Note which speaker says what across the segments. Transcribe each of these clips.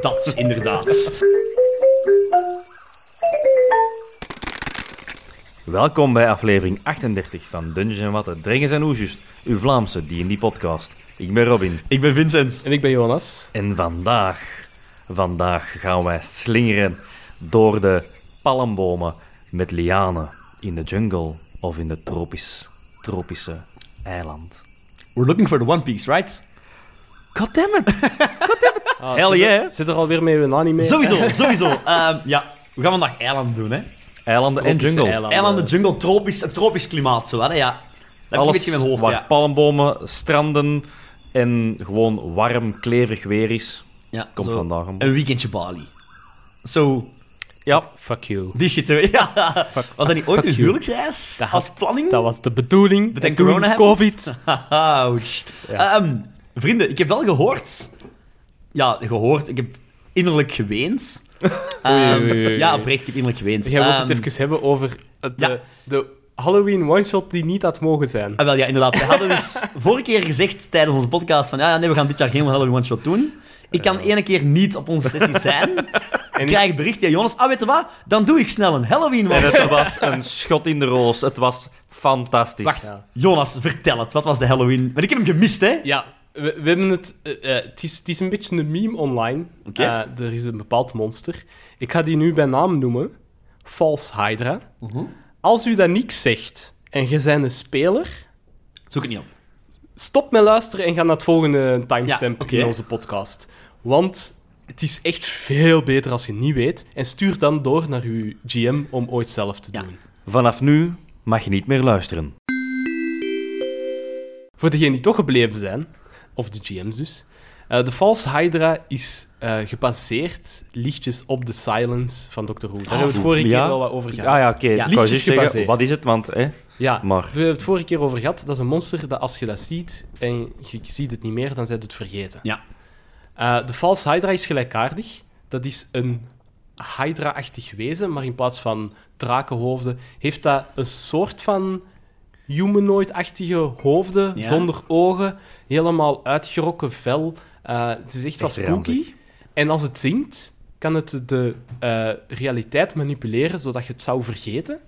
Speaker 1: Dat, inderdaad.
Speaker 2: Welkom bij aflevering 38 van Dungeons en Watten, Drengens en Oesjust, uw Vlaamse D&D-podcast. Ik ben Robin.
Speaker 1: Ik ben Vincent.
Speaker 3: En ik ben Jonas.
Speaker 2: En vandaag, vandaag gaan wij slingeren door de palmbomen met lianen in de jungle of in de tropisch, tropische eiland.
Speaker 1: We're looking for the One Piece, right?
Speaker 2: Goddammit!
Speaker 3: Ah,
Speaker 2: Hell
Speaker 3: zit er-
Speaker 2: yeah.
Speaker 3: Zit er alweer mee een anime?
Speaker 1: Sowieso, sowieso. Ehm, ja, we gaan vandaag eilanden doen, hè.
Speaker 2: Eilanden en
Speaker 3: Tropische
Speaker 2: jungle.
Speaker 3: eilanden.
Speaker 1: Eilanden, jungle, tropisch, een tropisch klimaat, zo, hè. Ja. Dat heb ik een
Speaker 2: Alles
Speaker 1: beetje in mijn hoofd,
Speaker 2: waar
Speaker 1: ja.
Speaker 2: palmbomen, stranden en gewoon warm, kleverig weer is.
Speaker 1: ja
Speaker 2: komt
Speaker 1: zo
Speaker 2: vandaag om.
Speaker 1: Een weekendje Bali. Zo,
Speaker 2: Ja,
Speaker 3: Fuck you.
Speaker 1: die shit, hè. Ja. Was dat niet ooit
Speaker 3: fuck
Speaker 1: een
Speaker 3: you.
Speaker 1: huwelijksreis? Als planning?
Speaker 3: Dat was de bedoeling.
Speaker 1: Bedenk
Speaker 3: En toen
Speaker 1: corona hebben.
Speaker 3: Covid.
Speaker 1: Ouch. Ehm, vrienden, ik heb wel gehoord. Ja, gehoord. Ik heb innerlijk geweend. Ehm,
Speaker 3: oei, oei, oei.
Speaker 1: Ja, oprecht, ik heb innerlijk geweend.
Speaker 3: Jij wilt het
Speaker 1: Ehm,
Speaker 3: even hebben over het,
Speaker 1: ja.
Speaker 3: de, de Halloween one-shot die niet had mogen zijn.
Speaker 1: Ah, wel, ja, inderdaad. We hadden dus vorige keer gezegd tijdens onze podcast van ja, ja, nee, we gaan dit jaar geen Halloween One Shot doen. Ik kan ene keer niet op onze sessie zijn. Ik krijg het bericht, ja, Jonas, ah, weet je wat? Dan doe ik snel een Halloween One
Speaker 2: En
Speaker 1: Shot.
Speaker 2: het was een schot in de roos. Het was fantastisch.
Speaker 1: Wacht,
Speaker 3: Ja.
Speaker 1: Jonas, vertel het. Wat was de Halloween? Want ik heb hem gemist, hè?
Speaker 3: Ja, we, we hebben het... eh, eh, het, is, het is een beetje een meme online.
Speaker 1: Oké.
Speaker 3: Eh, er is een bepaald monster. Ik ga die nu bij naam noemen. False Hydra. Als u dat niks zegt en je bent een speler...
Speaker 1: Zoek het niet op.
Speaker 3: Stop met luisteren en ga naar het volgende timestamp
Speaker 1: Ja, oké.
Speaker 3: in onze podcast. Want het is echt veel beter als je het niet weet. En stuur dan door naar uw GM om ooit zelf te
Speaker 1: Ja.
Speaker 3: doen.
Speaker 2: Vanaf nu mag je niet meer luisteren.
Speaker 3: Voor degenen die toch gebleven zijn, of de GM's dus. eh, de False Hydra is eh, gebaseerd lichtjes op de silence van Dr. Who. Daar hebben we het vorige
Speaker 2: Oh, ja?
Speaker 3: keer wel wat over gehad.
Speaker 2: Ah ja, oké. Ik wou
Speaker 3: lichtjes
Speaker 2: juist zeggen,
Speaker 3: gebaseerd.
Speaker 2: wat is het? Want hè,
Speaker 3: Ja,
Speaker 2: Maar-
Speaker 3: we hebben het vorige keer over gehad. Dat is een monster dat als je dat ziet en je ziet het niet meer, dan zijn het vergeten.
Speaker 1: Ja.
Speaker 3: Eh, de False Hydra is gelijkaardig. Dat is een Hydra-achtig wezen, maar in plaats van drakenhoofden heeft dat een soort van humanoid-achtige hoofden,
Speaker 1: Ja.
Speaker 3: zonder ogen, helemaal uitgerokken vel. Eh, het is echt wat
Speaker 2: Echt
Speaker 3: spooky.
Speaker 2: ranzig.
Speaker 3: En als het zingt, kan het de eh, realiteit manipuleren zodat je het zou vergeten.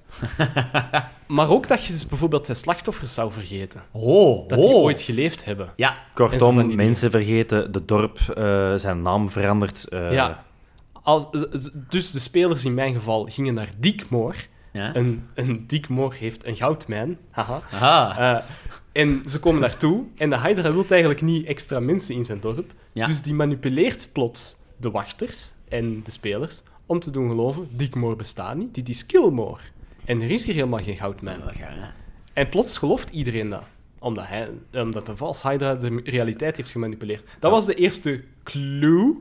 Speaker 3: maar ook dat je dus bijvoorbeeld zijn slachtoffers zou vergeten.
Speaker 1: Oh,
Speaker 3: Dat die
Speaker 1: oh.
Speaker 3: ooit geleefd hebben.
Speaker 1: Ja,
Speaker 3: En zo van
Speaker 2: kortom,
Speaker 3: die
Speaker 2: mensen vergeten, de dorp eh, zijn naam verandert. eh,
Speaker 3: Ja. Als, dus de spelers in mijn geval gingen naar Diekmoor.
Speaker 1: ja.
Speaker 3: Een, een Diekmoor heeft een goudmijn. Haha.
Speaker 1: Aha.
Speaker 3: Eh, en ze komen naartoe. En de Hydra wil eigenlijk niet extra mensen in zijn dorp.
Speaker 1: Ja.
Speaker 3: Dus die manipuleert plots de wachters en de spelers om te doen geloven, Diekmoor bestaat niet, dit is Kilmoor. En er is hier helemaal geen goudmijn.
Speaker 1: Ja, ja.
Speaker 3: En plots gelooft iedereen dat. Omdat, hij, omdat de vals Hydra de realiteit heeft gemanipuleerd. Dat was de eerste clue.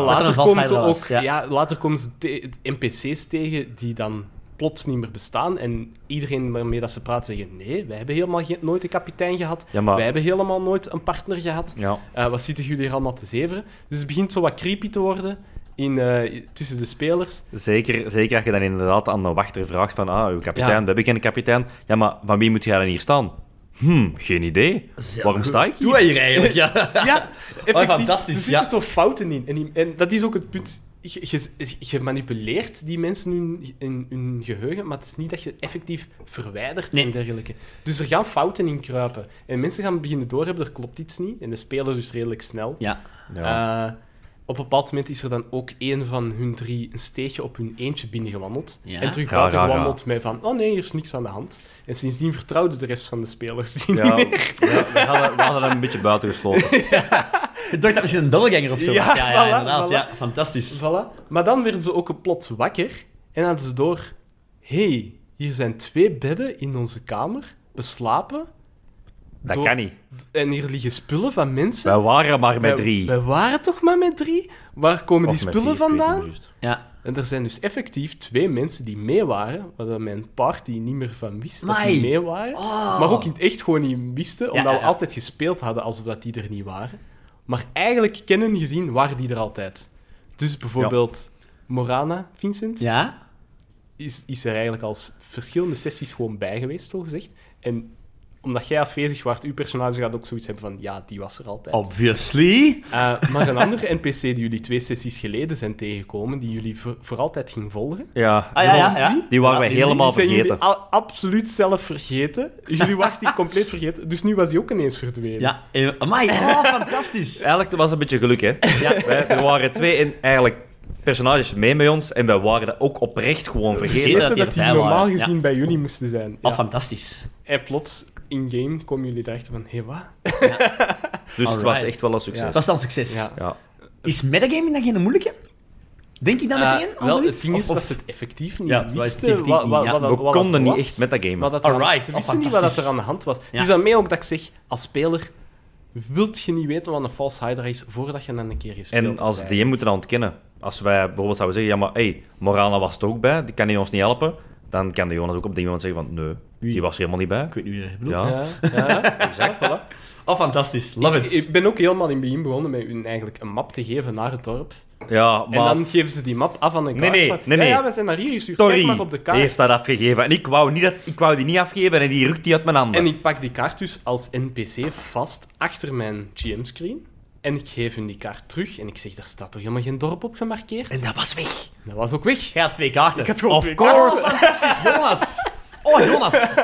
Speaker 1: Dat er een
Speaker 3: later
Speaker 1: vals
Speaker 3: komen ze
Speaker 1: Hydra
Speaker 3: ook...
Speaker 1: was, ja.
Speaker 3: Ja. later komen ze te- NPC's tegen die dan plots niet meer bestaan. En iedereen waarmee dat ze praten zeggen... Nee, wij hebben helemaal geen- nooit een kapitein gehad.
Speaker 2: Ja, maar-
Speaker 3: Wij hebben helemaal nooit een partner gehad.
Speaker 2: ja.
Speaker 3: Eh, wat zitten jullie hier allemaal te zeveren? Dus het begint zo wat creepy te worden in, eh, tussen de spelers.
Speaker 2: Zeker, zeker als je dan inderdaad aan de wachter vraagt van, ah, uw kapitein,
Speaker 3: Ja.
Speaker 2: we hebben geen kapitein. Ja, maar van wie moet jij dan hier staan? Hm, geen idee. Waarom sta ik
Speaker 1: Doe
Speaker 2: hier?
Speaker 1: wij hier eigenlijk? Ja.
Speaker 3: Ja, effectief.
Speaker 1: fantastisch,
Speaker 3: Er
Speaker 1: ja.
Speaker 3: zitten zo fouten in. En, die- en dat is ook het punt. Je, je- je manipuleert die mensen hun, in hun geheugen, maar het is niet dat je effectief verwijdert
Speaker 1: Nee.
Speaker 3: en dergelijke. Dus er gaan fouten in kruipen. En mensen gaan beginnen doorhebben, er klopt iets niet. En de spelers dus redelijk snel.
Speaker 1: ja.
Speaker 2: Ja.
Speaker 3: Eh, op een bepaald moment is er dan ook één van hun drie een steegje op hun eentje binnengewandeld.
Speaker 1: Ja.
Speaker 3: En terug
Speaker 2: Ja,
Speaker 3: buiten
Speaker 2: ja, ja.
Speaker 3: gewandeld met van, oh nee, hier is niks aan de hand. En sindsdien vertrouwden de rest van de spelers die niet
Speaker 2: Ja,
Speaker 3: meer.
Speaker 2: ja, we, hadden, we hadden hem een beetje buitengesloten.
Speaker 1: Ik dacht dat misschien een doppelganger of zo
Speaker 3: Ja,
Speaker 1: was. Ja, ja
Speaker 3: voilà,
Speaker 1: inderdaad.
Speaker 3: voilà.
Speaker 1: Ja, fantastisch.
Speaker 3: Voilà. Maar dan werden ze ook plots wakker en hadden ze door... Hé, hey, hier zijn twee bedden in onze kamer, beslapen.
Speaker 2: Dat
Speaker 3: Door-
Speaker 2: kan niet.
Speaker 3: En hier liggen spullen van mensen.
Speaker 2: Wij waren maar met drie.
Speaker 3: Wij, wij waren toch maar met drie? Waar komen
Speaker 2: Of
Speaker 3: die
Speaker 2: met
Speaker 3: spullen
Speaker 2: vier, ik weet
Speaker 3: vandaan?
Speaker 2: niet meer juist.
Speaker 1: Ja.
Speaker 3: En er zijn dus effectief twee mensen die mee waren, waar dat mijn party niet meer van wist dat
Speaker 1: Mai.
Speaker 3: die mee waren. Maar ook in het echt gewoon niet wisten, omdat
Speaker 1: ja,
Speaker 3: we
Speaker 1: ja.
Speaker 3: altijd gespeeld hadden alsof dat die er niet waren. Maar eigenlijk kennen en gezien waren die er altijd. Dus bijvoorbeeld Morana, Vincent,
Speaker 1: Ja.
Speaker 3: is, is er eigenlijk als verschillende sessies gewoon bij geweest, zo gezegd. En omdat jij afwezig wordt, uw personage gaat ook zoiets hebben van, ja, die was er altijd.
Speaker 1: Oh. Obviously.
Speaker 3: Eh, maar een andere NPC die jullie twee sessies geleden zijn tegengekomen, die jullie voor, voor altijd ging volgen.
Speaker 2: Ja,
Speaker 1: Ah ja, ja, ja.
Speaker 2: die waren wij
Speaker 3: die
Speaker 2: helemaal
Speaker 3: zijn jullie
Speaker 2: vergeten.
Speaker 3: al- absoluut zelf vergeten. Jullie waren die compleet vergeten, dus nu was die ook ineens verdwenen.
Speaker 1: Ja, eh, amai, oh, fantastisch.
Speaker 2: Eigenlijk was het een beetje geluk, hè. Wij, er waren twee en eigenlijk personages mee bij ons en wij waren dat ook oprecht gewoon
Speaker 1: Vergeten
Speaker 2: vergeten.
Speaker 3: dat,
Speaker 1: dat die
Speaker 3: die
Speaker 1: erbij
Speaker 3: normaal
Speaker 1: waren,
Speaker 3: gezien bij jullie moesten zijn.
Speaker 1: Oh,
Speaker 3: Ja.
Speaker 1: fantastisch.
Speaker 3: En plots, in-game, komen jullie erachter van, hé, hey, wat?
Speaker 2: Dus het was
Speaker 1: Alright.
Speaker 2: echt wel een
Speaker 1: Dat
Speaker 2: succes.
Speaker 1: was dan succes.
Speaker 3: Ja.
Speaker 2: Ja.
Speaker 1: Is metagaming dan geen moeilijke? Denk ik dan
Speaker 3: Eh,
Speaker 1: meteen aan
Speaker 3: wel,
Speaker 1: zoiets?
Speaker 3: het ding is
Speaker 1: Of-
Speaker 3: dat ze het effectief niet
Speaker 1: Ja,
Speaker 3: wisten.
Speaker 1: wij effectief
Speaker 3: wat-
Speaker 1: niet,
Speaker 3: wat-
Speaker 1: ja.
Speaker 3: wat dat-
Speaker 2: We
Speaker 3: wat dat
Speaker 2: konden niet
Speaker 3: was,
Speaker 2: echt metagamen.
Speaker 3: wat dat er aan-
Speaker 1: Alright,
Speaker 3: Ze
Speaker 1: oh,
Speaker 3: wisten niet wat dat er
Speaker 1: fantastisch.
Speaker 3: aan de hand was.
Speaker 1: Ja.
Speaker 3: Dus daarmee ook dat ik zeg, als speler wilt je niet weten wat een false hider is voordat je dan een keer gespeeld
Speaker 2: En als
Speaker 3: hebt.
Speaker 2: DM moeten dan ontkennen. Als wij bijvoorbeeld zouden zeggen, ja maar hey, Morana was er ook bij, die kan die ons niet helpen. Dan kan de Jonas ook op die moment zeggen van, nee, die was er helemaal niet bij.
Speaker 1: Ik weet niet wie dat bedoelt.
Speaker 2: Ja,
Speaker 3: Ja, ja, exact, voilà.
Speaker 1: Oh, fantastisch. Love it.
Speaker 3: Ik ben ook helemaal in het begin begonnen met hun eigenlijk een map te geven naar het dorp.
Speaker 2: ja maar...
Speaker 3: En dan geven ze die map af aan een
Speaker 2: Nee,
Speaker 3: kaart.
Speaker 2: nee,
Speaker 3: van,
Speaker 2: nee,
Speaker 3: ja,
Speaker 2: nee.
Speaker 3: ja, we zijn naar hier gestuurd. Kijk
Speaker 2: Tori
Speaker 3: maar op de kaart.
Speaker 2: heeft dat afgegeven. En ik wou, niet dat, ik wou die niet afgeven en die rukt die uit mijn handen.
Speaker 3: En ik pak die kaart dus als NPC vast achter mijn GM-screen. En ik geef hun die kaart terug. En ik zeg, daar staat toch helemaal geen dorp op gemarkeerd? En
Speaker 1: En dat was weg.
Speaker 3: dat was ook weg.
Speaker 1: Jij had twee kaarten.
Speaker 3: Ik had gewoon
Speaker 1: of
Speaker 3: twee
Speaker 1: course. Fantastisch, Jonas. Oh, Jonas.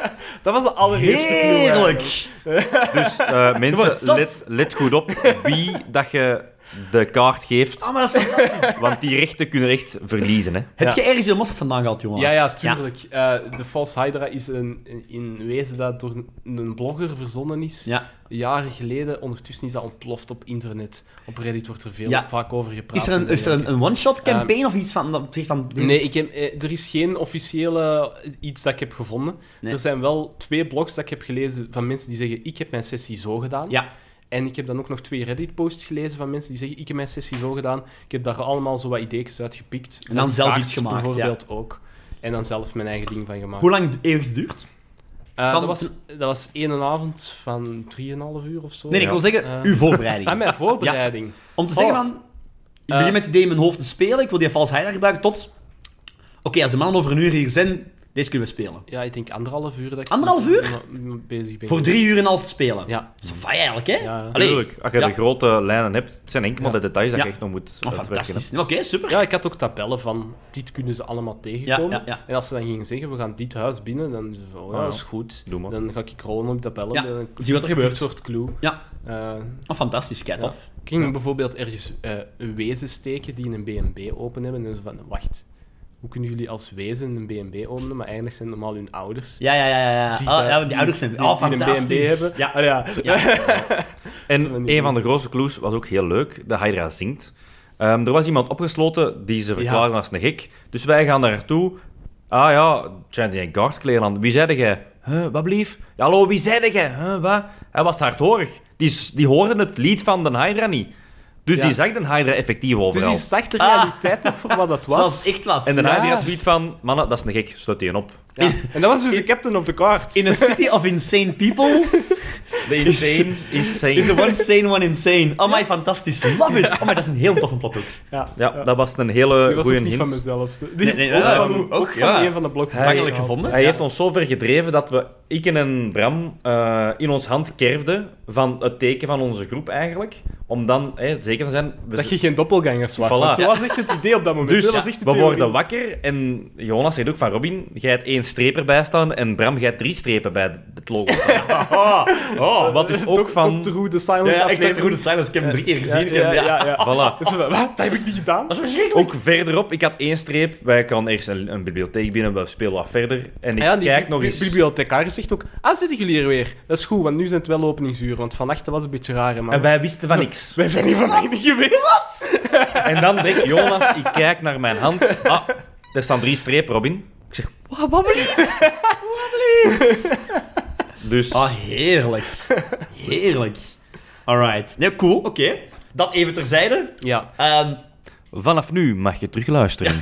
Speaker 3: Dat was de allereerste clue eigenlijk.
Speaker 1: Heerlijk.
Speaker 2: Dus eh,
Speaker 1: wordt
Speaker 2: mensen,
Speaker 1: zot.
Speaker 2: let, let goed op wie dat je de kaart geeft.
Speaker 1: Oh, maar dat is fantastisch.
Speaker 2: Want die rechten kunnen echt verliezen. Hè.
Speaker 1: Heb je ergens je mosterd vandaan gehaald, Jonas?
Speaker 3: Ja, ja, tuurlijk. Eh, de False Hydra is een, in wezen dat door een- een blogger verzonnen is.
Speaker 1: Ja.
Speaker 3: Jaren geleden. Ondertussen is dat ontploft op internet. Op Reddit wordt er veel
Speaker 1: Ja.
Speaker 3: vaak over gepraat.
Speaker 1: Is er een,
Speaker 3: en
Speaker 1: is er een,
Speaker 3: dergelijke.
Speaker 1: een one-shot campaign of iets van... Dat, zegt van
Speaker 3: Ehm, Nee, ik heb, eh, er is geen officiële iets dat ik heb gevonden.
Speaker 1: Nee.
Speaker 3: Er zijn wel twee blogs dat ik heb gelezen van mensen die zeggen: Ik heb mijn sessie zo gedaan.
Speaker 1: Ja.
Speaker 3: En ik heb dan ook nog twee Reddit-posts gelezen van mensen die zeggen: Ik heb mijn sessie zo gedaan. Ik heb daar allemaal zo wat ideetjes uit gepikt.
Speaker 1: En dan zelf
Speaker 3: Kaartjes
Speaker 1: iets gemaakt, ja.
Speaker 3: Bijvoorbeeld ook. En dan zelf mijn eigen ding van gemaakt.
Speaker 1: Hoe lang heeft het geduurd?
Speaker 3: Eh,
Speaker 1: Van-
Speaker 3: dat, was, dat was één avond van 3,5 uur of zo.
Speaker 1: Nee, nee, ik wil zeggen,
Speaker 3: Eh.
Speaker 1: uw voorbereiding.
Speaker 3: Aan mijn voorbereiding.
Speaker 1: Om te
Speaker 3: Oh.
Speaker 1: zeggen van... Ik begin
Speaker 3: Eh.
Speaker 1: met het idee in mijn hoofd te spelen. Ik wil die vals heilig gebruiken tot... Oké, als de mannen over een uur hier zijn, deze kunnen we spelen.
Speaker 3: Ja, ik denk anderhalf uur dat ik
Speaker 1: Anderhalf uur?
Speaker 3: m- m- bezig ben.
Speaker 1: Voor drie uur en een half te spelen.
Speaker 3: Ja.
Speaker 1: Dat is fijn eigenlijk, hè?
Speaker 3: Ja.
Speaker 1: Allee.
Speaker 2: Tuurlijk, als je
Speaker 1: Ja.
Speaker 2: de grote lijnen hebt, het zijn enkel maar
Speaker 3: Ja.
Speaker 2: de details dat
Speaker 1: Ja.
Speaker 2: je echt nog moet
Speaker 1: Oh,
Speaker 2: uitwerken, hè.
Speaker 1: fantastisch. Oké, super.
Speaker 3: Ja, ik had ook tabellen van dit kunnen ze allemaal tegenkomen.
Speaker 1: Ja, ja, ja.
Speaker 3: En als ze dan gingen zeggen, we gaan dit huis binnen, dan zeiden ze van, oh, ja,
Speaker 2: Ah, ja.
Speaker 3: is goed.
Speaker 2: Doe maar.
Speaker 3: Dan ga ik rollen op die tabellen.
Speaker 1: Ja,
Speaker 3: en dan
Speaker 1: zie wat er gebeurt.
Speaker 3: Een soort clue.
Speaker 1: Ja.
Speaker 3: Eh,
Speaker 1: Oh, fantastisch, kijk, tof.
Speaker 3: Ik ging bijvoorbeeld ergens eh, een wezen steken die een B&B open hebben. En ze van, wacht, hoe kunnen jullie als wezen een B&B openen? Maar eigenlijk zijn het normaal hun ouders.
Speaker 1: Ja, ja, ja, ja. ja.
Speaker 3: Die,
Speaker 1: Ah, ja,
Speaker 3: eh,
Speaker 1: want die ouders zijn...
Speaker 3: die-
Speaker 1: Oh,
Speaker 3: die een
Speaker 1: fantastisch.
Speaker 3: B&B hebben.
Speaker 1: Ja.
Speaker 3: Ah, ja. Zullen we
Speaker 2: En
Speaker 3: niet
Speaker 2: een
Speaker 3: doen.
Speaker 2: van de grootste clues was ook heel leuk. De Hydra zingt. Ehm, er was iemand opgesloten die ze verklaarde als een gek. Dus wij gaan daar naartoe. Ah ja, Chandy en Guard kleren aan. Wie zeide jij? Huh, wat blief? Ja, hallo, wie zeide jij? Huh, wat? Hij was hardhorig. Die, s- die hoorde het lied van de Hydra niet. Dus
Speaker 3: Ja.
Speaker 2: die zag de Hydra effectief
Speaker 3: Dus
Speaker 2: overal.
Speaker 3: die zag de realiteit nog voor wat dat
Speaker 1: Ah. Zoals
Speaker 3: was.
Speaker 1: het echt was.
Speaker 2: En de
Speaker 3: Ja.
Speaker 2: Hydra had zoiets van... Mannen, dat is een gek. Sluit die een op.
Speaker 3: Ja. En dat was dus de captain of the cards.
Speaker 1: In a city of insane people...
Speaker 2: De insane insane.
Speaker 1: Is the one sane, one insane. Oh my, fantastisch. Love it. Oh my, dat is een heel toffe plot ook.
Speaker 3: ja.
Speaker 2: Ja, dat was een
Speaker 3: Die
Speaker 2: hele
Speaker 3: was ook
Speaker 2: goede
Speaker 3: niet
Speaker 2: Eh, hint.
Speaker 3: van mezelf. zo. Die
Speaker 1: Nee, nee,
Speaker 3: ook
Speaker 1: ja,
Speaker 3: van,
Speaker 1: ook,
Speaker 3: ook van
Speaker 1: ja.
Speaker 3: een van de blokken.
Speaker 1: Makkelijk
Speaker 3: gehaald.
Speaker 1: gevonden.
Speaker 2: Hij heeft ons zo ver gedreven dat we, ik en Bram, eh, in ons hand kerfden van het teken van onze groep eigenlijk. Om dan eh, zeker te zijn. We
Speaker 3: Dat je geen doppelgangers was.
Speaker 2: Voilà.
Speaker 3: Want dat was echt het idee op dat moment.
Speaker 2: dus
Speaker 3: dat was echt
Speaker 2: we
Speaker 3: de theorie.
Speaker 2: worden wakker en Jonas zegt ook van Robin, jij hebt één streep erbij staan en Bram, jij hebt drie strepen bij het logo. oh, wat dus ook
Speaker 3: Toch
Speaker 2: van...
Speaker 3: Toch True the Silence
Speaker 1: Ja, ik dacht
Speaker 3: aflevering.
Speaker 1: Rode Silence. Ik heb hem drie keer gezien. Ik
Speaker 3: Ja,
Speaker 1: heb-
Speaker 3: ja, ja, ja.
Speaker 2: Voilà.
Speaker 3: Dus we- wat? Dat heb ik niet gedaan.
Speaker 1: Dat is verschrikkelijk.
Speaker 2: Ook verderop, ik had één streep. Wij gaan eerst een, een bibliotheek binnen, we spelen wat verder. En ik
Speaker 3: Ah ja, die
Speaker 2: kijk
Speaker 3: bi-
Speaker 2: nog
Speaker 3: bi-
Speaker 2: eens.
Speaker 3: bibliothecaris zegt ook, ah, zitten jullie hier weer? Dat is goed, want nu zijn het wel openingsuren, want vannacht was het een beetje raar, hè, man.
Speaker 2: En wij wisten van niks.
Speaker 3: Wij zijn hier vannacht niet geweest.
Speaker 2: En dan denk ik, Jonas, ik kijk naar mijn hand. Ah, er staan drie strepen, Robin. Ik zeg,
Speaker 1: Wat babbelig.
Speaker 2: dus...
Speaker 1: Ah, heerlijk. Heerlijk. Alright. Nee, cool. Oké. Dat even terzijde.
Speaker 3: Ja.
Speaker 1: Ehm,
Speaker 2: Vanaf nu mag je terug luisteren.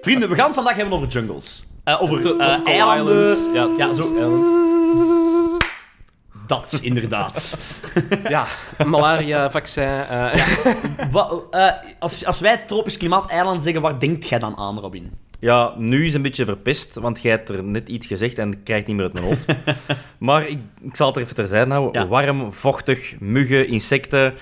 Speaker 1: vrienden, we gaan het vandaag hebben over jungles. Eh, over eh, eilanden.
Speaker 3: islands. Ja,
Speaker 1: Ja, zo. Dat, inderdaad.
Speaker 3: Ja, malaria, vaccin. eh,
Speaker 1: Wa- eh, als, als wij tropisch klimaat eiland zeggen, waar denkt jij dan aan, Robin?
Speaker 2: Ja, nu is een beetje verpest, want jij hebt er net iets gezegd en ik krijg het niet meer uit mijn hoofd. maar ik, ik zal het er even terzijde houden.
Speaker 1: Ja.
Speaker 2: Warm, vochtig, muggen, insecten,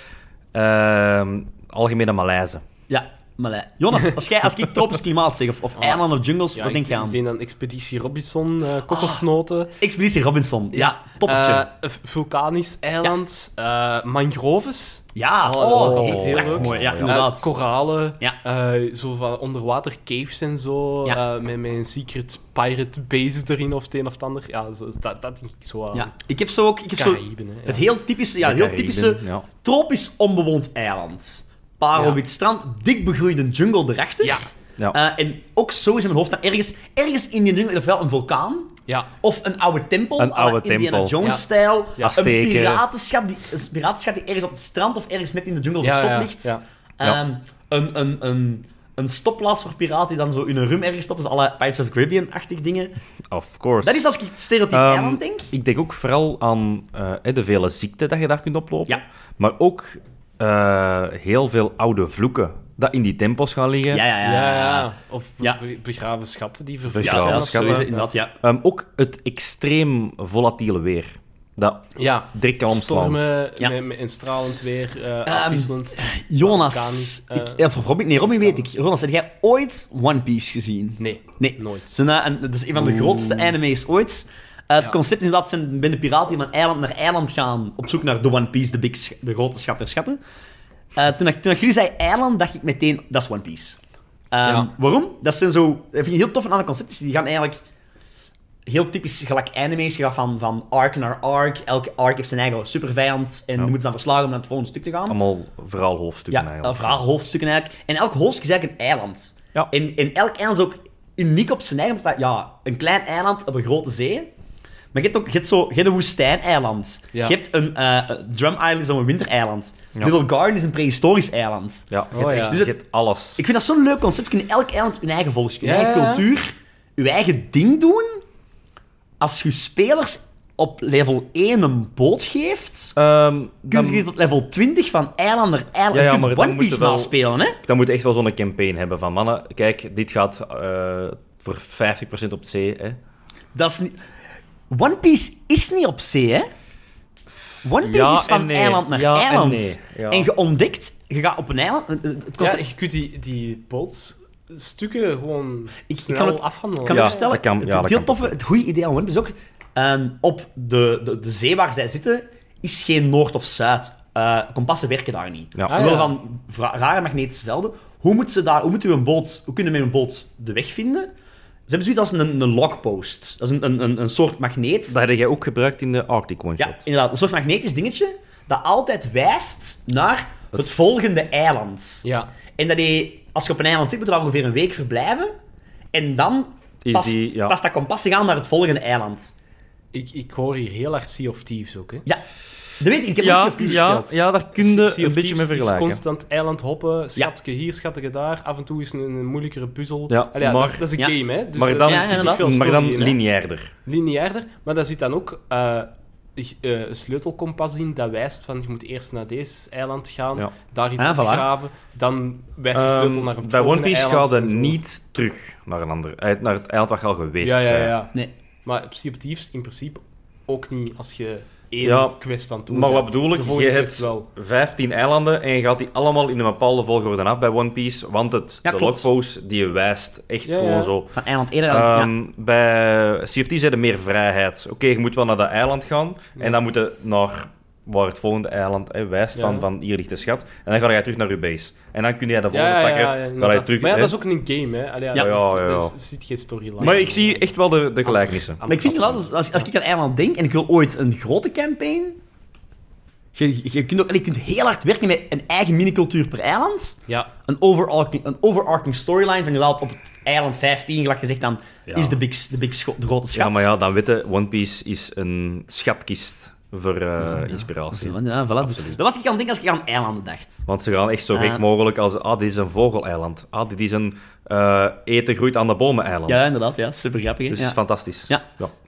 Speaker 2: ehm, algemene malaise.
Speaker 1: Ja, maar eh, Jonas, als, jij, als ik tropisch klimaat zeg, of, of eilanden of jungles,
Speaker 3: Ah. Ja,
Speaker 1: wat denk
Speaker 3: ik,
Speaker 1: je aan?
Speaker 3: Ik denk aan Expeditie Robinson, eh kokosnoten.
Speaker 1: Expeditie Robinson, ja, toppertje.
Speaker 3: eh, een vulkanisch eiland, eh, mangroves,
Speaker 1: ja,
Speaker 3: oh,
Speaker 1: oh,
Speaker 3: dat is
Speaker 1: echt
Speaker 3: heel
Speaker 1: prachtig
Speaker 3: leuk.
Speaker 1: mooi. Ja,
Speaker 2: Ja.
Speaker 3: eh,
Speaker 1: inderdaad.
Speaker 3: koralen,
Speaker 1: Ja.
Speaker 3: eh, zo van onderwater caves en zo,
Speaker 1: Ja.
Speaker 3: eh, met, met een secret pirate base erin of het een of het ander. Ja, zo, dat, dat denk ik zo eh, aan.
Speaker 1: ja. Ik heb zo ook ik heb zo
Speaker 3: Caraïben, hè, ja.
Speaker 1: het heel typische, ja,
Speaker 2: De
Speaker 1: heel
Speaker 2: Cariben,
Speaker 1: typische
Speaker 2: ja.
Speaker 1: tropisch onbewoond eiland. Parelwit strand, dik begroeide jungle erachter.
Speaker 3: Ja.
Speaker 2: Ja.
Speaker 1: Eh, en ook zo is in mijn hoofd, dat ergens, ergens in die jungle, ofwel een vulkaan,
Speaker 3: Ja.
Speaker 1: Of een oude tempel,
Speaker 2: Een
Speaker 1: à la
Speaker 2: oude
Speaker 1: Indiana
Speaker 2: tempel.
Speaker 1: Jones-stijl.
Speaker 2: Ja.
Speaker 1: Een,
Speaker 2: Azteken.
Speaker 1: piratenschap die, een piratenschap die ergens op het strand of ergens net in de jungle
Speaker 3: Ja,
Speaker 1: verstopt
Speaker 3: ja,
Speaker 1: ligt.
Speaker 3: ja.
Speaker 2: Ja.
Speaker 1: Ehm, een, een, een, een stopplaats voor piraten die dan zo in een rum ergens stoppen. Dus alle Pirates of the Caribbean-achtig dingen.
Speaker 2: Of course.
Speaker 1: Dat is als ik het stereotype
Speaker 2: Ehm,
Speaker 1: eiland denk.
Speaker 2: Ik denk ook vooral aan eh, hè, de vele ziekten dat je daar kunt oplopen.
Speaker 1: Ja.
Speaker 2: Maar ook eh, heel veel oude vloeken dat in die tempels gaan liggen.
Speaker 1: Ja, ja, ja.
Speaker 3: Ja,
Speaker 1: ja.
Speaker 3: ja. Of be-
Speaker 1: Eh, Ja.
Speaker 3: be- begraven schatten die
Speaker 1: Ja,
Speaker 2: Ja,
Speaker 1: ja,
Speaker 3: vervallen.
Speaker 2: dat
Speaker 1: ja,
Speaker 2: is
Speaker 1: zo is
Speaker 2: grappig.
Speaker 1: het inderdaad, ja.
Speaker 2: Ehm, ook het extreem volatiele weer. Dat
Speaker 3: Ja.
Speaker 2: direct kan omslaan.
Speaker 3: Stormen
Speaker 1: Ja.
Speaker 3: met, met een stralend weer, eh
Speaker 1: Ehm,
Speaker 3: afwisselend.
Speaker 1: Jonas.
Speaker 3: Vulkanisch,
Speaker 1: ik,
Speaker 3: eh.
Speaker 1: ja, voor Robin, nee, Robin weet ik. Jonas, heb jij ooit One Piece gezien?
Speaker 3: Nee,
Speaker 1: Nee.
Speaker 3: nooit.
Speaker 1: Zijn, eh, een, dat is een van de grootste anime's ooit. Eh, het
Speaker 3: Ja.
Speaker 1: concept is dat ze binnen piraten die van eiland naar eiland gaan op zoek naar de One Piece, de, big sch- de grote schat der schatten. Eh, toen, ik, toen ik jullie zei eiland, dacht ik meteen, dat is One Piece. Ehm,
Speaker 3: Ja.
Speaker 1: Waarom? Dat zijn zo... Dat vind ik heel tof aan alle concepten. Die gaan eigenlijk heel typisch gelijk anime's. Je gaat van, van arc naar arc. Elke arc heeft zijn eigen supervijand. En die moeten ze dan verslagen om naar het volgende stuk te gaan.
Speaker 2: Allemaal vooral hoofdstukken
Speaker 1: Ja,
Speaker 2: eigenlijk.
Speaker 1: eh, verhaal, hoofdstukken eigenlijk. En elk hoofdstuk is eigenlijk een eiland.
Speaker 2: Ja.
Speaker 1: En, en elk eiland is ook uniek op zijn eigen... omdat dat- Ja, een klein eiland op een grote zee. Maar je hebt ook je hebt zo, je hebt een woestijneiland.
Speaker 3: Ja.
Speaker 1: Je hebt een... eh, eh, Drum Island is dan een wintereiland. Little Garden is een prehistorisch eiland.
Speaker 2: Ja, je
Speaker 3: Oh,
Speaker 2: hebt,
Speaker 3: ja.
Speaker 2: echt-
Speaker 1: Dus het-
Speaker 2: je hebt alles.
Speaker 1: Ik vind dat zo'n leuk concept. Je kunt in elk eiland hun eigen volksje, hun
Speaker 3: Ja,
Speaker 1: eigen
Speaker 3: ja, ja.
Speaker 1: cultuur, je eigen ding doen. Als je spelers op level 1 een boot geeft...
Speaker 2: Ehm,
Speaker 1: Kun
Speaker 2: dan,
Speaker 1: je tot level 20 van eiland naar eiland...
Speaker 2: Ja, ja,
Speaker 1: je
Speaker 2: maar
Speaker 1: kunt
Speaker 2: dan
Speaker 1: One
Speaker 2: moet je
Speaker 1: Piece
Speaker 2: wel-
Speaker 1: naspelen, hè?
Speaker 2: dan moet je echt wel zo'n campaign hebben van mannen, kijk, dit gaat eh, voor 50% op zee. Hè.
Speaker 1: Dat is niet... One Piece is niet op zee, hè? One Piece
Speaker 2: Ja
Speaker 1: is van
Speaker 2: en nee.
Speaker 1: eiland naar
Speaker 2: Ja en
Speaker 1: eiland. En,
Speaker 2: nee. Ja.
Speaker 1: je ontdekt, je gaat op een eiland. eh, eh, Het kost
Speaker 3: Ja,
Speaker 1: echt.
Speaker 3: je kunt die, die botsstukken gewoon
Speaker 1: ik
Speaker 3: snel
Speaker 1: kan het-
Speaker 3: afhandelen.
Speaker 1: Ik kan
Speaker 2: Ja,
Speaker 1: me vertellen,
Speaker 2: dat kan- ja,
Speaker 1: het,
Speaker 2: dat
Speaker 1: heel
Speaker 2: kan
Speaker 1: toffe, het goede idee aan One Piece ook. ehm, op de, de, de zee waar zij zitten is geen noord of zuid. Eh, kompassen werken daar niet.
Speaker 2: Ja.
Speaker 1: Omwille
Speaker 3: Ah, ja.
Speaker 1: van vra- rare magnetische velden. Hoe moeten ze daar, hoe moeten we een boot, hoe kunnen we met een boot de weg vinden? Ze hebben zoiets als een, een logpost. Dat is een, een, een, een soort magneet.
Speaker 2: Dat heb jij ook gebruikt in de Arctic One
Speaker 1: Ja,
Speaker 2: Shot.
Speaker 1: inderdaad. Een soort magnetisch dingetje dat altijd wijst naar het volgende eiland.
Speaker 3: Ja.
Speaker 1: En dat die, als je op een eiland zit, moet je daar ongeveer een week verblijven. En dan
Speaker 2: Is
Speaker 1: past,
Speaker 2: die- ja.
Speaker 1: past dat kompas zich aan naar het volgende eiland.
Speaker 3: Ik, ik hoor hier heel hard Sea of Thieves ook, hè.
Speaker 1: Ja. Dat weet ik. Ik heb nog
Speaker 2: ja,
Speaker 1: Sea of Thieves
Speaker 2: ja,
Speaker 1: gespeeld.
Speaker 2: ja, daar kun je
Speaker 3: Sea
Speaker 2: een
Speaker 3: of
Speaker 2: beetje mee
Speaker 3: Thieves is
Speaker 2: vergelijken.
Speaker 3: constant eiland hoppen, schatje hier, schatje daar. Af en toe is een, een moeilijkere puzzel.
Speaker 2: Ja,
Speaker 3: Allee, ja,
Speaker 2: maar-
Speaker 3: dat, is, dat is
Speaker 1: ja.
Speaker 3: een game, hè. Dus
Speaker 2: maar
Speaker 3: er
Speaker 2: dan,
Speaker 1: eh, ja,
Speaker 3: zit
Speaker 1: inderdaad.
Speaker 3: veel
Speaker 2: maar dan
Speaker 3: story in, hè.
Speaker 2: lineairder.
Speaker 3: lineairder. Maar daar zit dan ook eh, g- eh, een sleutelkompas in dat wijst van je moet eerst naar deze eiland gaan,
Speaker 2: Ja.
Speaker 3: daar iets
Speaker 1: Ah, voilà.
Speaker 3: opgraven, dan wijst de sleutel
Speaker 2: Ehm,
Speaker 3: naar een
Speaker 2: bij One
Speaker 3: volgende
Speaker 2: Piece
Speaker 3: eiland
Speaker 2: gaat je
Speaker 3: en zo.
Speaker 2: niet terug naar, een ander, uit- naar het eiland waar je al geweest
Speaker 3: Ja, ja,
Speaker 2: bent.
Speaker 3: ja.
Speaker 1: Nee.
Speaker 3: Maar op Sea of Thieves in principe ook niet als je één
Speaker 2: Ja,
Speaker 3: quest aan toe
Speaker 2: Maar wat bedoel ik? Je hebt
Speaker 3: wel.
Speaker 2: 15 eilanden en je gaat die allemaal in een bepaalde volgorde af bij One Piece. Want het,
Speaker 1: Ja,
Speaker 2: de
Speaker 1: klopt.
Speaker 2: logpost die wijst echt
Speaker 3: Ja,
Speaker 2: gewoon
Speaker 3: ja.
Speaker 2: zo.
Speaker 1: Van eiland 1 naar eiland ja.
Speaker 2: Ehm, Bij CFT zijn er meer vrijheid. Oké, je moet wel naar dat eiland gaan. En dan moet je naar waar het volgende eiland hè, wijst
Speaker 3: Ja.
Speaker 2: van, van hier ligt de schat. En dan ga je terug naar je base. En dan kun je de
Speaker 3: Ja,
Speaker 2: volgende
Speaker 3: ja, ja,
Speaker 2: pakken.
Speaker 3: ja,
Speaker 2: ga je
Speaker 3: inderdaad.
Speaker 2: terug,
Speaker 3: maar ja,
Speaker 2: hè.
Speaker 3: dat is ook een game, hè. Allee,
Speaker 1: Ja.
Speaker 3: dat-
Speaker 2: Ja, ja,
Speaker 3: dat
Speaker 2: ja.
Speaker 3: is- zit geen storyline.
Speaker 2: Maar ik zie echt wel de, de gelijkenissen.
Speaker 1: Maar ik vind inderdaad, als, als ik aan eiland denk en ik wil ooit een grote campaign... Je, je, kunt, ook, allee, je kunt heel hard werken met een eigen minicultuur per eiland.
Speaker 3: Ja.
Speaker 1: een overarching, een overarching storyline van inderdaad op het eiland 15, gelijk gezegd, dan
Speaker 2: Ja.
Speaker 1: is de, big, de, big scho- de grote schat.
Speaker 2: Ja, maar ja, dan weten, One Piece is een schatkist voor eh, inspiratie.
Speaker 1: Ja, voilà. Dat was ik aan het denken als ik aan eilanden dacht.
Speaker 2: Want ze gaan echt zo gek
Speaker 1: Ah.
Speaker 2: mogelijk als, ah, dit is een vogeleiland. Ah, dit is een eh, eten groeit aan de bomen eiland.
Speaker 1: Ja, inderdaad. Ja, super grappig. hè?
Speaker 2: dus
Speaker 1: ja.
Speaker 2: fantastisch.
Speaker 1: Ja.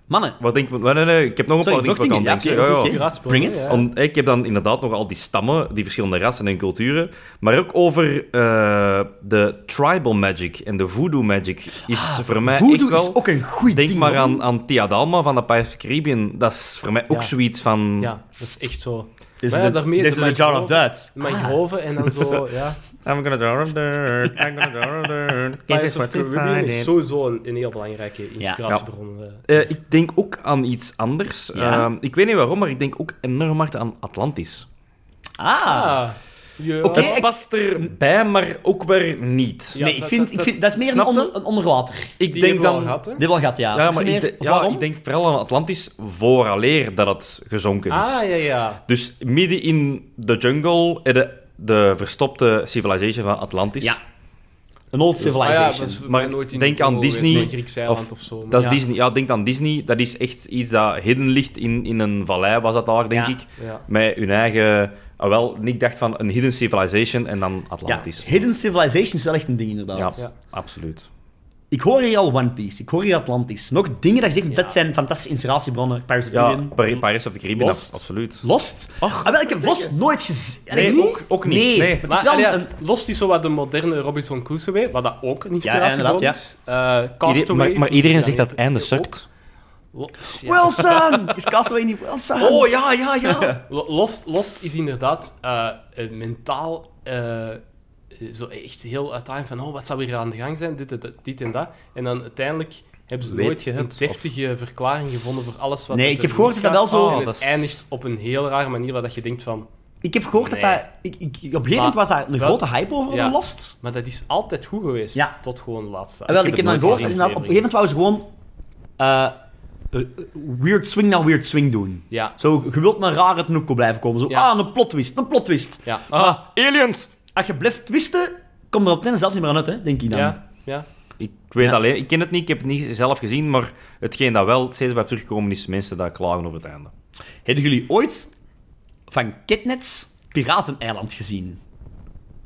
Speaker 1: Mannen,
Speaker 2: Wat denk je? Nee, nee, nee, ik heb nog een
Speaker 1: Sorry,
Speaker 2: paar dingen
Speaker 1: nog
Speaker 2: wat ik aan
Speaker 1: dingen,
Speaker 2: denk.
Speaker 1: ja, oké, goed, ja. Bring it.
Speaker 3: Ja.
Speaker 2: Want ik heb dan inderdaad nog al die stammen, die verschillende rassen en culturen. Maar ook over eh, de tribal magic en de voodoo magic is voor mij
Speaker 1: Ah, voodoo
Speaker 2: echt wel...
Speaker 1: is dus ook een goed
Speaker 2: Denk
Speaker 1: ding.
Speaker 2: maar
Speaker 1: hoor.
Speaker 2: aan, aan Tia Dalma van de Pirates of the Caribbean. Dat is voor mij ook
Speaker 3: Ja.
Speaker 2: zoiets van...
Speaker 3: ja, dat is echt zo.
Speaker 1: Dit is
Speaker 3: Maar ja,
Speaker 1: de-
Speaker 3: daarmee
Speaker 1: dit
Speaker 3: de
Speaker 1: is de Jar of
Speaker 3: microfoon.
Speaker 1: Duds.
Speaker 3: Mijn
Speaker 2: Ah.
Speaker 3: hoven en dan zo, ja.
Speaker 2: I'm gonna draw a dirt, I'm gonna draw a dirt.
Speaker 3: Pirates of
Speaker 2: what
Speaker 3: the
Speaker 2: it's
Speaker 3: Caribbean
Speaker 2: I
Speaker 3: is
Speaker 2: did.
Speaker 3: sowieso een, een heel belangrijke inspiratiebron. eh.
Speaker 2: Eh, ik denk ook aan iets anders.
Speaker 1: Ja?
Speaker 2: Ehm, ik weet niet waarom, maar ik denk ook enorm hard aan Atlantis.
Speaker 1: Ah.
Speaker 3: Ah, ja.
Speaker 1: Oké,
Speaker 2: Het
Speaker 1: ik-
Speaker 2: past erbij, maar ook weer niet.
Speaker 3: Ja,
Speaker 1: nee, ik
Speaker 3: dat-
Speaker 1: vind,
Speaker 3: dat-
Speaker 1: ik vind, dat is meer een,
Speaker 2: Snap je?
Speaker 1: onder, een onderwater.
Speaker 2: Ik
Speaker 3: die
Speaker 2: denk
Speaker 3: hebben we
Speaker 2: dan...
Speaker 3: al gehad, hè?
Speaker 1: Dit wel gaat, ja.
Speaker 2: Ja,
Speaker 1: Is
Speaker 2: maar
Speaker 1: meer-
Speaker 2: ik, de-
Speaker 1: of
Speaker 2: ja,
Speaker 1: waarom?
Speaker 2: ik denk vooral aan Atlantis vooraleer dat het gezonken is.
Speaker 3: Ah, ja, ja.
Speaker 2: Dus midden in de jungle, eh, de, de verstopte civilization van Atlantis.
Speaker 1: Ja. Een old
Speaker 3: Ah, ja,
Speaker 1: civilization.
Speaker 3: dat is voor
Speaker 2: Maar
Speaker 3: mij nooit in
Speaker 2: denk
Speaker 3: de
Speaker 2: aan
Speaker 3: oorlog geweest,
Speaker 2: Disney
Speaker 3: nooit Grieks eiland
Speaker 2: of-
Speaker 3: of zo. maar-
Speaker 2: Dat is
Speaker 1: Ja.
Speaker 2: Disney. Ja, denk aan Disney. Dat is echt iets dat hidden ligt in, in een vallei, was dat daar, denk
Speaker 1: Ja.
Speaker 2: ik.
Speaker 3: Ja.
Speaker 2: Met hun eigen... Ah, wel, Nick dacht van een hidden civilization en dan
Speaker 1: Ja,
Speaker 2: Atlantis.
Speaker 1: Hidden Civilization is wel echt een ding, inderdaad.
Speaker 2: Ja,
Speaker 3: Ja.
Speaker 2: absoluut.
Speaker 1: Ik hoor hier al One Piece, ik hoor hier Atlantis. Nog dingen dat je zegt,
Speaker 3: Ja.
Speaker 1: dat zijn fantastische inspiratiebronnen. Pirates of the
Speaker 2: Ja,
Speaker 1: Caribbean.
Speaker 2: Pir- Pirates of the Caribbean,
Speaker 3: Lost.
Speaker 2: ab- absoluut.
Speaker 1: Lost?
Speaker 2: Ach.
Speaker 1: Ah, wel, ik heb Lost nooit gezien. Allee,
Speaker 2: Nee, ook- ook niet.
Speaker 1: Nee,
Speaker 2: Nee.
Speaker 1: het is
Speaker 3: Maar ah,
Speaker 1: wel
Speaker 3: allee,
Speaker 1: een...
Speaker 3: lost is zo wat de moderne Robinson Crusoe, wat dat ook een inspiratiebron
Speaker 1: inderdaad, ja.
Speaker 3: is. Eh, Castaway.
Speaker 2: Ieder- maar, maar iedereen zegt dat
Speaker 3: Ja,
Speaker 2: einde
Speaker 3: ook.
Speaker 2: sukt.
Speaker 3: Oh, Lo- ja.
Speaker 1: Wilson! Is Castaway niet Wilson?
Speaker 3: Oh, ja, ja, ja. Lo- Lost, Lost is inderdaad eh, een mentaal... eh, zo echt heel uitdagend van, oh, wat zou hier aan de gang zijn? Dit, dit, dit en dat. En dan uiteindelijk hebben ze
Speaker 2: Weet
Speaker 3: nooit
Speaker 2: je
Speaker 3: een
Speaker 2: het,
Speaker 3: deftige verklaring gevonden voor alles wat
Speaker 1: Nee,
Speaker 3: er
Speaker 1: ik heb gehoord dat dat wel
Speaker 3: misgaat.
Speaker 1: zo-
Speaker 3: En
Speaker 2: Oh,
Speaker 3: het
Speaker 2: dat is-
Speaker 3: eindigt op een heel rare manier waar dat je denkt van...
Speaker 1: Ik heb gehoord
Speaker 3: Nee.
Speaker 1: dat dat... Ik, ik, op een gegeven moment
Speaker 3: Maar-
Speaker 1: was daar een
Speaker 3: wel-
Speaker 1: grote hype over,
Speaker 3: Ja.
Speaker 1: over Lost.
Speaker 3: Maar dat is altijd goed geweest,
Speaker 1: Ja.
Speaker 3: tot gewoon de laatste.
Speaker 1: Ah, wel, ik heb
Speaker 2: het
Speaker 1: dan
Speaker 2: nooit
Speaker 1: gehoord, dat
Speaker 2: gezien,
Speaker 1: ze nou- op een gegeven moment wou ze gewoon... eh, eh, weird swing naar weird swing doen.
Speaker 3: Ja,
Speaker 1: Zo, je wilt maar raar het noekko blijven komen. Zo,
Speaker 3: Ja.
Speaker 1: ah, een plot twist, een plot twist.
Speaker 3: ja.
Speaker 2: Ah, aliens!
Speaker 1: Als je blijft twisten, kom er op het einde zelf niet meer aan uit, hè, denk ik dan.
Speaker 3: Ja, ja.
Speaker 2: Ik weet
Speaker 1: Ja.
Speaker 2: alleen, ik ken het niet, ik heb het niet zelf gezien, maar hetgeen dat wel steeds bij teruggekomen is, mensen daar klagen over het einde.
Speaker 1: Hebben jullie ooit van Kitnets Pirateneiland gezien?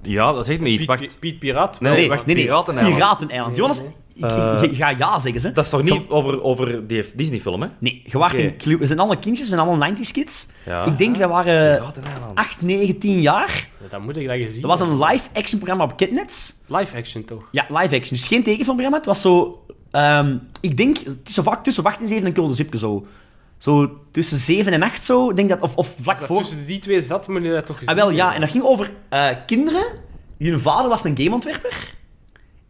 Speaker 2: Ja, dat zegt me iets.
Speaker 3: Piet,
Speaker 2: Wacht,
Speaker 3: Piet, Piet Piraat.
Speaker 2: Nee,
Speaker 3: wel,
Speaker 1: nee,
Speaker 2: wacht,
Speaker 3: maar-
Speaker 1: nee, nee.
Speaker 2: Pirateneiland. Eh,
Speaker 1: Pirateneiland. Jonas,
Speaker 3: Nee,
Speaker 1: ik- ik- je ga ja zeggen, ze.
Speaker 2: dat is toch niet over, over die Disney-film, hè?
Speaker 1: Nee, je wacht
Speaker 2: Oké.
Speaker 1: een clue. We zijn allemaal kindjes, we zijn allemaal 90s kids.
Speaker 2: Ja.
Speaker 1: Ik denk, we waren
Speaker 2: Pirateneiland.
Speaker 1: 8, 9, 10 jaar.
Speaker 3: Dat moet ik dat gezien.
Speaker 1: Ah. Dat was een live-action programma op Kitnets.
Speaker 3: live action toch?
Speaker 1: Ja, live-action. Dus geen tekenfilmprogramma. Het was zo... ehm, ik denk, het is zo vaak tussen wacht en zeven en Kulde Zipke zo. Zo tussen zeven en acht zo, denk dat. Of, of vlak
Speaker 3: Als dat
Speaker 1: voor.
Speaker 3: tussen die twee zat, moet je dat toch gezien
Speaker 1: Ah, wel ja, en
Speaker 3: hebben?
Speaker 1: dat ging over eh, kinderen. die Hun vader was een gameontwerper.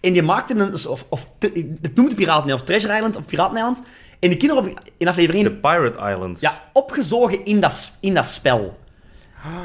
Speaker 1: En die maakte een. dus, Of, of, te- het noemde Piraten of Treasure Island of Pirateneiland. En die kinderen op, in aflevering
Speaker 2: De
Speaker 1: 1
Speaker 2: Pirate Islands.
Speaker 1: ja, opgezogen in dat, s- in dat spel.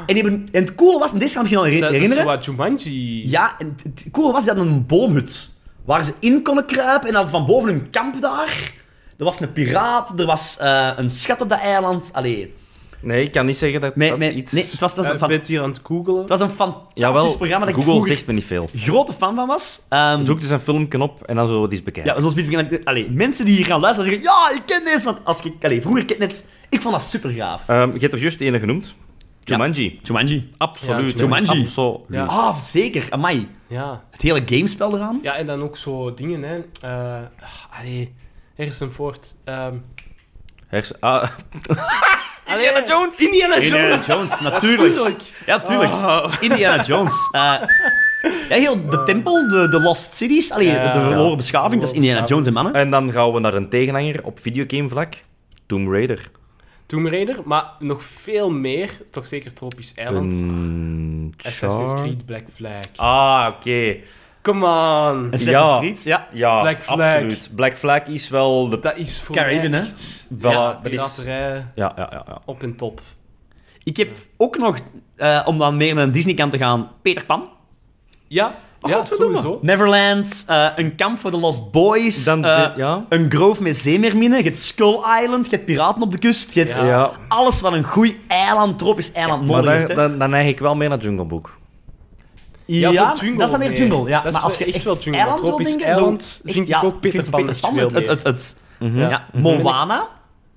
Speaker 1: En, die hebben, en het coole was, en deze kan ik je nog
Speaker 3: Dat-
Speaker 1: herinneren.
Speaker 3: Dat is zo wat Jumanji.
Speaker 1: Ja, en het coole was, ze hadden een boomhut. Waar ze in konden kruipen en hadden van boven een kamp daar. Er was een piraat, er was eh, een schat op dat eiland. Allee,
Speaker 2: Nee, ik kan niet zeggen dat,
Speaker 1: met,
Speaker 2: dat
Speaker 1: met,
Speaker 2: iets... Eh,
Speaker 1: nee, het was, het was
Speaker 3: Ja,
Speaker 1: een,
Speaker 3: ik
Speaker 1: fan-
Speaker 3: ben het Eh, hier aan het googelen.
Speaker 1: het was een fantastisch
Speaker 2: Jawel,
Speaker 1: programma dat ik
Speaker 2: Google
Speaker 1: vroeger
Speaker 2: zegt me niet veel.
Speaker 1: grote fan van was. Ehm,
Speaker 2: Zoek dus een filmpje op en dan zullen we het eens bekijken.
Speaker 1: ja, zoals Piet Vergeen- allee, mensen die hier gaan luisteren zeggen, ja, ik ken deze, want als ik, allee, vroeger kende het, ik vond dat super gaaf.
Speaker 2: Ehm, je hebt er juist ene genoemd. Jumanji.
Speaker 1: Jumanji.
Speaker 2: Absoluut.
Speaker 3: Ja,
Speaker 1: Jumanji.
Speaker 2: Absoluut.
Speaker 3: Ja.
Speaker 1: Ah, zeker, amai.
Speaker 3: Ja.
Speaker 1: Het hele gamespel eraan.
Speaker 3: ja, en dan ook zo dingen, hè. Eh ah, allee, Harrison Ford. ehm
Speaker 2: Hers- ah,
Speaker 3: Indiana Jones! Indiana Jones!
Speaker 1: Indiana Jones, natuurlijk. Ja, tuurlijk. Indiana Jones. Eh, ja, heel de tempel, de, de Lost Cities, allee,
Speaker 3: Ja,
Speaker 1: de verloren
Speaker 2: ja.
Speaker 1: beschaving, dat is Indiana Jones en mannen.
Speaker 2: en dan gaan we naar een tegenhanger op videogamevlak. Tomb Raider.
Speaker 3: Tomb Raider, maar nog veel meer. Toch zeker Tropisch Eiland.
Speaker 2: Een...
Speaker 1: Ah,
Speaker 3: Assassin's
Speaker 2: char-
Speaker 3: Creed Black Flag.
Speaker 2: Ah, oké.
Speaker 3: Come on!
Speaker 1: Assassin's
Speaker 2: ja.
Speaker 1: Creed, ja.
Speaker 2: Ja,
Speaker 3: Black Flag.
Speaker 2: absoluut. Black Flag is wel de...
Speaker 3: Dat is voor
Speaker 1: Caribbean,
Speaker 3: mij
Speaker 1: hè?
Speaker 3: echt-
Speaker 2: Wel,
Speaker 3: ja,
Speaker 2: dat is-
Speaker 3: piraterij
Speaker 2: Ja, ja, ja. ja.
Speaker 3: op en top.
Speaker 1: Ik heb ook nog, eh, om dan meer naar de Disney-kant te gaan, Peter Pan.
Speaker 3: Ja, ja
Speaker 1: Oh, Godverdomme.
Speaker 3: sowieso.
Speaker 1: Neverland, eh, een kamp voor de Lost Boys,
Speaker 2: Dan,
Speaker 1: eh,
Speaker 2: dit- ja.
Speaker 1: een grove met zeemerminen, je hebt Skull Island, je hebt piraten op de kust, je hebt
Speaker 3: Ja.
Speaker 2: Ja.
Speaker 1: alles wat een goed eiland, tropisch eiland
Speaker 2: Maar
Speaker 1: nodig heeft.
Speaker 2: daar,
Speaker 1: hè.
Speaker 2: dan, dan neig ik wel meer naar Jungle Book.
Speaker 1: Ja,
Speaker 3: voor
Speaker 1: maar dat is dan weer
Speaker 3: nee.
Speaker 1: jungle. Ja.
Speaker 3: Dat is
Speaker 1: maar als je
Speaker 3: echt wel jungle.
Speaker 1: eiland wil
Speaker 3: Tropisch
Speaker 1: denken,
Speaker 3: eiland
Speaker 1: zo,
Speaker 3: vind ik ook Peter
Speaker 1: vind
Speaker 3: Pan echt veel
Speaker 1: het, het,
Speaker 3: meer.
Speaker 1: het, het-
Speaker 2: Mhm.
Speaker 1: ja.
Speaker 3: Ja.
Speaker 1: Moana.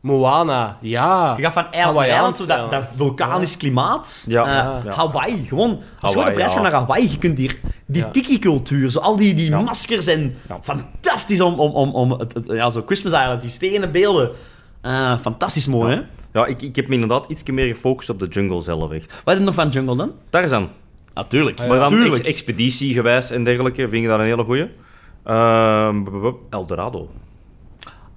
Speaker 3: Moana, ja.
Speaker 1: Je gaat van eiland naar
Speaker 3: Hawaiiaans
Speaker 1: eiland, zo dat, dat
Speaker 3: eiland.
Speaker 1: vulkanisch klimaat.
Speaker 2: Ja.
Speaker 1: Eh,
Speaker 2: Ja. Ja.
Speaker 1: Hawaii, gewoon. Als je gewoon op
Speaker 2: Hawaii,
Speaker 1: reis
Speaker 2: ja.
Speaker 1: gaat naar Hawaii, je kunt hier die
Speaker 3: Ja.
Speaker 1: tiki-cultuur, zo al die, die maskers en
Speaker 2: Ja.
Speaker 1: fantastisch om, om, om, om het, het- ja, zo Christmas Island, die stenen beelden. Ah, fantastisch mooi, hè?
Speaker 2: Ja, ik, ik heb me inderdaad iets meer gefocust op de jungle zelf, echt.
Speaker 1: Wat heb je nog van Jungle dan?
Speaker 2: Tarzan.
Speaker 1: Natuurlijk.
Speaker 2: Maar dan
Speaker 1: Tuurlijk.
Speaker 2: ex- expeditiegewijs en dergelijke, vind ik dat een hele goeie. Ehm, b- b- b- Eldorado.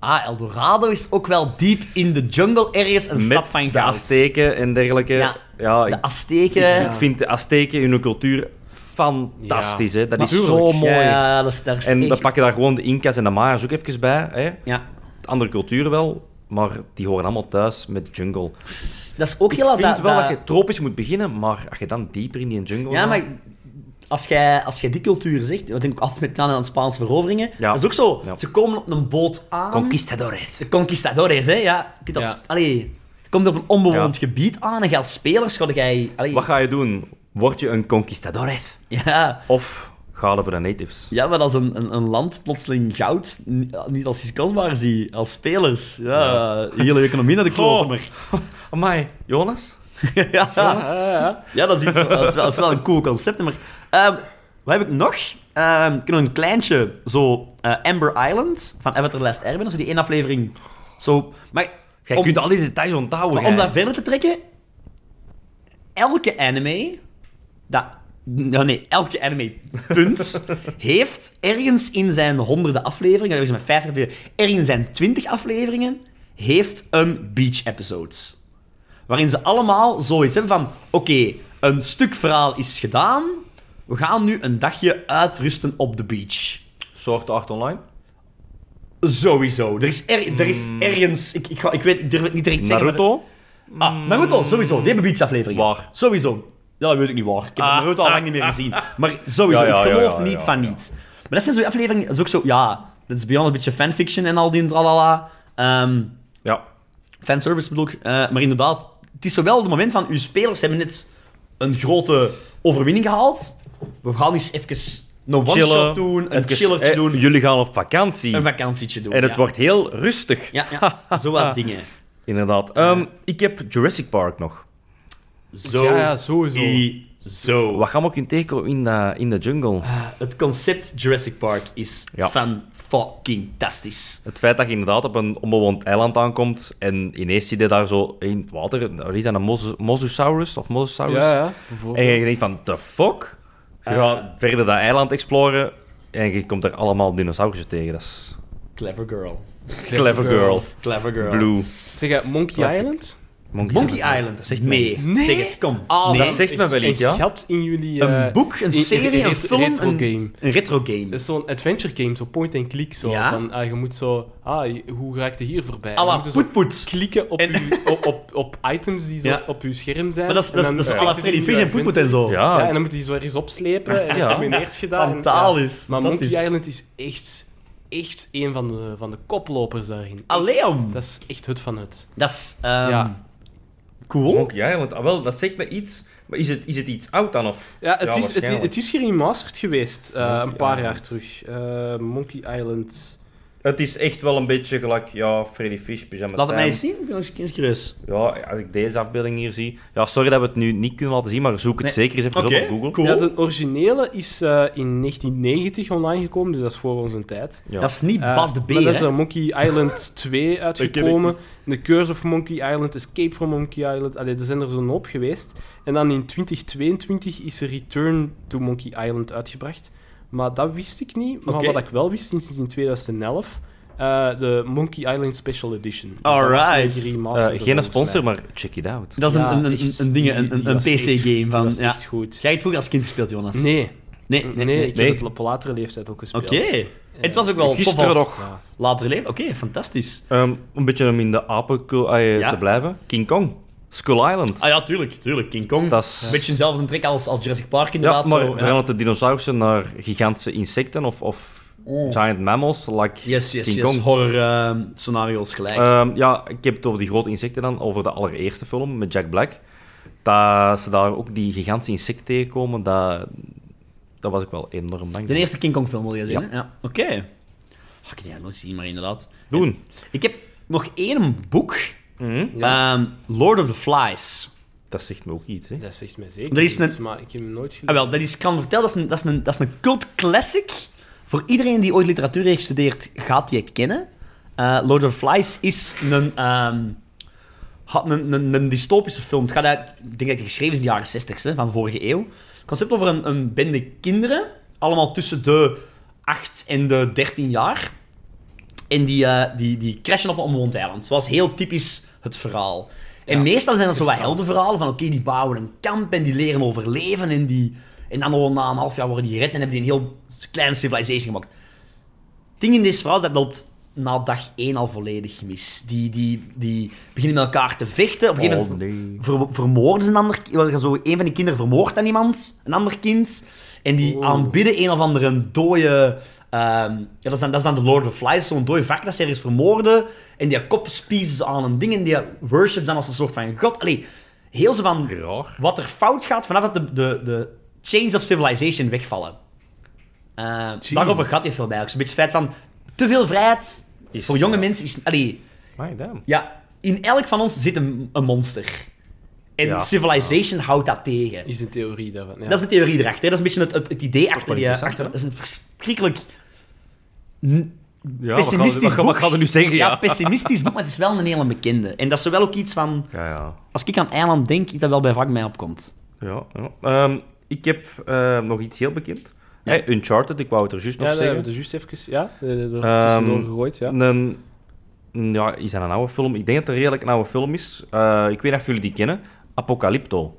Speaker 1: Ah, Eldorado is ook wel diep in de jungle ergens een stap
Speaker 2: Met
Speaker 1: van
Speaker 2: de
Speaker 1: goud.
Speaker 2: Azteken en dergelijke.
Speaker 1: Ja,
Speaker 2: ja
Speaker 1: De
Speaker 2: ik,
Speaker 1: Azteken.
Speaker 2: ik vind de Azteken in hun cultuur fantastisch. Hè? Dat is
Speaker 3: Natuurlijk.
Speaker 2: zo mooi.
Speaker 1: Ja, dat is, dat is
Speaker 2: en
Speaker 1: echt-
Speaker 2: dan pak je daar gewoon de Inca's en de Maya's ook even bij. Hè?
Speaker 1: Ja,
Speaker 2: Andere cultuur wel, maar die horen allemaal thuis met jungle.
Speaker 1: dat is ook
Speaker 2: Ik
Speaker 1: heel...
Speaker 2: vind
Speaker 1: dat-
Speaker 2: wel dat,
Speaker 1: dat-
Speaker 2: je tropisch moet beginnen, maar als je dan dieper in die jungle
Speaker 1: Ja,
Speaker 2: gaat-
Speaker 1: maar als jij, als jij die cultuur zegt, wat denk ik altijd met aan aan Spaanse veroveringen,
Speaker 2: Ja.
Speaker 1: dat is ook zo.
Speaker 2: Ja.
Speaker 1: Ze komen op een boot aan.
Speaker 2: Conquistadores.
Speaker 1: de conquistadores, hè? Ja. Je kunt als,
Speaker 3: Ja.
Speaker 1: allee, je komt op een onbewoond
Speaker 2: Ja.
Speaker 1: gebied aan en je als spelers ga jij. Allee,
Speaker 2: Wat ga je doen? Word je een conquistadores?
Speaker 1: ja.
Speaker 2: Of ga je voor de natives?
Speaker 1: ja, maar als een, een, een land plotseling goud ni- niet als iets kostbaar zie, als spelers. Ja, de hele economie naar de kloten. maar-
Speaker 2: Amai, Jonas?
Speaker 1: ja. ja, dat is, iets, dat, is wel, dat is wel een cool concept. Maar ehm, wat heb ik nog? Ehm, kunnen we een kleintje, zo eh, Amber Island van Avatar Last Airbender, zo die één aflevering. Zo, maar
Speaker 2: Jij
Speaker 1: om,
Speaker 2: kunt al die details onthouden.
Speaker 1: maar om
Speaker 2: jij.
Speaker 1: dat verder te trekken, elke anime, dat, nou nee, elke anime, punt, heeft ergens in zijn honderden afleveringen, ergens in zijn 50 afleveringen, ergens in zijn 20 afleveringen, heeft een beach episode waarin ze allemaal zoiets hebben van: oké, een stuk verhaal is gedaan, we gaan nu een dagje uitrusten op de beach.
Speaker 2: Soort art online?
Speaker 1: Sowieso. Er is, er, er is ergens. Ik, ik, ga, ik, weet, ik durf het niet direct te zeggen. maar-
Speaker 2: Naruto?
Speaker 1: Ah, Naruto, sowieso. Die hebben beachafleveringen.
Speaker 2: Waar?
Speaker 1: Sowieso. Ja, dat weet ik niet waar. Ik heb
Speaker 2: Ah,
Speaker 1: Naruto al lang
Speaker 2: ah,
Speaker 1: niet meer gezien. Maar sowieso,
Speaker 2: Ja, ja,
Speaker 1: ik
Speaker 2: ja,
Speaker 1: geloof
Speaker 2: ja,
Speaker 1: niet
Speaker 2: ja,
Speaker 1: van
Speaker 2: ja.
Speaker 1: niet. Maar dat zijn zo'n afleveringen, dat is ook zo, ja, dat is beyond een beetje fanfiction en al die tralala. Ehm
Speaker 2: Ja.
Speaker 1: fanservice bedoel ik. Eh, maar inderdaad, het is zowel het moment van uw spelers hebben net een grote overwinning gehaald. We gaan eens even een one-shot doen, een
Speaker 2: even,
Speaker 1: chillertje
Speaker 2: eh,
Speaker 1: doen,
Speaker 2: Jullie gaan op vakantie.
Speaker 1: een vakantietje doen.
Speaker 2: en het
Speaker 1: ja.
Speaker 2: wordt heel rustig.
Speaker 1: Ja, ja, zo wat dingen.
Speaker 2: Inderdaad. Ehm, ik heb Jurassic Park nog.
Speaker 1: Zo,
Speaker 3: Ja, ja, sowieso.
Speaker 1: i- zo.
Speaker 2: Wat gaan we ook in tegenkomen in de, in de jungle?
Speaker 3: Ah.
Speaker 1: Het concept Jurassic Park is
Speaker 2: Ja.
Speaker 1: fan-fucking-tastisch.
Speaker 2: Het feit dat je inderdaad op een onbewoond eiland aankomt en ineens zie je daar zo in het water, daar is dan een mos- mosasaurus of mosasaurus.
Speaker 3: Ja, Ah. ja,
Speaker 2: En
Speaker 3: bijvoorbeeld.
Speaker 2: je denkt van, the fuck? Je gaat verder dat eiland exploren en je komt er allemaal dinosaurussen tegen. Dat is
Speaker 1: Clever girl.
Speaker 2: clever girl.
Speaker 1: Clever girl.
Speaker 2: Blue.
Speaker 3: Zeg jij Monkey
Speaker 2: Classic.
Speaker 3: Island?
Speaker 1: Monkey Island. Zeg nee. Zeg het, kom. nee.
Speaker 2: dat zegt me wel iets, ja.
Speaker 3: Een gat in jullie... Ah, eh,
Speaker 1: Een boek, een
Speaker 3: in- in-
Speaker 1: serie,
Speaker 3: in-
Speaker 1: een film,
Speaker 3: retro
Speaker 1: een-
Speaker 3: game. Dus,
Speaker 1: Een retro game.
Speaker 3: Dat is zo'n adventure game, zo point and click. Zo.
Speaker 1: Ja?
Speaker 3: Van, ah, je moet zo... Ah, je- hoe raak je hier voorbij?
Speaker 1: à
Speaker 3: Je
Speaker 1: la
Speaker 3: moet zo
Speaker 1: poetpoet.
Speaker 3: klikken op,
Speaker 1: En-
Speaker 3: uw- op, op, op items die zo
Speaker 1: Ja.
Speaker 3: op je scherm zijn.
Speaker 1: Maar dat is,
Speaker 3: en
Speaker 1: dat is,
Speaker 3: dan
Speaker 1: dat is à
Speaker 3: raak
Speaker 1: la
Speaker 3: je
Speaker 1: Freddy
Speaker 3: die
Speaker 1: Fish en
Speaker 3: adventure.
Speaker 1: Poetpoet en zo. Ah.
Speaker 2: Ja.
Speaker 3: Ja, en dan moet je die zo ergens opslepen en
Speaker 2: Ja.
Speaker 3: dan heb je gedaan. en-
Speaker 1: Fantastisch.
Speaker 3: Maar Monkey
Speaker 1: Fantastisch.
Speaker 3: Island is echt, echt een van de, van de koplopers daarin. Echt.
Speaker 1: Allee, om.
Speaker 3: Dat is echt het van het.
Speaker 1: Dat is ehm,
Speaker 3: Ja.
Speaker 1: cool.
Speaker 2: Monkey Island, ah, wel, dat zegt me iets. Maar is het, is het iets oud dan? Of?
Speaker 3: Ja, het, is, het,
Speaker 2: waarschijnlijk.
Speaker 3: is- het is geremasterd geweest eh,
Speaker 2: Monkey
Speaker 3: een paar
Speaker 2: Island.
Speaker 3: jaar terug. Eh, Monkey Island.
Speaker 2: Het is echt wel een beetje gelijk, ja, Freddy Fish, Pyjama
Speaker 1: Laat het mij
Speaker 2: Sam.
Speaker 1: eens zien. Ik ben eens- eens curieus.
Speaker 2: Ja, als ik deze afbeelding hier zie... Ja, sorry dat we het nu niet kunnen laten zien, maar zoek het
Speaker 1: Nee.
Speaker 2: zeker eens even
Speaker 1: Oké,
Speaker 2: op op Google.
Speaker 1: cool.
Speaker 3: Ja, de originele is eh, in 1990 online gekomen, dus dat is voor onze tijd.
Speaker 2: Ja.
Speaker 1: Dat is niet
Speaker 3: Eh,
Speaker 1: Bas de
Speaker 3: maar
Speaker 1: Beer,
Speaker 3: dat is
Speaker 1: hè.
Speaker 3: dan Monkey Island 2 uitgekomen. The Curse of Monkey Island, Escape from Monkey Island. Allee, er zijn er zo'n hoop geweest. En dan in 2022 is er Return to Monkey Island uitgebracht. Maar dat wist ik niet. Maar
Speaker 1: Oké.
Speaker 3: wat ik wel wist, is in 2011 eh, de Monkey Island Special Edition. Dus dat was
Speaker 1: Alright.
Speaker 3: een geremasterde,
Speaker 2: Eh, geen
Speaker 3: volgens
Speaker 2: sponsor,
Speaker 3: mij.
Speaker 2: maar check it out.
Speaker 1: Dat is
Speaker 3: Ja,
Speaker 1: een, een, een,
Speaker 3: echt,
Speaker 1: een, ding,
Speaker 3: die-
Speaker 1: een, een,
Speaker 3: die
Speaker 1: een
Speaker 3: was echt-
Speaker 1: PC-game van...
Speaker 3: Dat is
Speaker 1: Ja.
Speaker 3: echt goed.
Speaker 1: Jij hebt vroeger als kind gespeeld, Jonas?
Speaker 3: Nee,
Speaker 1: Nee,
Speaker 3: nee,
Speaker 1: nee, nee.
Speaker 3: ik
Speaker 2: nee.
Speaker 3: heb het op latere leeftijd ook gespeeld.
Speaker 1: Oké. Het was ook wel tof
Speaker 2: Eh, Gisteren
Speaker 1: als
Speaker 2: nog.
Speaker 3: Ja.
Speaker 1: later leven. Oké, fantastisch.
Speaker 2: Ehm, een beetje om in de apenkul eh,
Speaker 1: Ja.
Speaker 2: te blijven. King Kong. Skull Island.
Speaker 1: Ah ja, tuurlijk, tuurlijk. King Kong.
Speaker 2: Dat is...
Speaker 1: Een beetje dezelfde trek als, als Jurassic Park
Speaker 2: Ja,
Speaker 1: inderdaad.
Speaker 2: maar
Speaker 1: zo, ja.
Speaker 2: verandert de dinosaurussen naar gigantische insecten of, of giant mammals, like
Speaker 1: Oh. Yes, yes,
Speaker 2: King
Speaker 1: yes.
Speaker 2: Kong.
Speaker 1: Horror ehm, scenario's gelijk.
Speaker 2: Ehm, ja, ik heb het over die grote insecten dan, over de allereerste film met Jack Black. Dat ze daar ook die gigantische insecten tegenkomen, dat, dat was ik wel enorm
Speaker 1: De
Speaker 2: dankbaar.
Speaker 1: eerste King Kong film wil je zien,
Speaker 2: Ja.
Speaker 1: hè? Ja. Oké. Ah, ik heb die nog nooit zien, maar inderdaad.
Speaker 2: Doen.
Speaker 1: Ik heb nog één boek.
Speaker 2: Mhm.
Speaker 1: Ehm, Lord of the Flies.
Speaker 2: Dat zegt me ook iets, hè.
Speaker 3: Dat zegt mij zeker
Speaker 1: Er is
Speaker 3: iets,
Speaker 1: een-
Speaker 3: maar ik heb hem nooit
Speaker 1: Ah,
Speaker 3: gelezen.
Speaker 1: wel, dat is, ik kan vertellen, dat is een, dat is een, dat is een cult classic. Voor iedereen die ooit literatuur heeft gestudeerd, gaat die kennen. Eh, Lord of the Flies is een, ehm, had een, een, een dystopische film. Het gaat uit, ik denk dat het geschreven is in de jaren 60 hè, van vorige eeuw. Het concept over een, een bende kinderen, allemaal tussen de 8 en de 13 jaar. En die, eh, die, die crashen op een onbewoond eiland. Zoals heel typisch het verhaal. En
Speaker 3: Ja.
Speaker 1: meestal zijn dat zo wat heldenverhalen van oké, die bouwen een kamp en die leren overleven en die... En dan al na een half jaar worden die gered en hebben die een heel kleine civilization gemaakt. Het ding in deze verhaal is dat loopt na dag één al volledig mis. Die, die, die beginnen met elkaar te vechten. Op een gegeven moment
Speaker 2: nee.
Speaker 1: ver- vermoorden ze een ander ki- wel, Zo, een van die kinderen vermoordt dan iemand, een ander kind. En die
Speaker 2: Oh.
Speaker 1: aanbidden een of andere dode... ehm, ja, dat, is dan, dat is dan de Lord of Flies, zo'n dode vark dat ze ergens vermoorden. En die kop spiezen ze aan een ding en die worship dan als een soort van god. Allee, heel zo van...
Speaker 2: Raar.
Speaker 1: Wat er fout gaat vanaf dat de, de, de chains of civilization wegvallen. Eh, daarover gaat die film eigenlijk. Zo'n beetje het feit van, te veel vrijheid
Speaker 2: Is-
Speaker 1: voor jonge mensen is... Allee,
Speaker 2: My damn.
Speaker 1: ja, in elk van ons zit een, een monster. En
Speaker 2: Ja.
Speaker 1: civilization houdt dat tegen.
Speaker 3: Is een theorie daarvan. Ja.
Speaker 1: Dat is de theorie erachter. Hè? Dat is een beetje het, het, het idee achter
Speaker 2: wel
Speaker 1: die... eh,
Speaker 2: interessant,
Speaker 1: Achter,
Speaker 2: hè?
Speaker 1: dat is een verschrikkelijk... n-
Speaker 2: Ja, wat gaan we-
Speaker 1: pessimistisch
Speaker 2: wat gaan-
Speaker 1: boek.
Speaker 2: Wat gaan we nu zeggen?
Speaker 1: Ja,
Speaker 2: Ja,
Speaker 1: pessimistisch boek, maar het is wel een hele bekende. En dat is wel ook iets van...
Speaker 2: ja. ja.
Speaker 1: Als ik aan Eiland denk, ik dat wel bij vak mij opkomt.
Speaker 2: Ja, ja. Ehm, ik heb eh, nog iets heel bekend.
Speaker 1: Ja.
Speaker 2: Hey, Uncharted, ik wou het er juist nog
Speaker 3: ja, dat
Speaker 2: zeggen.
Speaker 3: hebben we dus juist even ja, eh, er
Speaker 1: dus
Speaker 2: Ehm,
Speaker 3: tussendoor gegooid. Ja.
Speaker 2: Een, een- ja, is dat een oude film? Ik denk dat het een redelijk oude film is. Eh, ik weet niet of jullie die kennen. Apocalypto.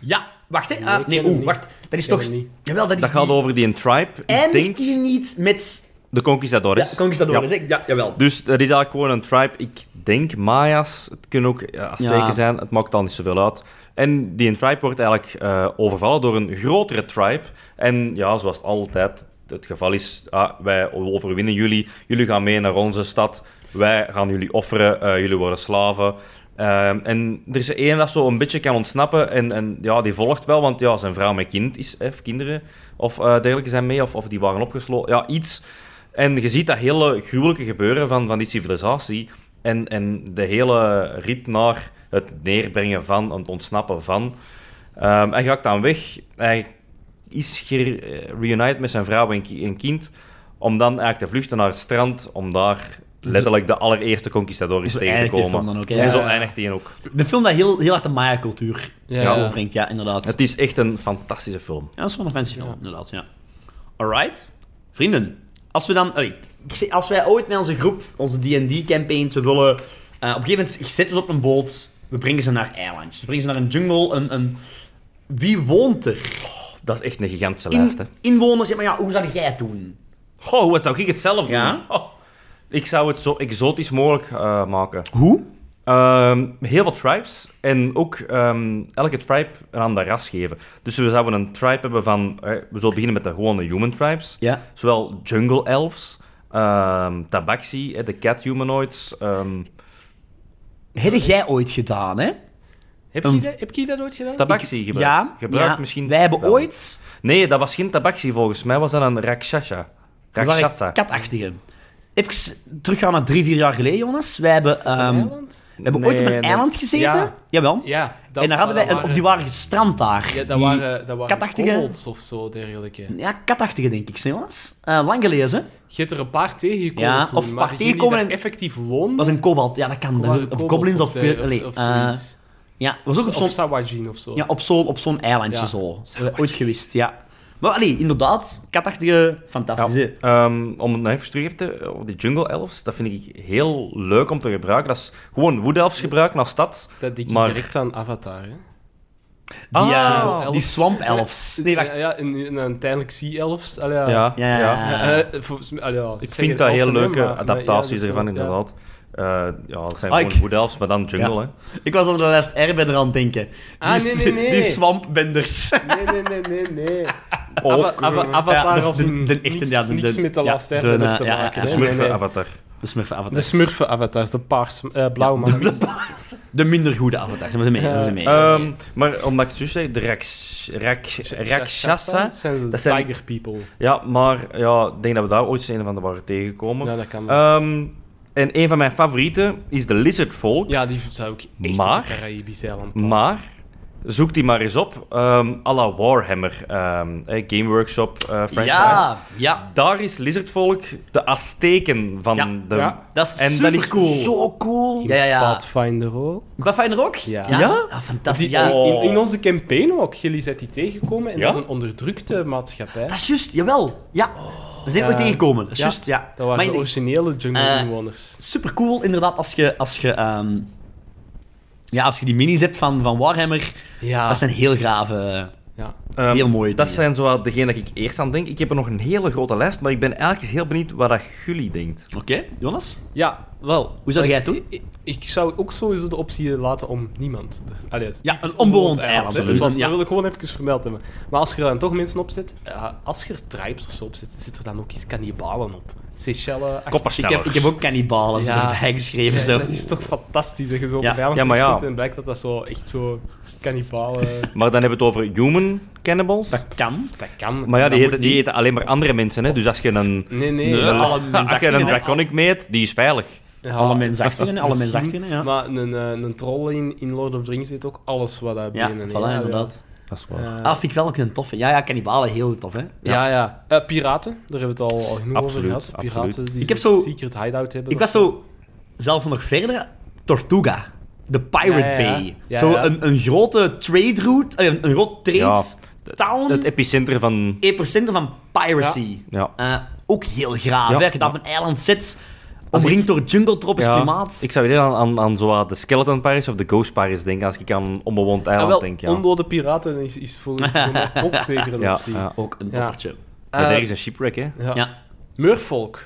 Speaker 1: Ja, wacht hè.
Speaker 3: Nee,
Speaker 1: Ah, nee,
Speaker 3: ik ken hem
Speaker 1: oeh,
Speaker 3: niet.
Speaker 1: wacht. Dat is
Speaker 3: ken
Speaker 1: toch...
Speaker 3: hem niet.
Speaker 1: Jawel, dat is
Speaker 2: Dat gaat
Speaker 1: die-
Speaker 2: over die een tribe. Ik
Speaker 1: Eindigt
Speaker 2: denk
Speaker 1: die niet met...
Speaker 2: de
Speaker 1: Ja,
Speaker 2: conquistadores.
Speaker 1: kom eens dat door.
Speaker 2: Ja.
Speaker 1: dat is echt- Ja, jawel.
Speaker 2: Dus er is eigenlijk gewoon een tribe. Ik denk Maya's. Het kunnen ook ja, Azteken
Speaker 1: Ja.
Speaker 2: zijn. eh, Het maakt al niet zoveel uit. En die een tribe wordt eigenlijk eh, overvallen door een grotere tribe. En ja, zoals het altijd het geval is, ah, wij overwinnen jullie. Jullie gaan mee naar onze stad. Wij gaan jullie offeren. Eh, jullie worden slaven. Ehm, en er is er één dat zo een beetje kan ontsnappen. En, en ja, die volgt wel, want ja, zijn vrouw met kind is, hè, of kinderen of eh, dergelijke zijn mee. Of, of die waren opgesloten. Ja, iets. En je ziet dat hele gruwelijke gebeuren van, van die civilisatie. En, en de hele rit naar het neerbrengen van, het ontsnappen van. Ehm, hij gaat dan weg. Hij is gereunited met zijn vrouw en, ki- en kind. Om dan eigenlijk te vluchten naar het strand. Om daar letterlijk de allereerste conquistadores
Speaker 1: Zo
Speaker 2: tegen te
Speaker 1: eindigt die film
Speaker 2: komen.
Speaker 1: dan ook, hè?
Speaker 2: En zo
Speaker 3: Ja.
Speaker 2: eindigt hij ook.
Speaker 1: De film dat heel, heel erg de Maya-cultuur
Speaker 3: Ja.
Speaker 1: ja. overbrengt, ja, inderdaad.
Speaker 2: Het is echt een fantastische film.
Speaker 1: Ja, dat is wel een fancy film, inderdaad, ja. Alright. Vrienden, als we dan... allee, ik zeg, als wij ooit met onze groep, onze D&D-campaigns, we willen... eh, op een gegeven moment zetten we ze op een boot, we brengen ze naar eilandjes, we brengen ze naar een jungle, een... een wie woont er?
Speaker 2: Dat is echt een gigantische
Speaker 1: In-
Speaker 2: lijst. Hè.
Speaker 1: inwoners, ja, maar ja, hoe zou jij het doen?
Speaker 2: Goh, wat zou ik het zelf doen?
Speaker 1: Ja?
Speaker 2: Oh, ik zou het zo exotisch mogelijk eh, maken.
Speaker 1: Hoe?
Speaker 2: Ehm, heel veel tribes. En ook ehm, elke tribe een ander ras geven. Dus we zouden een tribe hebben van... eh, we zullen beginnen met de gewone human tribes.
Speaker 1: Ja.
Speaker 2: Zowel jungle elves, ehm, tabaxi, eh, de cat humanoids. ehm,
Speaker 1: Heb jij ooit gedaan, hè?
Speaker 2: heb
Speaker 1: Een-
Speaker 2: je
Speaker 3: Heb je dat- Heb je dat ooit gedaan?
Speaker 2: tabaxi gebruikt? gebruikt
Speaker 1: ja.
Speaker 2: misschien
Speaker 1: Wij hebben
Speaker 2: wel.
Speaker 1: ooit...
Speaker 2: Nee, dat was geen tabaxi volgens mij. was dat een rakshasha.
Speaker 1: Dat waren
Speaker 2: Rakshasa.
Speaker 1: Katachtige. Even teruggaan naar drie, vier jaar geleden, Jonas. Wij hebben, ehm,
Speaker 3: Eiland?
Speaker 1: we hebben
Speaker 2: Nee,
Speaker 1: ooit op een
Speaker 2: nee.
Speaker 1: eiland gezeten.
Speaker 3: Ja.
Speaker 1: Jawel.
Speaker 3: Ja. dat-
Speaker 1: en daar hadden wij,
Speaker 3: dat
Speaker 1: of die waren gestrand daar.
Speaker 3: Ja, dat
Speaker 1: Die-
Speaker 3: waren, dat waren
Speaker 1: katachtige-
Speaker 3: kobolds of zo, dergelijke.
Speaker 1: Ja, katachtige, denk ik, hè, Jonas. Eh, lang gelezen.
Speaker 3: Je hebt er een paar tegengekomen
Speaker 1: Ja,
Speaker 3: toen,
Speaker 1: of
Speaker 3: maar
Speaker 1: paar
Speaker 3: degenen die
Speaker 1: tegenkomen
Speaker 3: daar
Speaker 1: en-
Speaker 3: effectief woonden...
Speaker 1: Dat was een kobalt. Ja, dat kan.
Speaker 3: waren
Speaker 1: Of
Speaker 3: kobolds
Speaker 1: goblins of...
Speaker 3: der-
Speaker 1: allee,
Speaker 3: of
Speaker 1: eh,
Speaker 3: zoiets.
Speaker 1: ja, was ook op
Speaker 3: Of
Speaker 1: zo'n
Speaker 3: Sawajin of zo.
Speaker 1: ja, op zo'n op zo'n eilandje
Speaker 3: Ja.
Speaker 1: zo. Dat hebben we Ooit gewist, ja. Maar allee, inderdaad, katachtige, fantastisch. hè.
Speaker 2: Ehm, om het nog even terug te over die jungle elves, dat vind ik heel leuk om te gebruiken. Dat is gewoon wood elves gebruiken als stad.
Speaker 3: Dat denk ik
Speaker 2: Maar-
Speaker 3: direct aan Avatar, hè.
Speaker 1: Die, eh,
Speaker 2: Ah,
Speaker 1: die
Speaker 3: elfs.
Speaker 1: swamp elves. Nee, wacht.
Speaker 3: Ja, ja en, en uiteindelijk Sea Elves. Allee, ja.
Speaker 2: Ja,
Speaker 1: Ja, ja, ja.
Speaker 3: Ja, eh, volgens mij- allee, ja,
Speaker 2: Ik
Speaker 3: zeg
Speaker 2: vind
Speaker 3: het
Speaker 2: dat
Speaker 3: al
Speaker 2: heel
Speaker 3: van hem,
Speaker 2: leuke
Speaker 3: maar- maar ja,
Speaker 2: adaptaties
Speaker 3: dus, ja.
Speaker 2: ervan, inderdaad. Eh, ja, dat zijn
Speaker 1: Ah,
Speaker 2: gewoon
Speaker 1: ik-
Speaker 2: wood elves, maar dan jungle, hè.
Speaker 1: Ik was aan de lijst Airbender aan het denken.
Speaker 3: Ah,
Speaker 1: die,
Speaker 3: nee, nee, nee.
Speaker 1: Die swampbenders.
Speaker 3: Nee, nee, nee, nee, nee.
Speaker 2: Ook,
Speaker 3: Ava- Ava-
Speaker 2: eh,
Speaker 3: Avatar
Speaker 1: ja, de-
Speaker 3: als
Speaker 1: de-
Speaker 3: een
Speaker 1: de echte,
Speaker 3: niks,
Speaker 1: ja, de-
Speaker 3: niks
Speaker 1: de-
Speaker 3: met de
Speaker 1: ja,
Speaker 3: laatste
Speaker 1: de-
Speaker 3: Airbender
Speaker 1: ja,
Speaker 3: te
Speaker 1: ja, ja,
Speaker 3: maken.
Speaker 1: de
Speaker 2: de
Speaker 3: hè.
Speaker 2: smurfen
Speaker 3: Nee, nee.
Speaker 2: avatar.
Speaker 1: De smurfen avatar.
Speaker 3: De smurfen avatars, de paars, eh, blauw man.
Speaker 1: De minder goede avatars. Daar zijn we mee. daar zijn we mee.
Speaker 2: Ehm, maar omdat ik het zo zeg, de raks, rak, rakshasa...
Speaker 3: zijn ze de
Speaker 2: dat zijn-
Speaker 3: tiger people.
Speaker 2: Ja, maar ja, ik denk dat we daar ooit eens een van de waren tegengekomen.
Speaker 3: Ja, dat kan.
Speaker 1: Eh,
Speaker 2: Ehm, en een van mijn favorieten is de lizardvolk.
Speaker 3: ja, die zou ik echt
Speaker 2: maar-
Speaker 3: op een Caribisch eiland plaatsen.
Speaker 2: Maar Zoek die maar eens op. Ehm à la Warhammer, ehm, eh, Game Workshop eh, franchise.
Speaker 1: Ja, ja.
Speaker 2: Daar is Lizardvolk de Azteken van
Speaker 1: Ja,
Speaker 2: de...
Speaker 3: ja.
Speaker 1: Dat is
Speaker 2: En dat is
Speaker 1: supercool.
Speaker 2: zo cool.
Speaker 1: Ja, ja, ja.
Speaker 3: Pathfinder ook.
Speaker 1: Pathfinder ook?
Speaker 3: Ja.
Speaker 2: Ja?
Speaker 1: Ah, fantastisch.
Speaker 3: Die-
Speaker 1: Ja.
Speaker 2: oh.
Speaker 3: in, in onze campaign ook. Jullie zijn die tegengekomen en
Speaker 2: Ja?
Speaker 3: dat is een onderdrukte maatschappij.
Speaker 1: Dat is juist, jawel. Ja. We zijn ooit
Speaker 3: Ja.
Speaker 1: tegengekomen. Dat is
Speaker 3: Ja.
Speaker 1: juist, ja.
Speaker 3: Dat waren
Speaker 1: Maar
Speaker 3: de
Speaker 1: ik-
Speaker 3: originele
Speaker 1: Eh,
Speaker 3: jungle-inwoners.
Speaker 1: supercool inderdaad als je, als je, ehm, ja, als je die minis hebt van, van Warhammer.
Speaker 3: ja.
Speaker 1: Dat zijn heel grave...
Speaker 3: ja.
Speaker 2: Ehm,
Speaker 1: Heel mooie
Speaker 2: Dat
Speaker 1: dingen.
Speaker 2: zijn zo wat degene dat ik eerst aan denk. Ik heb er nog een hele grote lijst, maar ik ben eigenlijk eens heel benieuwd wat dat jullie denkt.
Speaker 1: Oké, Jonas?
Speaker 3: ja, wel.
Speaker 1: Hoe zou jij het doen?
Speaker 3: Ik, ik zou ook sowieso de optie laten om niemand. te- Allee, het is
Speaker 1: Ja,
Speaker 3: typisch
Speaker 1: een onbewoond eiland,
Speaker 3: hè.
Speaker 1: absoluut.
Speaker 3: Dat
Speaker 1: Ja.
Speaker 3: wil ik gewoon even vermeld hebben. Maar als je er dan toch mensen op zet, eh, als je er tribes of zo op zet, zit er dan ook iets kannibalen op. Seychelles.
Speaker 1: Ik heb, ik heb ook cannibalen
Speaker 3: Ja.
Speaker 1: erbij geschreven.
Speaker 3: Ja,
Speaker 1: zo.
Speaker 3: dat is toch fantastisch dat je zo op
Speaker 1: Ja.
Speaker 3: een eiland
Speaker 2: Ja, maar
Speaker 3: komt
Speaker 2: ja.
Speaker 3: en blijkt dat dat zo echt zo kannibalen...
Speaker 2: Maar dan hebben we het over human cannibals.
Speaker 1: Dat kan.
Speaker 3: dat kan.
Speaker 2: Maar ja, die
Speaker 1: dat
Speaker 2: eten,
Speaker 1: moet
Speaker 2: die eten alleen maar andere mensen, hè. Dus als je een...
Speaker 3: Nee, nee.
Speaker 1: Nee,
Speaker 2: een-
Speaker 1: alle
Speaker 2: als je
Speaker 1: mensachtigen,
Speaker 2: een
Speaker 1: hè.
Speaker 2: draconic meet, die is veilig.
Speaker 3: Ja,
Speaker 1: alle mensachtigen, alle
Speaker 3: misschien.
Speaker 1: mensachtigen, ja.
Speaker 3: Maar een, eh, een troll in, in Lord of the Rings zit ook alles wat daar
Speaker 1: Ja,
Speaker 3: binnen.
Speaker 1: voilà,
Speaker 3: hè. Ja,
Speaker 1: inderdaad.
Speaker 2: Dat is
Speaker 3: ja. Eh,
Speaker 1: Ah, vind ik wel ook een toffe. Ja, ja, cannibalen, heel tof, hè.
Speaker 3: ja, ja. Eh, piraten, daar hebben we het al, al genoeg
Speaker 2: Absoluut,
Speaker 3: over gehad. Piraten
Speaker 2: absoluut.
Speaker 3: die
Speaker 1: Ik heb
Speaker 3: zo'n
Speaker 1: zo-
Speaker 3: secret hideout hebben.
Speaker 1: Ik was zo zelf nog verder. Tortuga. De Pirate
Speaker 3: Ja, ja, ja.
Speaker 1: Bay.
Speaker 3: Ja,
Speaker 1: zo
Speaker 3: ja.
Speaker 1: Een, een grote trade route, eh, een, een groot trade
Speaker 2: Ja.
Speaker 1: town.
Speaker 2: Het epicentrum van...
Speaker 1: epicenter van piracy.
Speaker 2: Ja.
Speaker 1: Eh, ook heel graaf.
Speaker 2: Ja.
Speaker 1: hè, Dat je daar op een eiland zit, omringd door jungle tropisch klimaat.
Speaker 2: Ik zou weer aan, aan, aan zo wat de Skeleton Paris of de Ghost Paris denken, als ik aan een onbewoond eiland
Speaker 3: Ah, wel,
Speaker 2: denk. Ja.
Speaker 3: Ondode piraten is, is voor voor mij ook zeker een
Speaker 2: ja,
Speaker 3: optie.
Speaker 2: ja.
Speaker 1: Ook een
Speaker 3: Ja.
Speaker 1: toppertje.
Speaker 2: Maar
Speaker 3: Eh,
Speaker 2: er is een shipwreck, hè.
Speaker 3: ja.
Speaker 1: Ja.
Speaker 3: Murfolk.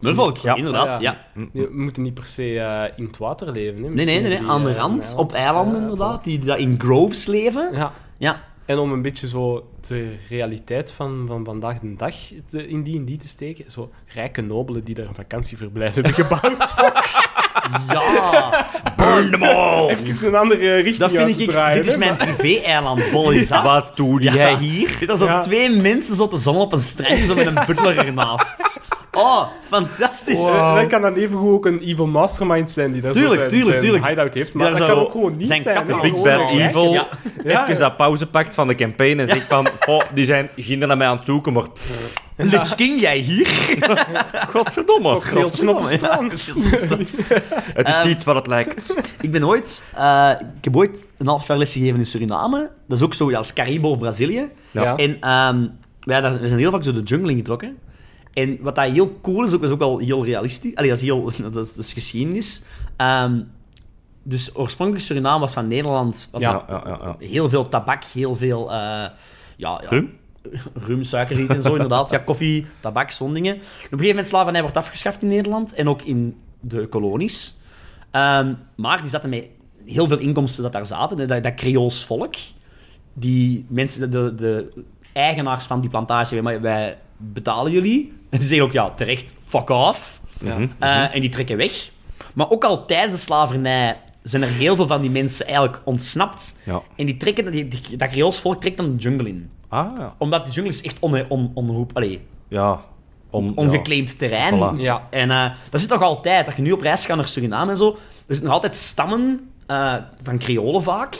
Speaker 1: Murvolk,
Speaker 2: Ja.
Speaker 1: inderdaad.
Speaker 3: Ja,
Speaker 1: Ja.
Speaker 2: Hm,
Speaker 3: Die moeten niet per se eh, in het water leven. Hè.
Speaker 1: Nee, nee, nee, nee,
Speaker 3: Misschien
Speaker 1: Aan de
Speaker 3: die, eh,
Speaker 1: rand,
Speaker 3: een
Speaker 1: op eilanden
Speaker 3: Ja,
Speaker 1: inderdaad, die daar in groves leven. Ja.
Speaker 3: Ja.
Speaker 1: ja.
Speaker 3: En om een beetje zo de realiteit van, van vandaag de dag te- in die en die te steken. Zo rijke nobelen die daar een vakantieverblijf hebben gebouwd.
Speaker 2: Burn them all!
Speaker 3: Even een andere eh, richting
Speaker 1: dat
Speaker 3: uit
Speaker 1: vind
Speaker 3: te
Speaker 1: ik.
Speaker 3: draaien,
Speaker 1: dit is
Speaker 3: hè,
Speaker 1: mijn
Speaker 3: maar-
Speaker 1: privé-eiland, bol is af.
Speaker 2: Wat doe
Speaker 1: Ja.
Speaker 2: jij hier?
Speaker 1: Dit is
Speaker 3: Ja.
Speaker 1: op twee mensen zo te zon op een strandje, zo met een butler ernaast. Oh, fantastisch.
Speaker 3: Wow. Dat kan dan evengoed ook een evil mastermind zijn die daar zo
Speaker 1: Tuurlijk,
Speaker 3: zijn,
Speaker 1: tuurlijk,
Speaker 3: zijn
Speaker 1: tuurlijk.
Speaker 3: hideout heeft. Maar
Speaker 1: Daar
Speaker 3: dat
Speaker 1: zo
Speaker 3: kan ook gewoon niet
Speaker 1: zijn
Speaker 3: zijn.
Speaker 1: kappen
Speaker 3: hè.
Speaker 1: Ja,
Speaker 2: Big
Speaker 3: Gewoon
Speaker 2: Bad
Speaker 3: een reis.
Speaker 2: Evil
Speaker 1: Ja.
Speaker 3: Ja,
Speaker 2: even
Speaker 3: ja.
Speaker 2: dat pauze pakt van de campaign en zegt van... "Goh, die zijn ginder naar mij aan het zoeken, maar... pff,
Speaker 1: Lux King, jij hier?
Speaker 2: Godverdomme.
Speaker 3: Cocktailtje op
Speaker 1: Ja,
Speaker 3: het strand.
Speaker 2: Het is
Speaker 1: Ehm,
Speaker 2: niet wat het lijkt.
Speaker 1: Ik ben ooit... eh, ik heb ooit een half jaar les gegeven in Suriname. Dat is ook zo als Caribo of Brazilië.
Speaker 3: Ja.
Speaker 1: En ehm, wij daar, we zijn heel vaak zo de jungle in getrokken. En wat dat heel cool is, ook, dat is ook al heel realistisch. Allee, dat is, heel, dat is, dat is geschiedenis. Ehm, dus oorspronkelijk Suriname was van Nederland. Was
Speaker 2: Ja, ja, ja, ja.
Speaker 1: Heel veel tabak, heel veel... eh, ja, ja,
Speaker 2: Rum?
Speaker 1: rum, suikerriet en zo, inderdaad. Ja, koffie, tabak, zo'n dingen. En op een gegeven moment slavernij wordt afgeschaft in Nederland en ook in de kolonies. Ehm, maar die zaten met heel veel inkomsten dat daar zaten. hè, Dat, dat Creools volk, die mensen, de, de eigenaars van die plantage, maar wij betalen jullie. En die zeggen ook, ja, terecht, fuck off.
Speaker 2: Mhm.
Speaker 1: Uh, En die trekken weg. Maar ook al tijdens de slavernij zijn er heel veel van die mensen eigenlijk ontsnapt.
Speaker 2: Ja.
Speaker 1: En die trekken, die, die- dat Creools volk trekt dan de jungle in
Speaker 2: Ah, ja.
Speaker 1: omdat de jungle is echt on, on, onroep, allee,
Speaker 2: ja. Om,
Speaker 1: ongeclaimd terrein.
Speaker 2: Voilà.
Speaker 3: Ja.
Speaker 1: En eh, dat zit nog altijd, dat je nu op reis gaat naar Suriname en zo, er zitten nog altijd stammen eh, van Creolen vaak,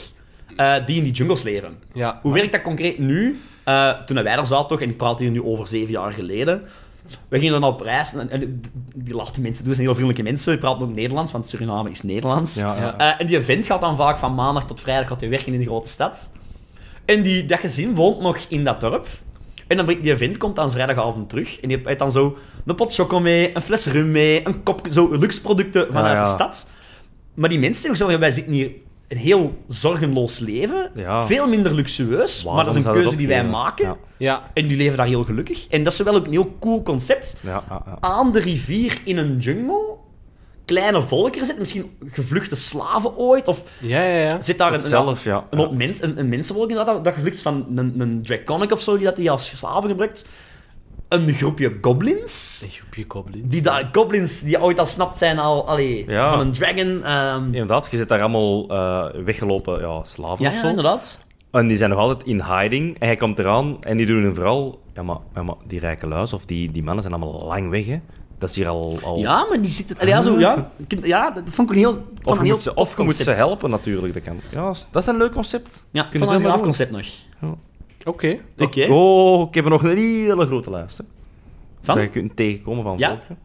Speaker 1: eh, die in die jungles leven.
Speaker 3: Ja.
Speaker 1: Hoe werkt dat concreet nu? Eh, toen wij daar zaten toch, en ik praat hier nu over zeven jaar geleden, we gingen dan op reis, en, en die lachte mensen, doen zijn heel vriendelijke mensen, we praten ook Nederlands, want Suriname is Nederlands.
Speaker 2: Ja, ja.
Speaker 3: Ja.
Speaker 1: Eh, en die vent gaat dan vaak van maandag tot vrijdag gaat hij werken in de grote stad. En die, dat gezin woont nog in dat dorp. En dan brengt die vent komt dan vrijdagavond terug. En die heeft dan zo een pot choco mee, een fles rum mee, een kop zo luxe producten vanuit
Speaker 2: Ah, Ja, ja.
Speaker 1: de stad. Maar die mensen zeggen ook zo, wij zitten hier een heel zorgenloos leven.
Speaker 2: Ja.
Speaker 1: Veel minder luxueus,
Speaker 2: Waarom
Speaker 1: maar dat is een
Speaker 2: zou dat
Speaker 1: keuze die wij
Speaker 2: opgeven?
Speaker 1: maken.
Speaker 2: Ja.
Speaker 3: Ja.
Speaker 1: En die leven daar heel gelukkig. En dat is wel ook een heel cool concept
Speaker 2: Ja, ja, ja.
Speaker 1: aan de rivier in een jungle. Kleine volkeren zitten, misschien gevluchte slaven ooit. Of
Speaker 3: Ja, ja, ja.
Speaker 1: zit daar
Speaker 2: Of
Speaker 1: een,
Speaker 2: zelf, ja.
Speaker 1: een, hoop mens, een, een mensenvolk in dat, dat gevlucht van een, een draconic of zo, die dat die als slaven gebruikt. Een groepje goblins.
Speaker 3: Een groepje goblins.
Speaker 1: Die daar goblins die ooit al snapt zijn al, allee,
Speaker 2: Ja.
Speaker 1: van een dragon. ehm, ja,
Speaker 2: Inderdaad, je zit daar allemaal eh, weggelopen ja, slaven
Speaker 1: ja,
Speaker 2: of zo.
Speaker 1: inderdaad.
Speaker 2: En die zijn nog altijd in hiding. En hij komt eraan en die doen hem vooral... Ja, maar, ja, maar die rijke luis of die, die mannen zijn allemaal lang weg, hè. Dat is hier al... al...
Speaker 1: Ja, maar die zit het... Ja, zo, ja. Ik- ja, dat vond ik een heel... ik vond
Speaker 2: Of
Speaker 1: een
Speaker 2: je
Speaker 1: heel
Speaker 2: moet ze,
Speaker 1: tof
Speaker 2: of je moet ze
Speaker 1: concept.
Speaker 2: helpen natuurlijk. Dat, kan. Ja, dat is een leuk concept.
Speaker 1: Ja, ik
Speaker 2: Kunnen
Speaker 1: vond
Speaker 2: we
Speaker 1: een
Speaker 2: wel
Speaker 1: gaaf concept nog.
Speaker 3: Oké.
Speaker 1: Oké.
Speaker 2: Ik, oh, ik heb er nog een hele grote lijst. Hè,
Speaker 1: Van?
Speaker 2: Dat je kunt tegenkomen van
Speaker 1: Ja.
Speaker 2: volkeren.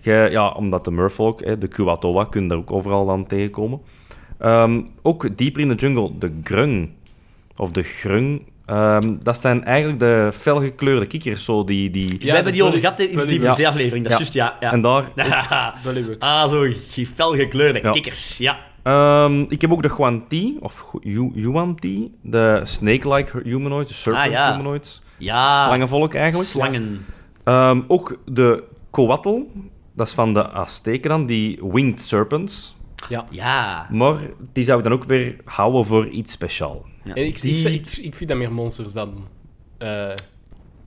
Speaker 2: Je- ja, omdat de Murfolk, hè, de Kuwatoa, kunnen daar ook overal dan tegenkomen. Ehm, ook dieper in de jungle, de Grung. Of de Grung. Ehm, dat zijn eigenlijk de felgekleurde kikkers. Zo die, die...
Speaker 1: we hebben die
Speaker 3: dat
Speaker 1: al
Speaker 3: wil
Speaker 1: gehad
Speaker 3: ik-
Speaker 1: in
Speaker 3: wil
Speaker 1: de
Speaker 3: ik-
Speaker 1: BBC-aflevering. Dat is juist, ja. ja.
Speaker 2: En daar...
Speaker 3: Bullywug.
Speaker 1: ah, zo ge- felgekleurde
Speaker 2: Ja.
Speaker 1: kikkers. Ja.
Speaker 2: Ehm, ik heb ook de Guanti, of Gu- Yuanti. De snake-like humanoids, de serpent
Speaker 1: Ah, ja.
Speaker 2: humanoids.
Speaker 3: Ah.
Speaker 1: Ja.
Speaker 2: Slangenvolk eigenlijk.
Speaker 1: Slangen.
Speaker 2: Ehm, ook de Coatl, dat is van de Azteken dan, die Winged Serpents.
Speaker 1: Ja.
Speaker 2: Maar die zou ik dan ook weer houden voor iets speciaal.
Speaker 1: Ja.
Speaker 3: En ik,
Speaker 1: Die-
Speaker 3: ik, ik, ik vind dat meer monsters dan... eh, dat-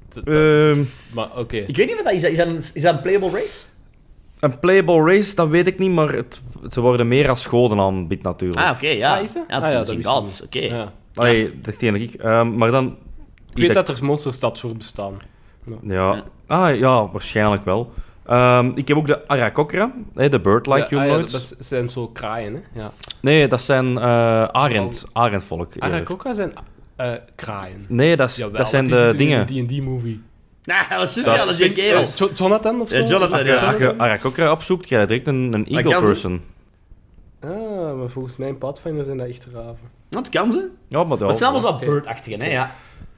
Speaker 3: dat-
Speaker 2: Ehm,
Speaker 3: maar oké.
Speaker 1: Eh, Ik weet niet wat dat is. Is dat een, is dat een playable race?
Speaker 2: een playable race, dat weet ik niet, maar het, ze worden meer als goden aanbid natuurlijk.
Speaker 1: Ah, oké, ja.
Speaker 3: Ah, is dat?
Speaker 1: Ja,
Speaker 3: Ah,
Speaker 1: het zijn
Speaker 3: ja, dat
Speaker 1: misschien
Speaker 3: wist ik
Speaker 1: gods.
Speaker 3: niet.
Speaker 1: Oké.
Speaker 3: Ja.
Speaker 2: Allee, dat ken ik. Ehm, maar dan...
Speaker 3: Ik weet dat er monsterstad voor bestaan.
Speaker 2: Ja. Ah, ja, waarschijnlijk wel. Ehm, ik heb ook de Arakokra, hè, de bird-like
Speaker 3: Ja, ah ja,
Speaker 2: humanoids.
Speaker 3: dat dat zijn zo kraaien, hè? Ja.
Speaker 2: Nee, dat zijn eh arend, arendvolk. eerder.
Speaker 3: Arakoka zijn eh, kraaien.
Speaker 2: Nee, dat, is-
Speaker 3: Jawel,
Speaker 2: dat zijn
Speaker 3: want die
Speaker 2: de
Speaker 3: zitten
Speaker 2: dingen.
Speaker 3: in een D&D-movie.
Speaker 1: Nou, dat was juist,
Speaker 2: Dat
Speaker 1: ja, dat is een kerel.
Speaker 3: Eh, Jo- Jonathan of zo?
Speaker 1: Ja, Jonathan,
Speaker 2: Ja, als
Speaker 1: ja.
Speaker 2: je Arakokra opzoekt, krijg je direct een, een
Speaker 1: Maar
Speaker 2: eagle
Speaker 1: kan ze-
Speaker 2: person.
Speaker 3: Ah, maar volgens mij in Pathfinder zijn dat echt raven.
Speaker 1: Dat kan ze.
Speaker 2: Ja, maar
Speaker 1: Maar
Speaker 2: dat
Speaker 1: het zijn allemaal zo
Speaker 3: Oké.
Speaker 1: bird-achtige, hè, ja.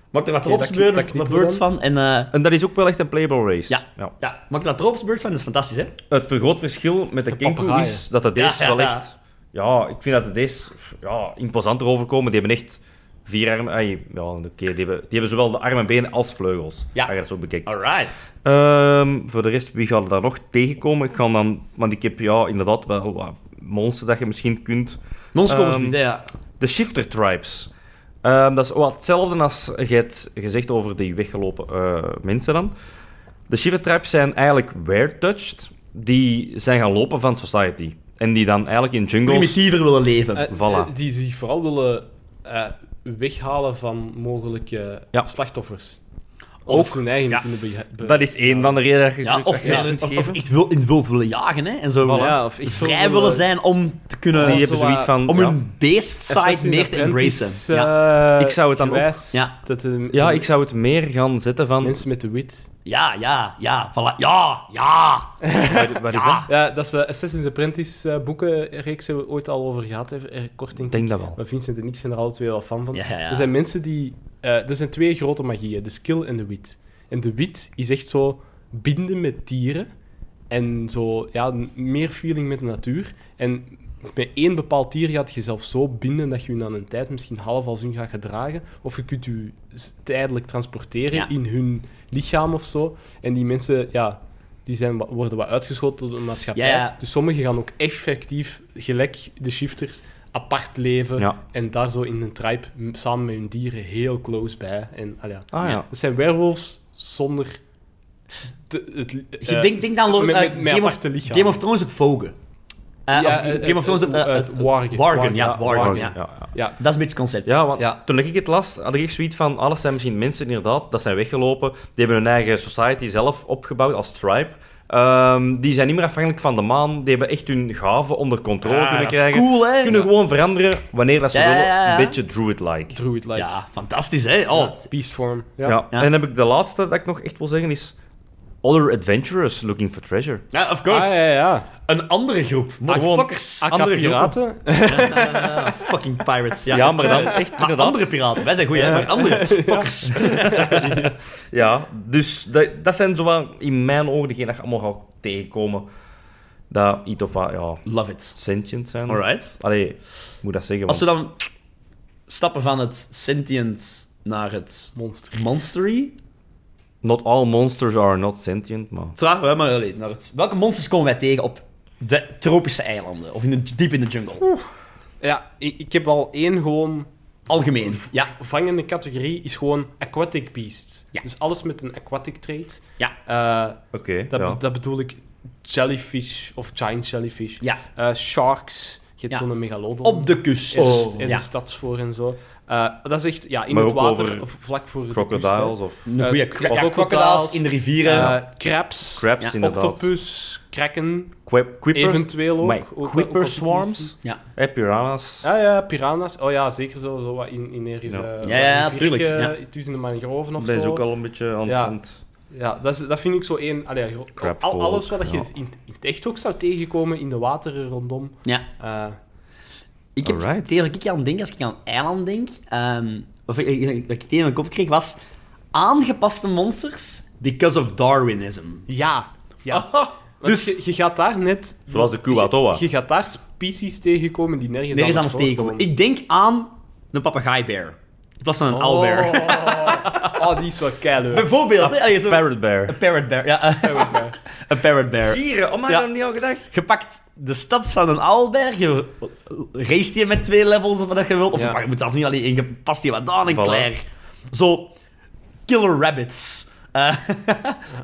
Speaker 1: Maakt er wat
Speaker 3: Oké, dat
Speaker 1: dropsbird
Speaker 3: knip- dat knippen
Speaker 1: birds
Speaker 3: we
Speaker 1: van en... eh,
Speaker 2: En dat is ook wel echt een playable race.
Speaker 1: Ja. ja, maakt er wat dropsbirds van, dat is fantastisch, hè.
Speaker 2: Het groot verschil met de
Speaker 3: De
Speaker 2: kengoeroe
Speaker 3: papegaaien.
Speaker 2: is dat de deze
Speaker 1: Ja, ja,
Speaker 2: wel
Speaker 1: ja.
Speaker 2: echt... Ja, ik vind dat de deze ja, imposanter overkomen. Die hebben echt vier armen... Ay, ja, oké, die, hebben, die hebben zowel de armen en benen als vleugels.
Speaker 1: Ja.
Speaker 2: Als je dat zo bekijkt.
Speaker 1: Alright.
Speaker 2: Ehm, voor de rest, wie gaat er daar nog tegenkomen? Ik ga dan... Want ik heb ja, inderdaad wel wat monsters dat je misschien kunt...
Speaker 1: Mons komen ze
Speaker 2: Ehm,
Speaker 1: niet, hè, ja.
Speaker 2: De Shifter Tribes. Ehm, dat is wel hetzelfde als je het gezegd over die weggelopen eh, mensen dan. De Shifter Tribes zijn eigenlijk wear-touched. Die zijn gaan lopen van society. En die dan eigenlijk in jungles...
Speaker 1: Primitiever willen leven.
Speaker 3: Eh,
Speaker 2: voilà.
Speaker 3: eh, die zich vooral willen eh, weghalen van mogelijke
Speaker 2: Ja.
Speaker 3: slachtoffers.
Speaker 1: Of-
Speaker 3: Of, hun eigen
Speaker 1: ja.
Speaker 3: kunnen be- be-
Speaker 2: Dat is één van de redenen dat je
Speaker 1: ja, of,
Speaker 2: dat je
Speaker 1: ja,
Speaker 2: kunt
Speaker 1: of, of
Speaker 2: geven.
Speaker 1: echt wil, in het wild willen jagen, hè. En zo
Speaker 2: Voilà.
Speaker 1: ja,
Speaker 3: Ja, of echt zo
Speaker 1: vrij willen zijn om te kunnen...
Speaker 2: Die
Speaker 3: zo
Speaker 2: hebben zoiets
Speaker 3: wat-
Speaker 2: van...
Speaker 1: om
Speaker 2: ja.
Speaker 1: hun beest-side meer te embracen.
Speaker 3: eh,
Speaker 1: Ja.
Speaker 2: Ik zou het dan ook-
Speaker 1: ja.
Speaker 3: Ja. Dat, eh,
Speaker 2: ja, ik zou het meer gaan zetten van...
Speaker 3: Mensen met de wit.
Speaker 1: ja, ja, ja, voilà. Ja, ja.
Speaker 2: Wat, wat is
Speaker 1: Ah,
Speaker 2: dat?
Speaker 3: Ja, dat is de Assassin's Apprentice eh, boekenreeks hebben we ooit al over gehad, even, eh, kort denk
Speaker 2: Ik
Speaker 3: ik.
Speaker 2: denk dat wel.
Speaker 3: Maar Vincent en ik zijn er alle twee wel fan van.
Speaker 1: Ja, ja, ja.
Speaker 3: Er zijn mensen die... eh, er zijn twee grote magieën, de skill en de wit. En de wit is echt zo binden met dieren. En zo, ja, n- meer feeling met de natuur. En met één bepaald dier gaat je zelf zo binden dat je je aan een tijd misschien half als hun gaat gedragen. Of je kunt je s- tijdelijk transporteren
Speaker 1: Ja.
Speaker 3: in hun lichaam of zo. En die mensen, ja, die zijn, wa- worden wat uitgeschoten door de maatschappij.
Speaker 1: Ja, ja.
Speaker 3: Dus sommigen gaan ook effectief, gelijk de shifters, apart leven.
Speaker 2: Ja.
Speaker 3: En daar zo in een tribe m- samen met hun dieren heel close bij. En, ah ja.
Speaker 2: Ah ja.
Speaker 3: Dat zijn werewolves zonder... te- het, li-
Speaker 1: Je
Speaker 3: eh,
Speaker 1: denk, denk dan Lord,
Speaker 3: met-
Speaker 1: eh,
Speaker 3: met- met
Speaker 1: Game, of,
Speaker 3: aparte lichamen.
Speaker 1: Game of Thrones het Vogen. Eh,
Speaker 3: Ja,
Speaker 1: of,
Speaker 3: eh,
Speaker 1: Game of Thrones het, eh,
Speaker 3: eh,
Speaker 1: het,
Speaker 3: het
Speaker 1: het
Speaker 3: Wargen.
Speaker 1: Wargen, ja, het
Speaker 3: Ja,
Speaker 1: Wargen,
Speaker 3: Wargen,
Speaker 1: ja.
Speaker 2: ja, ja.
Speaker 3: Ja,
Speaker 1: Dat is een beetje het concept.
Speaker 2: Ja, want
Speaker 3: Ja.
Speaker 2: toen ik het las, had ik echt zoiets van... Alles zijn misschien mensen, inderdaad. Dat zijn weggelopen. Die hebben hun eigen society zelf opgebouwd als tribe. Ehm, die zijn niet meer afhankelijk van de maan. Die hebben echt hun gaven onder controle
Speaker 1: Ah,
Speaker 2: kunnen
Speaker 1: dat is
Speaker 2: krijgen.
Speaker 1: cool, hè?
Speaker 2: Kunnen gewoon veranderen wanneer dat ze
Speaker 1: Ja, ja,
Speaker 2: willen.
Speaker 1: ja, ja.
Speaker 2: Een beetje druid-like.
Speaker 3: druid like.
Speaker 1: Ja, fantastisch, hè? Oh.
Speaker 3: Beast form.
Speaker 2: Ja. En dan heb ik de laatste dat ik nog echt wil zeggen is... Other adventurers looking for treasure.
Speaker 1: Ja, of
Speaker 3: Ah, ja, ja.
Speaker 1: Een andere groep. Motherfuckers.
Speaker 2: Ah,
Speaker 3: Andere
Speaker 2: Andere
Speaker 3: piraten.
Speaker 1: Ah, fucking pirates, ja. Eh,
Speaker 2: Ja, maar dan echt
Speaker 1: Maar
Speaker 2: inderdaad.
Speaker 1: andere piraten. Wij zijn goeie, hè? Maar andere fuckers.
Speaker 2: Ja, dus dat, dat zijn zowel in mijn ogen degenen dat je allemaal gaat tegenkomen. Dat iets of wat, ja,
Speaker 1: Love it.
Speaker 2: sentient zijn.
Speaker 1: Alright.
Speaker 2: Allee, ik moet dat zeggen.
Speaker 1: Als we
Speaker 2: want-
Speaker 1: dan stappen van het sentient naar het
Speaker 3: Monster.
Speaker 1: monstery.
Speaker 2: Not all monsters are not sentient, maar...
Speaker 1: Traag, hè, maar alleen naar het... Welke monsters komen wij tegen op de tropische eilanden? Of in de, diep in de jungle?
Speaker 3: Ja, ik, ik heb al één gewoon...
Speaker 1: Algemeen, ja.
Speaker 3: Vangende categorie is gewoon aquatic beasts.
Speaker 1: Ja.
Speaker 3: Dus alles met een aquatic trait.
Speaker 1: Ja.
Speaker 3: Eh,
Speaker 2: Oké,
Speaker 3: dat,
Speaker 2: ja.
Speaker 3: be- dat bedoel ik jellyfish of giant jellyfish.
Speaker 1: Ja,
Speaker 3: Eh, sharks. Je hebt
Speaker 1: Ja.
Speaker 3: zo'n megalodon.
Speaker 1: op de kust.
Speaker 3: en, en
Speaker 1: ja.
Speaker 3: de stadsvoor en zo. Eh, dat is echt ja, in
Speaker 2: Maar
Speaker 3: het
Speaker 2: ook
Speaker 3: water,
Speaker 2: over
Speaker 3: vlak voor de kust.
Speaker 2: Crocodiles of
Speaker 1: Een goede
Speaker 3: Eh,
Speaker 1: ja,
Speaker 3: crocodiles,
Speaker 1: crocodiles in de rivieren.
Speaker 3: hè. Eh, crabs,
Speaker 2: crabs,
Speaker 1: Ja.
Speaker 2: inderdaad.
Speaker 3: octopus, kraken,
Speaker 2: Quip- Quippers.
Speaker 3: eventueel ook.
Speaker 2: Wait,
Speaker 3: Ook- ook- ook
Speaker 2: Quipper
Speaker 3: als het niet is.
Speaker 2: swarms?
Speaker 1: ja.
Speaker 2: Eh, piranha's.
Speaker 3: Ja, ja, piranha's. Oh ja, zeker zo, zo wat in, in ergens...
Speaker 2: Ja.
Speaker 3: eh,
Speaker 1: Ja, ja, ja,
Speaker 3: een
Speaker 1: tuurlijk,
Speaker 3: virke,
Speaker 1: ja.
Speaker 3: eh, Tussen de mangroven of
Speaker 2: dat is
Speaker 3: zo.
Speaker 2: ook al een beetje aan
Speaker 3: Ja.
Speaker 2: het... aan het-
Speaker 3: Ja, dat, is, dat vind ik zo één... Allee, ja, gro-
Speaker 2: Crab
Speaker 3: al, alles wat je
Speaker 2: folk, ja.
Speaker 3: in, in het echt ook zou tegenkomen, in de wateren rondom.
Speaker 1: ja.
Speaker 3: eh,
Speaker 1: Ik heb
Speaker 2: Alright.
Speaker 1: het enige wat ik aan denk, als ik aan eiland denk, ehm, of ik- ik- wat ik tegen de kop kreeg, was aangepaste monsters because of Darwinism.
Speaker 3: ja, ja.
Speaker 1: Dus-
Speaker 3: dus je, je gaat daar net...
Speaker 2: Zoals de Kuwatoa.
Speaker 3: Je, je gaat daar species tegenkomen die nergens,
Speaker 1: Nergens anders tegenkomen.
Speaker 3: voorkomen.
Speaker 1: Ik denk aan een papegaaibeer. In plaats van een owlbear.
Speaker 3: Oh, oh, die is wel keileuk. Oh
Speaker 1: Bijvoorbeeld. hè, allee, zo-
Speaker 2: Parrot bear.
Speaker 1: Een parrot bear. Ja, eh, een parrot bear.
Speaker 2: Dieren, oh, maar
Speaker 1: Ja.
Speaker 2: ik niet al gedacht.
Speaker 1: Je pakt de stad van een owlbear, je race je met twee levels of wat je wilt. Of
Speaker 3: Ja.
Speaker 1: maar je moet zelf niet alleen in, je past die wat aan en
Speaker 2: Voilà.
Speaker 1: klaar. Zo, killer rabbits. Eh,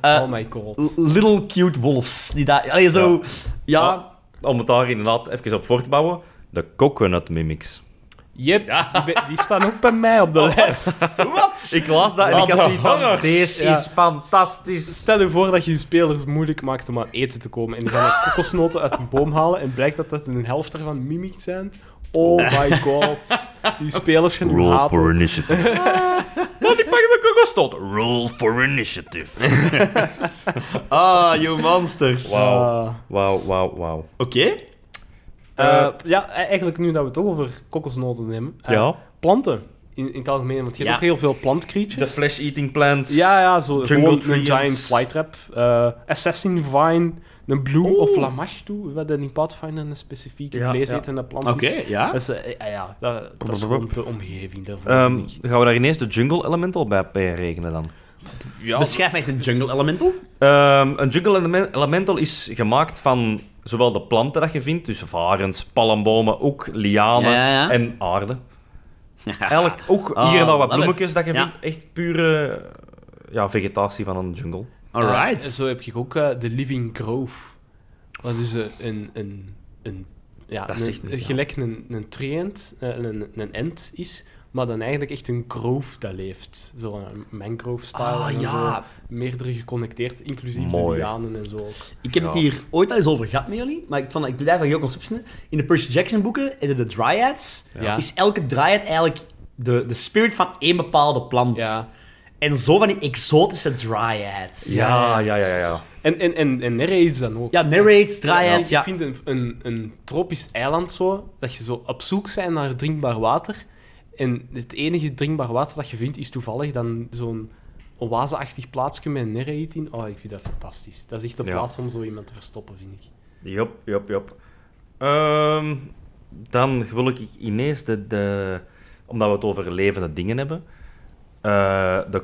Speaker 1: eh,
Speaker 3: oh my god.
Speaker 1: L- Little cute wolves. Die daar... Allee, zo... Ja. oh.
Speaker 2: Om het daar inderdaad even op voor te bouwen, de coconut mimics.
Speaker 3: Yep, die, be- die staan ook bij mij op de
Speaker 2: Oh,
Speaker 3: lijst.
Speaker 1: Oh. Wat?
Speaker 2: Ik las dat en
Speaker 1: Wat de
Speaker 2: ik had zoiets van,
Speaker 1: horrors.
Speaker 2: deze
Speaker 3: Ja.
Speaker 2: is fantastisch.
Speaker 3: Stel je voor dat je je spelers moeilijk maakt om aan eten te komen. En die gaan er kokosnoten uit een boom halen. En blijkt dat dat een helft ervan mimics zijn. Oh my god. Die spelers gaan hem
Speaker 2: Roll for
Speaker 3: haten.
Speaker 2: initiative. Maar die pakken de kokosnoot. Roll for initiative.
Speaker 1: Ah, you monsters.
Speaker 2: Wauw.
Speaker 3: Eh,
Speaker 2: Wauw, wauw, wauw.
Speaker 1: Oké.
Speaker 3: eh, ja, e- eigenlijk nu dat we het toch over kokosnoten hebben. eh,
Speaker 2: Ja.
Speaker 3: Planten. In, in het algemeen. Want je hebt
Speaker 1: Ja.
Speaker 3: ook heel veel
Speaker 2: De
Speaker 3: plantcreatures.
Speaker 2: flesh-eating plants.
Speaker 3: Ja, ja, zo.
Speaker 2: Jungle
Speaker 3: gewoon een
Speaker 2: treants.
Speaker 3: giant flytrap. eh, assassin vine. Een bloem
Speaker 2: Oeh.
Speaker 3: of lamash toe. Wat in Pathfinder een specifieke
Speaker 2: Ja,
Speaker 3: vleesetende plant is.
Speaker 1: Oké, ja.
Speaker 3: Dat is, eh, ja, ja, dat, dat is gewoon de omgeving daarvan.
Speaker 2: Ehm,
Speaker 3: denk ik.
Speaker 2: gaan we daar ineens de jungle elemental bij bij rekenen dan?
Speaker 1: Beschrijf mij eens een jungle elemental.
Speaker 2: Ehm, een jungle elemen- elemental is gemaakt van zowel de planten dat je vindt, dus varens, palmbomen, ook lianen
Speaker 1: Ja, ja. Ah,
Speaker 2: en aarde. Eigenlijk ook hier en daar wat
Speaker 1: love it.
Speaker 2: bloemetjes dat je
Speaker 1: Ja.
Speaker 2: vindt. Echt pure eh, ja, vegetatie van een jungle.
Speaker 1: Alright.
Speaker 3: Eh, zo heb je ook eh, de Living Grove. Dat is eh, een... een, een ja,
Speaker 2: Dat
Speaker 3: een-
Speaker 2: zegt niet,
Speaker 3: een,
Speaker 2: ja.
Speaker 3: gelijk een, een treant, eh, een, een ent is, maar dan eigenlijk echt een grove dat leeft. Zo'n mangrove-style.
Speaker 1: Ah,
Speaker 3: en
Speaker 1: ja.
Speaker 3: zo. meerdere geconnecteerd, inclusief de
Speaker 2: Mooi.
Speaker 3: lianen en zo.
Speaker 1: Ik heb het
Speaker 2: Ja.
Speaker 1: hier ooit al eens over gehad met jullie, maar ik, vond, ik blijf daar heel conceptie in. In de Percy Jackson boeken, in de, de Dryads,
Speaker 3: Ja.
Speaker 1: is elke Dryad eigenlijk de, de spirit van één bepaalde plant.
Speaker 3: Ja.
Speaker 1: En zo van die exotische Dryads.
Speaker 2: Ja, ja, ja, ja. ja.
Speaker 3: En, en, en, en Nereids dan ook.
Speaker 1: Ja, narrates, Dryads,
Speaker 3: Ik
Speaker 1: ja.
Speaker 3: vind een, een, een tropisch eiland zo, dat je zo op zoek bent naar drinkbaar water. En het enige drinkbaar water dat je vindt, is toevallig dan zo'n oaseachtig plaatsje met een nereid in. Oh, ik vind dat fantastisch. Dat is echt de
Speaker 2: Ja.
Speaker 3: plaats om zo iemand te verstoppen, vind ik.
Speaker 2: Jop, jop, jop. Ehm, dan wil ik ineens de, de... Omdat we het over levende dingen hebben. eh, de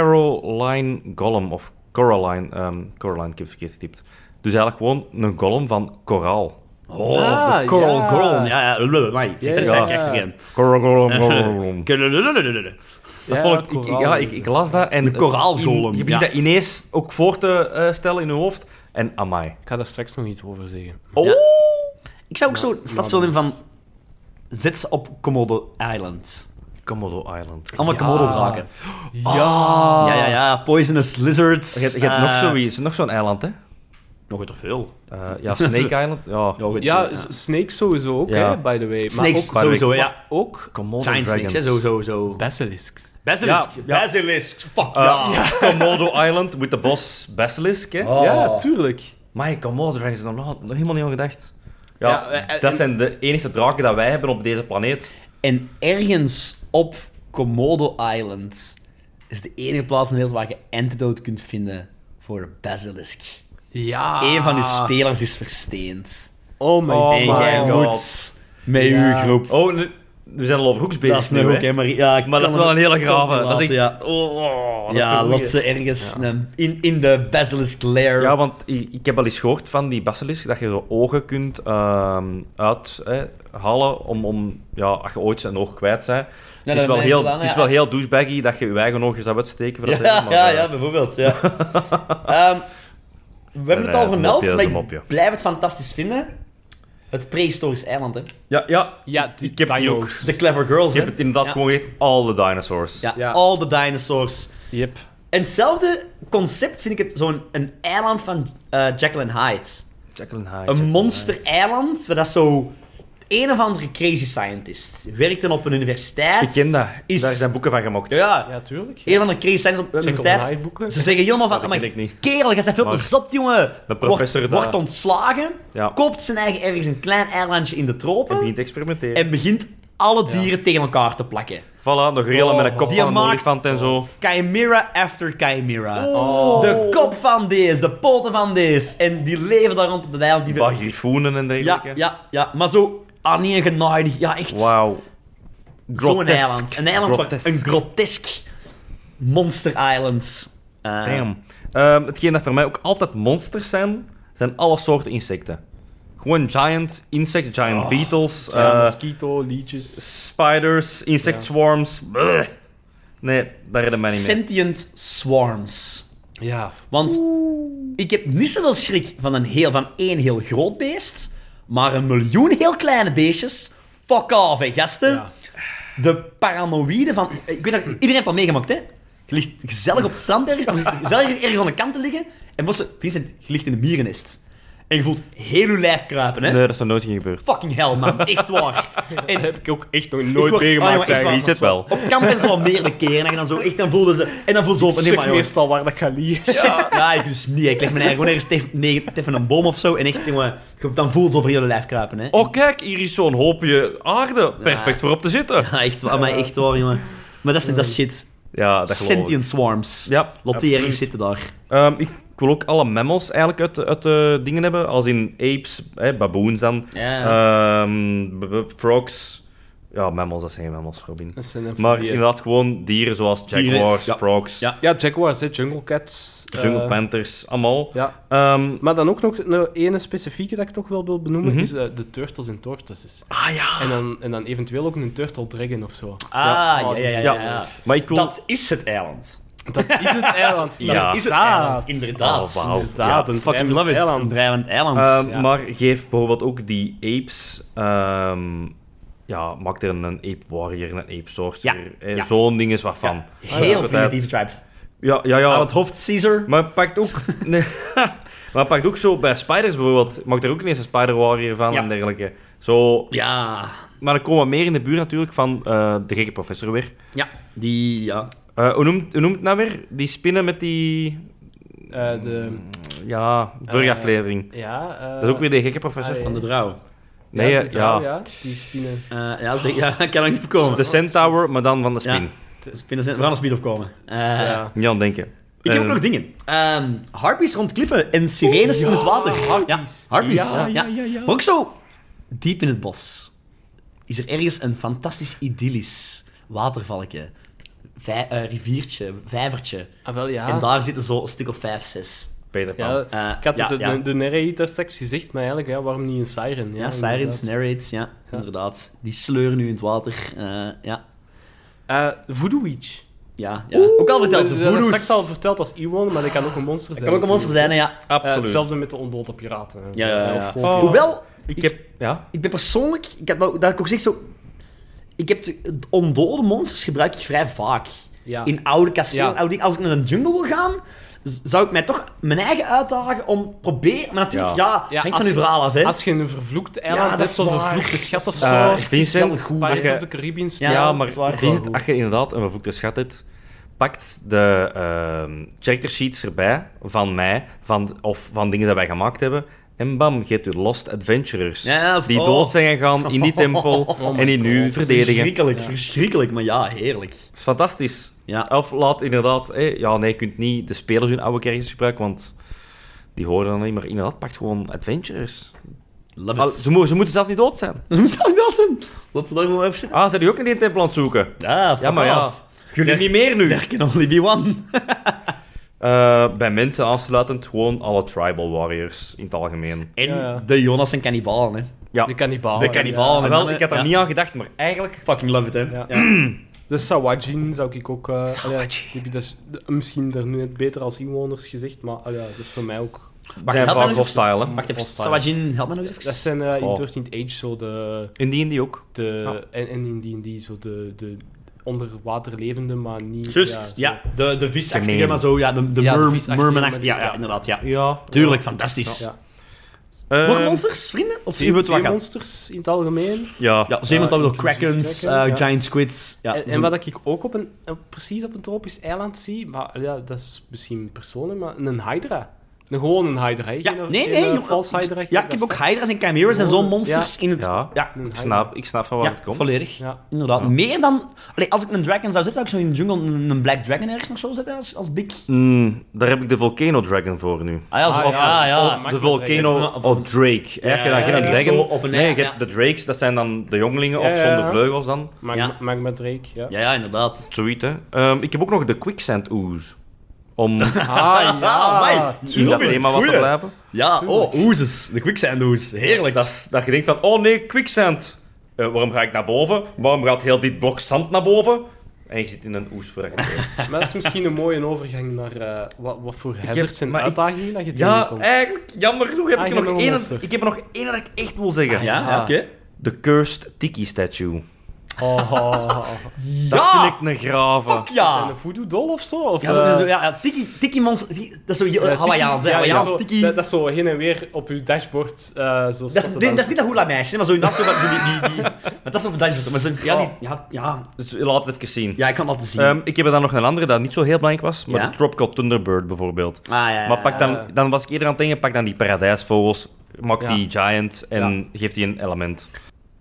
Speaker 2: Caroline Golem, of Coraline... ehm, Coraline, ik heb het verkeerd getypt. Dus eigenlijk gewoon een golem van koraal.
Speaker 1: Oh,
Speaker 3: Ah,
Speaker 1: de Coral
Speaker 3: ja.
Speaker 1: Golem. Ja, ja. Amai, Zeg, dat is
Speaker 3: Ja.
Speaker 1: waar ik echt erin.
Speaker 2: Coral golem, coral golem. Dat
Speaker 3: Ja,
Speaker 2: vond ik, ik, ik-
Speaker 3: koraal
Speaker 2: ja,
Speaker 3: is
Speaker 2: ik, ik
Speaker 3: het.
Speaker 2: las dat en...
Speaker 1: De koraalgolem,
Speaker 2: in- Je begint
Speaker 1: ja.
Speaker 2: dat ineens ook voor te eh, stellen in je hoofd. En amai.
Speaker 3: Ik ga daar straks nog iets over zeggen.
Speaker 2: Oh!
Speaker 1: Ja. Ik zou ook zo een stadsfilm in
Speaker 3: nou,
Speaker 1: van... Zet ze op Komodo Island.
Speaker 2: Komodo Island.
Speaker 1: Allemaal
Speaker 3: Ja. Ah.
Speaker 1: Komodo draken.
Speaker 3: Ja!
Speaker 1: Ja, ja, ja. Poisonous lizards.
Speaker 2: Je hebt, je hebt
Speaker 1: eh,
Speaker 2: nog zoiets, nog zo'n eiland, hè?
Speaker 1: Nog toch veel?
Speaker 2: Eh, ja, Snake Island. Ja.
Speaker 1: Ja, goed,
Speaker 3: Ja,
Speaker 1: eh,
Speaker 3: s- Snakes sowieso ook,
Speaker 2: Ja.
Speaker 3: hè, by the way. Maar
Speaker 1: Snakes
Speaker 3: ook,
Speaker 2: by the way,
Speaker 1: sowieso, ja.
Speaker 3: ook
Speaker 2: Komodo
Speaker 1: Giant snakes,
Speaker 2: Dragons.
Speaker 1: hè. Zo, zo, zo.
Speaker 3: basilisks.
Speaker 1: Basilisk.
Speaker 2: Ja, ja.
Speaker 1: Basilisk. Fuck,
Speaker 2: Eh,
Speaker 1: ja.
Speaker 2: Komodo Island with the boss Basilisk, hè?
Speaker 1: Oh.
Speaker 3: Ja, tuurlijk.
Speaker 2: Maar Komodo Dragons is nog, nog helemaal niet aan gedacht. Ja,
Speaker 3: Ja, eh, eh,
Speaker 2: dat
Speaker 3: en-
Speaker 2: zijn de enige draken dat wij hebben op deze planeet.
Speaker 1: En ergens op Komodo Island is de enige plaats in de wereld waar je antidote kunt vinden voor een basilisk.
Speaker 3: Ja.
Speaker 1: Eén van uw spelers is versteend.
Speaker 3: Ah. Oh my
Speaker 2: Oh
Speaker 1: en
Speaker 2: my
Speaker 1: jij
Speaker 2: god.
Speaker 1: moet met
Speaker 3: Ja.
Speaker 1: uw groep.
Speaker 2: Oh, nu- we zijn al over hoeks bezig
Speaker 1: Dat is
Speaker 2: nu,
Speaker 1: nog ook,
Speaker 2: hè.
Speaker 1: hè, maar... Ja, ik
Speaker 2: Maar dat is
Speaker 1: kan
Speaker 2: wel
Speaker 1: het-
Speaker 2: een hele
Speaker 1: kan het
Speaker 2: grave. Dat is
Speaker 1: laten,
Speaker 2: echt-
Speaker 1: ja.
Speaker 2: oh, oh, dat is
Speaker 1: Ja,
Speaker 2: een goeie.
Speaker 1: dat ze ergens een- in, in de basilisk lair...
Speaker 2: Ja, want i- ik heb al eens gehoord van die basilisk dat je zo ogen kunt ehm uithalen om, om ja, als je ooit een oog kwijt bent.
Speaker 1: dat
Speaker 2: het is, wel
Speaker 1: mij
Speaker 2: heel,
Speaker 1: gedaan,
Speaker 2: het is
Speaker 1: ja.
Speaker 2: wel heel douchebaggy dat je je eigen oogjes zou uitsteken. Voor
Speaker 1: Ja,
Speaker 2: dat ding, maar,
Speaker 1: ja,
Speaker 2: eh,
Speaker 1: ja, bijvoorbeeld. Ja. Ehm, we hebben
Speaker 2: nee,
Speaker 1: het al
Speaker 2: dat is een
Speaker 1: gemeld,
Speaker 2: mopje, dat is
Speaker 1: maar
Speaker 2: een
Speaker 1: ik
Speaker 2: mopje.
Speaker 1: blijf het fantastisch vinden. Het prehistorisch eiland, hè.
Speaker 2: Ja, ja.
Speaker 3: Ja, die
Speaker 2: Ik heb die ook.
Speaker 3: dino's.
Speaker 1: De Clever Girls,
Speaker 2: Ik heb
Speaker 1: hè.
Speaker 2: het inderdaad
Speaker 1: Ja.
Speaker 2: gewoon gegeten. All the dinosaurs.
Speaker 1: Ja,
Speaker 3: Ja.
Speaker 1: all the dinosaurs.
Speaker 3: Yep.
Speaker 1: En hetzelfde concept vind ik het zo'n een eiland van eh Jekyll and Hyde.
Speaker 2: Jacqueline Hyde.
Speaker 1: Een
Speaker 2: Jacqueline
Speaker 1: monster-eiland, waar dat zo... Een of andere crazy scientist werkte op een universiteit.
Speaker 2: Hyde. Ik ken dat.
Speaker 1: Is-
Speaker 2: Daar zijn boeken van gemaakt.
Speaker 1: Ja,
Speaker 3: Ja, tuurlijk.
Speaker 1: een van de crazy scientists op een
Speaker 3: Check
Speaker 1: universiteit.
Speaker 3: online boeken.
Speaker 1: Ze zeggen helemaal van...
Speaker 2: Dat ken
Speaker 1: "Amai,
Speaker 2: ik niet.
Speaker 1: Kerel, je bent veel te
Speaker 2: Maar
Speaker 1: zot, jongen.
Speaker 2: de professor
Speaker 1: wordt,
Speaker 2: daar-
Speaker 1: wordt ontslagen,
Speaker 2: Ja.
Speaker 1: koopt zijn eigen ergens een klein eilandje in de
Speaker 2: En
Speaker 1: tropen en
Speaker 2: begint
Speaker 1: begint,
Speaker 2: te experimenteren.
Speaker 1: alle dieren tegen elkaar te plakken.
Speaker 2: Voilà, de gorilla
Speaker 3: Oh,
Speaker 2: met een kop
Speaker 1: die
Speaker 2: van een
Speaker 1: maakt-
Speaker 2: olifant en zo.
Speaker 1: Chimera after chimera.
Speaker 2: Oh.
Speaker 3: Oh.
Speaker 1: De kop van deze, de poten van deze. En die leven daar rond op de eiland. Die
Speaker 2: Een paar griffoenen en
Speaker 1: ja,
Speaker 2: dergelijke.
Speaker 1: ja, ja. Maar zo ah, aaneengenaaid. Ja, echt.
Speaker 2: Wauw.
Speaker 1: Zo'n
Speaker 2: Grotesk.
Speaker 1: eiland. Een eiland
Speaker 2: Grotesk.
Speaker 1: waar een grotesk monster island. eh,
Speaker 2: Damn. Ehm, hetgeen dat voor mij ook altijd monsters zijn, zijn alle soorten insecten. Gewoon giant insect,
Speaker 1: Oh,
Speaker 2: giant beetles,
Speaker 3: Ja,
Speaker 2: eh,
Speaker 3: mosquito, liedjes.
Speaker 2: spiders, insect
Speaker 3: Ja.
Speaker 2: swarms. Bleh. Nee, daar redden mij niet mee.
Speaker 1: Sentient swarms.
Speaker 3: Ja.
Speaker 1: Want ik heb niet zoveel schrik van, een heel, van één heel groot beest, maar een miljoen heel kleine beestjes. Fuck off, hè, gasten.
Speaker 3: Ja.
Speaker 1: De paranoïde van... Ik weet dat, iedereen heeft dat meegemaakt, hè? Je ligt gezellig op het strand ergens, of je ligt gezellig ergens aan de kant te liggen, en bossen, Vincent, je ligt in een mierennest. En je voelt heel je lijf kruipen, hè?
Speaker 2: Nee, dat is nog nooit gebeurd.
Speaker 1: Fucking hell, man. Echt waar.
Speaker 3: En heb ik ook echt nog
Speaker 1: Ik
Speaker 3: nooit
Speaker 1: word-
Speaker 3: meegemaakt.
Speaker 1: ah, jongen, echt
Speaker 3: eigenlijk.
Speaker 1: waar.
Speaker 2: Iets het wel.
Speaker 1: Op kamp is het wel meerdere keren, en dan zo echt, dan voelden ze... En dan voel ze zo van, nee,
Speaker 3: Stuk
Speaker 1: maar jongens,
Speaker 3: meestal waar dat gaat liggen.
Speaker 1: Ja. ja, ik dus niet. Ik leg mijn eigen gewoon ergens tegen, nee, tegen een boom of zo. En echt, jongen, je- dan voelt het over je lijf kruipen, hè.
Speaker 2: Oh kijk, hier is zo'n hoopje aarde.
Speaker 1: Ja.
Speaker 2: Perfect voor op te zitten.
Speaker 1: Ja, echt, waar, maar echt waar, jongen. Maar dat is, dat is shit.
Speaker 2: Ja, dat geloof ik.
Speaker 1: Sentient swarms.
Speaker 2: Ja,
Speaker 1: Laat die
Speaker 2: absoluut.
Speaker 1: ergens zitten daar.
Speaker 2: Ehm, ik wil ook alle mammals eigenlijk uit, uit de dingen hebben, als in apes, hè, baboons dan, Ehm, b- b- frogs. Ja, mammals, dat zijn geen mammals, Robin.
Speaker 3: Dat zijn
Speaker 2: Maar
Speaker 3: amfibieën.
Speaker 2: inderdaad gewoon dieren zoals
Speaker 1: Dieren,
Speaker 2: jaguars,
Speaker 1: ja.
Speaker 2: frogs,
Speaker 1: Ja.
Speaker 3: Ja, jaguars, hè, jungle cats. eh,
Speaker 2: jungle panthers, allemaal.
Speaker 3: Ja.
Speaker 2: Ehm,
Speaker 3: Maar dan ook nog een ene specifieke dat ik toch wel wil benoemen,
Speaker 2: Mhm.
Speaker 3: is eh, de turtles en tortoises.
Speaker 1: Ah, ja.
Speaker 3: En dan, en dan eventueel ook een turtle dragon of zo.
Speaker 1: Ah, ja,
Speaker 3: Oh,
Speaker 1: ja, ja.
Speaker 2: ja.
Speaker 1: ja, ja.
Speaker 2: maar ik wil...
Speaker 1: Dat is het eiland.
Speaker 3: Dat is het eiland.
Speaker 2: Ja.
Speaker 1: Dat is het
Speaker 3: Inderdaad.
Speaker 1: eiland, inderdaad.
Speaker 2: Oh, wauw.
Speaker 3: Inderdaad,
Speaker 2: Ja.
Speaker 3: een
Speaker 1: Fucking
Speaker 3: drijvend
Speaker 1: love it. Een
Speaker 3: eiland.
Speaker 1: drijvend eiland.
Speaker 2: Ehm,
Speaker 3: Ja.
Speaker 2: Maar geef bijvoorbeeld ook die apes... ehm, ja, maak er een een ape warrior, een ape sorcerer.
Speaker 1: Ja,
Speaker 2: eh,
Speaker 1: ja.
Speaker 2: Zo'n ding is wat van.
Speaker 1: Heel primitieve tribes.
Speaker 2: Ja, ja, ja.
Speaker 1: Aan het hoofd Caesar.
Speaker 2: Maar pakt ook... Nee, maar pakt ook zo bij spiders bijvoorbeeld. Maakt er ook ineens een spider warrior van
Speaker 1: Ja.
Speaker 2: en dergelijke. Zo...
Speaker 1: Ja.
Speaker 2: Maar dan komen we meer in de buurt natuurlijk van eh, de gekke professor weer.
Speaker 1: Ja. Die, ja.
Speaker 2: Eh, hoe, noemt, hoe noemt het nou weer? Die spinnen met die...
Speaker 3: Eh, de,
Speaker 2: Ja, vorige
Speaker 3: Eh,
Speaker 2: aflevering.
Speaker 3: ja, eh,
Speaker 2: Mm. Dat is ook weer de gekke professor.
Speaker 3: ah,
Speaker 1: Van de drouw.
Speaker 2: Nee, eh,
Speaker 3: ja,
Speaker 2: ja.
Speaker 3: die trouw, ja. Die spinnen.
Speaker 1: Eh, ja, zeg, ja, ik kan er niet op komen.
Speaker 2: De
Speaker 3: Oh,
Speaker 2: Centaur, maar dan van de spin.
Speaker 1: Ja. Dus binnen zijn- We gaan er speed op komen. Eh,
Speaker 3: ja.
Speaker 2: Niet aan denken.
Speaker 1: Ik heb
Speaker 2: Eh,
Speaker 1: ook nog dingen. Ehm harpies rond kliffen en sirenes in het water.
Speaker 3: harpies.
Speaker 1: Ja, harpies.
Speaker 3: Ja, ja,
Speaker 1: ja. Maar ook zo diep in het bos is er ergens een fantastisch idyllisch watervalkje. Vij- eh, riviertje, vijvertje.
Speaker 3: Ah, wel ja.
Speaker 1: En daar zitten zo een stuk of vijf, zes.
Speaker 2: Peter Pan.
Speaker 3: ja
Speaker 1: Eh,
Speaker 3: ik had
Speaker 1: ja,
Speaker 3: het de,
Speaker 1: ja.
Speaker 3: de, de narrator straks gezegd, maar eigenlijk, ja, waarom niet een siren?
Speaker 1: Ja,
Speaker 3: Ja,
Speaker 1: sirens,
Speaker 3: inderdaad.
Speaker 1: narrates, ja, inderdaad. Die sleuren nu in het water. Eh, ja,
Speaker 3: Eh, Voodoo Witch.
Speaker 1: ja, ja. ook al verteld, de
Speaker 3: Dat is
Speaker 1: voodoo's.
Speaker 3: straks al verteld als Iwan, maar dat kan ook een monster zijn.
Speaker 1: Kan ook een monster zijn, hè, ja.
Speaker 3: Eh, hetzelfde met de ondode piraten. hè.
Speaker 1: Ja, ja, ja, Oh.
Speaker 3: Of
Speaker 1: ja.
Speaker 3: gewoon-
Speaker 1: Hoewel,
Speaker 2: Ik heb... Ja?
Speaker 1: Ik ben persoonlijk, ik heb nou, dat ik ook zeg zo. Ik heb de, de ondode monsters gebruik ik vrij vaak.
Speaker 3: Ja.
Speaker 1: In oude kastelen,
Speaker 3: Ja.
Speaker 1: oude dingen. Als ik naar een jungle wil gaan, z- zou ik mij toch mijn eigen uitdagen om proberen. Maar natuurlijk, ja,
Speaker 3: Ja,
Speaker 1: hangt
Speaker 3: als
Speaker 1: van uw
Speaker 3: je-
Speaker 1: verhaal af, hè?
Speaker 3: Als je een vervloekt eiland
Speaker 1: dat
Speaker 3: hebt,
Speaker 1: is
Speaker 3: zo'n
Speaker 1: waar.
Speaker 3: vervloekte schat of
Speaker 1: Eh,
Speaker 3: zo.
Speaker 2: Eh,
Speaker 3: Uh,
Speaker 2: Vincent,
Speaker 1: goed,
Speaker 2: mag
Speaker 3: Pirates
Speaker 2: je-
Speaker 3: of the Caribbean.
Speaker 1: Ja,
Speaker 2: ja, maar
Speaker 1: dat is waar.
Speaker 2: Vincent, als je inderdaad een vervloekte schat hebt, pakt de ehm character sheets erbij van mij, van, of van dingen die wij gemaakt hebben, en bam, geeft u Lost Adventurers.
Speaker 1: Ja, ja, dat is-
Speaker 2: die
Speaker 1: oh.
Speaker 2: dood zijn gegaan in die tempel en die nu verdedigen.
Speaker 1: Verschrikkelijk,
Speaker 3: Ja.
Speaker 1: verschrikkelijk, maar ja, heerlijk.
Speaker 2: is fantastisch.
Speaker 1: Ja.
Speaker 2: Of laat inderdaad, hé, ja, nee, je kunt niet de spelers hun oude characters gebruiken, want die horen dan niet. Maar inderdaad, pakt gewoon adventurers.
Speaker 1: Love
Speaker 2: Al,
Speaker 1: it.
Speaker 2: ze, mo- ze moeten zelfs niet dood zijn.
Speaker 1: Dat moet ook dat zijn. Laten we daar gewoon even zitten.
Speaker 2: Ah, zijn die ook in die tempel aan het zoeken?
Speaker 1: Ja, fuck
Speaker 2: Ja, maar ja.
Speaker 1: off.
Speaker 2: Jullie niet meer nu.
Speaker 1: There can only be one.
Speaker 2: Eh, bij mensen aansluitend gewoon alle tribal warriors in het algemeen.
Speaker 1: En
Speaker 3: Ja, ja.
Speaker 1: de Jonas en kannibalen, hè.
Speaker 2: Ja,
Speaker 3: De kannibalen.
Speaker 1: De kannibalen.
Speaker 2: Ah, wel, ik had er
Speaker 1: Ja.
Speaker 2: niet aan gedacht, maar eigenlijk...
Speaker 1: Fucking love it, hè.
Speaker 3: Ja.
Speaker 1: Ja.
Speaker 3: De Sawajin zou ik ook... eh,
Speaker 1: Sawajin.
Speaker 3: allee, heb je dat is- de- misschien daar nu net beter als inwoners gezegd, maar allee, dat is voor mij ook
Speaker 1: Wacht,
Speaker 2: zijn
Speaker 1: help mij
Speaker 2: vaak
Speaker 1: nog eens.
Speaker 2: hostile, hè.
Speaker 1: Wacht even,
Speaker 3: hostile.
Speaker 1: Savajin, help me nog eens even.
Speaker 3: Dat zijn eh,
Speaker 1: Oh.
Speaker 2: Goh.
Speaker 3: in 13th Age zo de...
Speaker 2: In die en die ook.
Speaker 3: de en, en in die, in die zo de, de onderwaterlevende, maar niet...
Speaker 1: Juist,
Speaker 3: zo-
Speaker 1: ja, de, de visachtige,
Speaker 2: Gemeen.
Speaker 1: maar zo, ja, de, de,
Speaker 3: Ja, de
Speaker 1: merm-
Speaker 3: visachtige,
Speaker 1: mermanachtige, ja,
Speaker 3: maar-
Speaker 1: ja, inderdaad, ja.
Speaker 2: Ja.
Speaker 1: Tuurlijk, fantastisch.
Speaker 3: Ja.
Speaker 2: Eh,
Speaker 1: Nog monsters, vrienden? Of zien we het wat gaat?
Speaker 3: monsters in het algemeen.
Speaker 2: Ja.
Speaker 1: Ja,
Speaker 3: eh,
Speaker 1: zeemantabel, krakens,
Speaker 3: kraken,
Speaker 1: eh,
Speaker 3: ja.
Speaker 1: giant squids. Ja,
Speaker 3: en, en wat ik ook op een, op- precies op een tropisch eiland zie, maar ja, dat is misschien personen, maar een hydra. Een, gewoon een hydra, hè?
Speaker 1: Ja,
Speaker 3: Geen-
Speaker 1: nee,
Speaker 3: geen,
Speaker 1: nee.
Speaker 3: eh,
Speaker 1: joh,
Speaker 3: vals
Speaker 1: ik-
Speaker 3: hydra.
Speaker 1: Ja, ik heb ook hydra's en chimeras en zo'n monsters in het...
Speaker 2: Ja.
Speaker 1: ja,
Speaker 3: Een
Speaker 2: Ik
Speaker 3: hydra.
Speaker 2: snap, ik snap van waar
Speaker 1: ja,
Speaker 2: het komt.
Speaker 1: volledig.
Speaker 3: Ja.
Speaker 1: Inderdaad. Meer dan... Allee, als ik een dragon zou zetten, zou ik zo in de jungle een, een black dragon ergens nog zo zetten als, als big.
Speaker 2: Mm, daar heb ik de Volcano Dragon voor nu.
Speaker 1: Ah ja, zo,
Speaker 3: Ah,
Speaker 1: of,
Speaker 3: ja.
Speaker 1: ah, ja.
Speaker 3: Of-
Speaker 2: De
Speaker 3: Makkelijk
Speaker 2: Volcano
Speaker 1: dragon.
Speaker 2: of Drake. Heb je dan
Speaker 1: ja,
Speaker 2: geen
Speaker 1: ja,
Speaker 2: dragon?
Speaker 1: zo op een
Speaker 2: nee,
Speaker 1: eiland,
Speaker 2: je
Speaker 1: ja.
Speaker 2: hebt de Drakes, dat zijn dan de jongelingen of
Speaker 3: Ja, ja,
Speaker 2: zonder
Speaker 3: ja.
Speaker 2: vleugels dan.
Speaker 3: Mag,
Speaker 1: Ja.
Speaker 3: mag met Drake, ja.
Speaker 1: Ja, ja, inderdaad.
Speaker 2: Zoiets, hè. Ehm, ik heb ook nog de Quicksand Ooze. Om
Speaker 3: Ah,
Speaker 1: amai.
Speaker 2: in dat
Speaker 1: Robin,
Speaker 2: thema wat te
Speaker 1: goeie.
Speaker 2: blijven.
Speaker 1: Ja, oh, oezes. De quicksand oes. Heerlijk.
Speaker 2: Dat, is- dat je denkt van, oh nee, Quicksand. Eh, waarom ga ik naar boven? Waarom gaat heel dit blok zand naar boven? En je zit in een oes voor
Speaker 3: Maar dat is misschien een mooie overgang naar eh, wat, wat voor hazards en
Speaker 2: maar ik-
Speaker 3: uitdagingen dat je
Speaker 2: Ja,
Speaker 1: eh,
Speaker 3: tegenkomt.
Speaker 2: eigenlijk, jammer genoeg heb
Speaker 3: Ah,
Speaker 2: ik
Speaker 3: je
Speaker 2: er nog
Speaker 3: hebt nog een
Speaker 2: één.
Speaker 3: monster.
Speaker 2: Ik heb er nog één dat ik echt wil zeggen.
Speaker 1: Ah, Ja, ja, oké.
Speaker 2: De Cursed Tiki Statue.
Speaker 3: Oh, oh, oh, oh.
Speaker 2: Dat
Speaker 1: Ja!
Speaker 2: vind ik een grave.
Speaker 1: Fuck ja!
Speaker 3: Een voodoo doll of zo? Of,
Speaker 1: Ah. Ja, zo,
Speaker 3: eh,
Speaker 1: zo- ja, ja tiki, tiki mons, die- dat is zo heel
Speaker 3: eh, tiki-
Speaker 1: Hawaiiaans, hè.
Speaker 3: ja, ja,
Speaker 1: Hawaiiaans
Speaker 3: zo-
Speaker 1: tiki.
Speaker 3: Dat, dat is zo heen en weer op je dashboard. eh, zo
Speaker 1: Dat
Speaker 3: staat
Speaker 1: Oh, is,
Speaker 3: het
Speaker 1: dit-
Speaker 3: dan.
Speaker 1: dat is niet dat hula meisje, maar zo in dat zo, van- zo die, die, die, maar dat is op een dashboard. Maar zo, ja, die, ja, ja,
Speaker 2: Dus laat het even zien.
Speaker 1: ja, ik kan dat zien.
Speaker 2: Ehm, ik heb er dan nog een andere dat niet zo heel belangrijk was, maar
Speaker 1: Ja?
Speaker 2: de Tropical Thunderbird bijvoorbeeld.
Speaker 1: ah, ja, ja,
Speaker 2: Maar pak
Speaker 1: ja.
Speaker 2: dan, dan was ik eerder aan het denken, pak dan die paradijsvogels, maak
Speaker 3: Ja.
Speaker 2: die giant en geef die een element.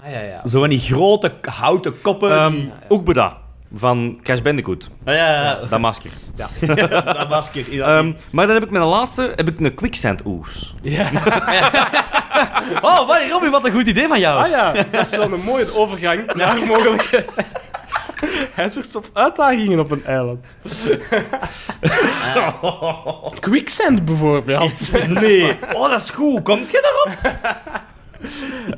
Speaker 3: Ah, ja, ja.
Speaker 1: Zo van die grote k- houten koppen.
Speaker 2: Ehm
Speaker 1: die-
Speaker 2: Oekbeda van Crash Bandicoot,
Speaker 1: Ah, ja, ja,
Speaker 2: dat masker.
Speaker 1: ja, dat was ik. inderdaad.
Speaker 2: Ehm, maar dan heb ik mijn laatste, heb ik een quicksand oes.
Speaker 1: oh, wat, Robin, wat een goed idee van jou.
Speaker 3: Ah ja, dat is wel een mooie overgang naar mogelijke hazards of uitdagingen op een eiland. Quicksand bijvoorbeeld.
Speaker 2: Nee, oh dat is goed, komt je daarop?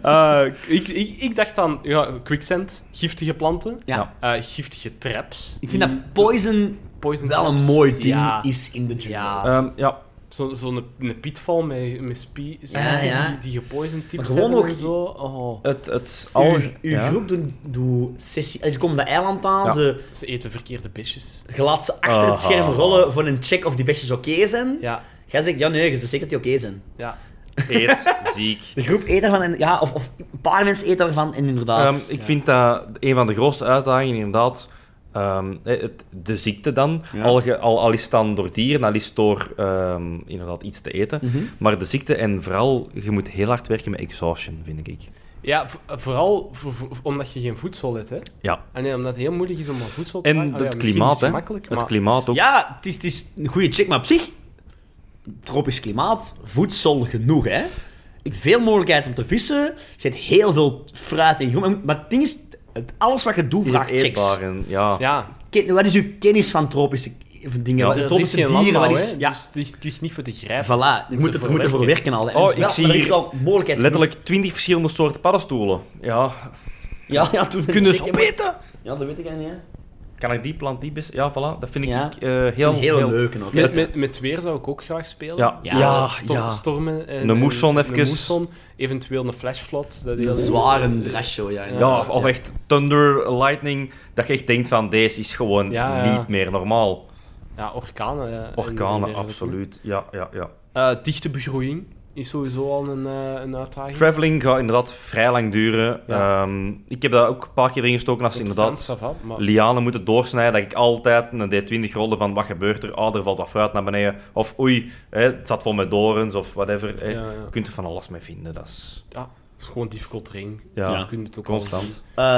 Speaker 3: Eh, ik, ik, ik dacht dan, ja, quicksand, giftige planten,
Speaker 1: Ja.
Speaker 3: eh, giftige traps.
Speaker 1: Ik vind dat poison
Speaker 3: poison
Speaker 1: wel een
Speaker 3: traps.
Speaker 1: mooi ding
Speaker 3: Ja.
Speaker 1: is in de jungle.
Speaker 3: Ja.
Speaker 2: Ehm, ja,
Speaker 3: Zo'n zo een- een pitfall met, met spie, zo
Speaker 1: Ja,
Speaker 3: die-
Speaker 1: ja.
Speaker 3: Die, die gepoison tips
Speaker 1: Maar gewoon
Speaker 3: hebben en
Speaker 1: ook-
Speaker 3: zo. Oh.
Speaker 2: het... het
Speaker 1: Uw,
Speaker 2: alge-
Speaker 1: uw
Speaker 2: ja.
Speaker 1: groep doet, doet sessie. Ze komen de eiland aan,
Speaker 2: Ja.
Speaker 1: ze
Speaker 3: Ze eten verkeerde besjes.
Speaker 1: je laat ze achter het
Speaker 2: Ah.
Speaker 1: scherm rollen voor een check of die bestjes oké zijn.
Speaker 3: Ja,
Speaker 1: Jij zegt, ja nee, je zegt zeker dat die oké zijn.
Speaker 3: ja.
Speaker 2: Eet, ziek.
Speaker 1: De groep eet daarvan en ja, of, of een paar mensen eten daarvan en inderdaad.
Speaker 2: Ehm, ik vind dat een van de grootste uitdagingen inderdaad ehm, eh, het, de ziekte dan.
Speaker 1: Ja.
Speaker 2: Al, ge- al, al is het dan door dieren, al is het door ehm, inderdaad iets te eten.
Speaker 1: Mhm.
Speaker 2: Maar de ziekte en vooral, je moet heel hard werken met exhaustion, vind ik.
Speaker 3: Ja, vo- vooral voor- voor- omdat je geen voedsel hebt, hè.
Speaker 2: Ja.
Speaker 3: Ah nee, omdat het heel moeilijk is om aan voedsel te
Speaker 2: En
Speaker 3: maken. Ah ja,
Speaker 2: het
Speaker 3: misschien
Speaker 2: klimaat,
Speaker 3: is het
Speaker 2: hè.
Speaker 3: makkelijk,
Speaker 2: Het
Speaker 3: maar-
Speaker 2: klimaat ook.
Speaker 1: Ja, het is, het is een goede check, maar op zich, tropisch klimaat, voedsel genoeg hè. Veel mogelijkheid om te vissen, je hebt heel veel fruit en groen. Maar het ding is, het- alles wat je doet
Speaker 2: Heel
Speaker 1: vraagt checks.
Speaker 2: eetbaar en- ja.
Speaker 3: Ja,
Speaker 1: Ken- wat is uw kennis van tropische k- dingen?
Speaker 2: Ja,
Speaker 1: Wat-
Speaker 3: er is
Speaker 1: tropische
Speaker 3: geen
Speaker 1: dieren,
Speaker 3: landbouw,
Speaker 1: wat is...
Speaker 3: hè,
Speaker 1: Ja,
Speaker 3: dus het ligt, het ligt niet voor te grijpen.
Speaker 1: voilà. Je moet, het, je moet ervoor werken al. hè. En
Speaker 2: Oh,
Speaker 1: dus wel-
Speaker 2: ik zie
Speaker 1: maar er is
Speaker 2: hier
Speaker 1: wel mogelijkheid.
Speaker 2: Letterlijk twintig verschillende soorten paddenstoelen. Ja.
Speaker 1: Ja, ja, toen...
Speaker 2: Kunnen ze
Speaker 1: checken,
Speaker 2: opeten?
Speaker 1: maar- Ja, dat weet ik eigenlijk niet.
Speaker 2: Kan ik die plant, die best... Ja, voilà. Dat vind ik
Speaker 1: Ja.
Speaker 2: eh, heel,
Speaker 1: Heel, heel,
Speaker 2: heel-
Speaker 1: leuk ook.
Speaker 3: Met,
Speaker 1: hè.
Speaker 3: met, met weer zou ik ook graag spelen.
Speaker 2: Ja.
Speaker 3: Zo,
Speaker 2: Ja,
Speaker 3: sto-
Speaker 2: ja.
Speaker 3: Stormen. En,
Speaker 2: Een moesson
Speaker 3: en-
Speaker 2: even.
Speaker 3: Een moesson, eventueel een flashflot. Dat
Speaker 1: Een
Speaker 3: heel-
Speaker 1: zware dresshow, ja.
Speaker 2: Ja,
Speaker 1: inderdaad,
Speaker 2: of, of echt thunder, lightning, dat je echt denkt van deze is gewoon
Speaker 3: Ja, ja.
Speaker 2: niet meer normaal.
Speaker 3: Ja, orkanen. eh, en- en
Speaker 2: Orkanen,
Speaker 3: dergelijke.
Speaker 2: absoluut. Ja, ja, ja.
Speaker 3: Eh, dichte begroeiing is sowieso al een, eh, een uitdaging.
Speaker 2: Traveling gaat inderdaad vrij lang duren.
Speaker 3: Ja.
Speaker 2: Ehm, ik heb dat ook een paar keer erin gestoken als ze
Speaker 3: Op
Speaker 2: inderdaad
Speaker 3: zand, ça va, maar-
Speaker 2: lianen moeten doorsnijden. Dat ik altijd een D20 rolde van wat gebeurt er? Ah, er valt wat fruit naar beneden. Of oei, hè, het zat vol met dorens of whatever. Hè.
Speaker 3: Ja, ja.
Speaker 2: Je kunt er van alles mee vinden. Dat is
Speaker 3: Ja, het is gewoon difficult terrein.
Speaker 2: Ja.
Speaker 3: Je kunt het ook
Speaker 2: constant.
Speaker 3: al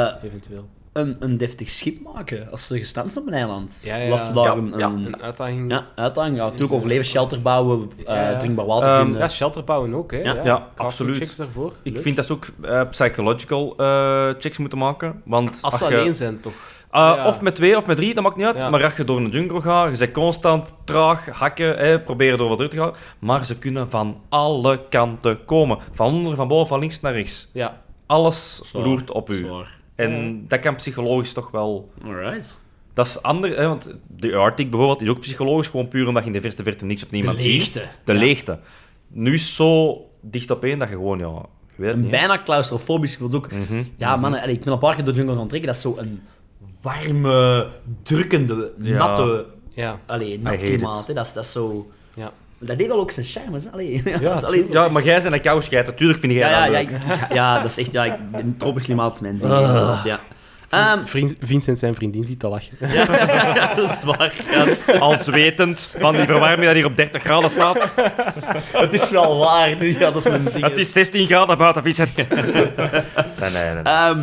Speaker 3: zien,
Speaker 1: Eh,
Speaker 3: eventueel.
Speaker 1: een, een deftig schip maken als ze gestaan zijn op een eiland.
Speaker 3: Ja, ja.
Speaker 1: Laat ze daar
Speaker 2: Ja,
Speaker 1: een,
Speaker 2: Mm. ja.
Speaker 1: een
Speaker 3: Een uitdaging.
Speaker 1: ja, uitdaging. Ja, natuurlijk overleven, shelter bouwen, eh,
Speaker 3: Ja, ja.
Speaker 1: drinkbaar water
Speaker 2: Ehm,
Speaker 1: vinden.
Speaker 3: Ja, shelter bouwen ook, hè.
Speaker 1: Ja,
Speaker 2: ja,
Speaker 3: Crafting
Speaker 2: absoluut.
Speaker 3: checks daarvoor.
Speaker 2: Ik
Speaker 3: Leuk.
Speaker 2: vind dat ze ook eh, psychological eh, checks moeten maken. Want
Speaker 3: Als ze
Speaker 2: je-
Speaker 3: alleen zijn, toch?
Speaker 2: Uh,
Speaker 3: Ja.
Speaker 2: Of met twee of met drie, dat maakt niet uit.
Speaker 3: Ja.
Speaker 2: Maar als je door een jungle gaat, je bent constant traag, hakken, hè, proberen door wat uit te gaan. Maar ze kunnen van alle kanten komen. Van onder, van boven, van links naar rechts.
Speaker 3: Ja.
Speaker 2: Alles
Speaker 1: Zwaar,
Speaker 2: loert op u.
Speaker 1: Zwaar.
Speaker 2: En dat kan psychologisch toch wel...
Speaker 1: Alright.
Speaker 2: Dat is anders, hè, want de Arctic bijvoorbeeld is ook psychologisch gewoon puur omdat je in de verste verte niks of niemand ziet.
Speaker 1: leegte.
Speaker 2: De
Speaker 1: Ja.
Speaker 2: leegte. Nu is het zo dicht op één dat je gewoon, ja, ik weet het
Speaker 1: Een
Speaker 2: niet.
Speaker 1: bijna claustrofobisch gevoel. dus Ook,
Speaker 2: Mhm.
Speaker 1: Ja, mannen, allee, ik ben een paar keer door jungle gaan trekken. Dat is zo een warme, drukkende,
Speaker 2: Ja.
Speaker 1: natte...
Speaker 3: Ja.
Speaker 1: Allee,
Speaker 2: I
Speaker 1: nat
Speaker 2: hate it.
Speaker 1: klimaat, hè. Dat, is, dat is zo...
Speaker 3: Ja.
Speaker 1: Dat heeft wel ook zijn charmes, hè. Allee, dat is-
Speaker 3: tuurlijk.
Speaker 1: dat
Speaker 2: Ja,
Speaker 1: is-
Speaker 2: maar jij bent een kouscheit, natuurlijk vind jij
Speaker 1: Ja, ja, ja,
Speaker 2: dat leuk.
Speaker 1: ik- ik- ja, dat is echt... Ja, ik ben tropisch klimaat is mijn ding,
Speaker 2: Ah.
Speaker 1: inderdaad, ja. Ehm,
Speaker 3: Vriend- Vincent zijn vriendin ziet te lachen.
Speaker 1: ja, dat is waar. Ja, dat is-
Speaker 2: Als wetend van die verwarming dat hier op 30 graden staat.
Speaker 1: het is wel waar. dus Ja, dat is mijn ding.
Speaker 2: Het is 16 graden buiten, Vincent. Nee, nee, nee.
Speaker 1: Ehm,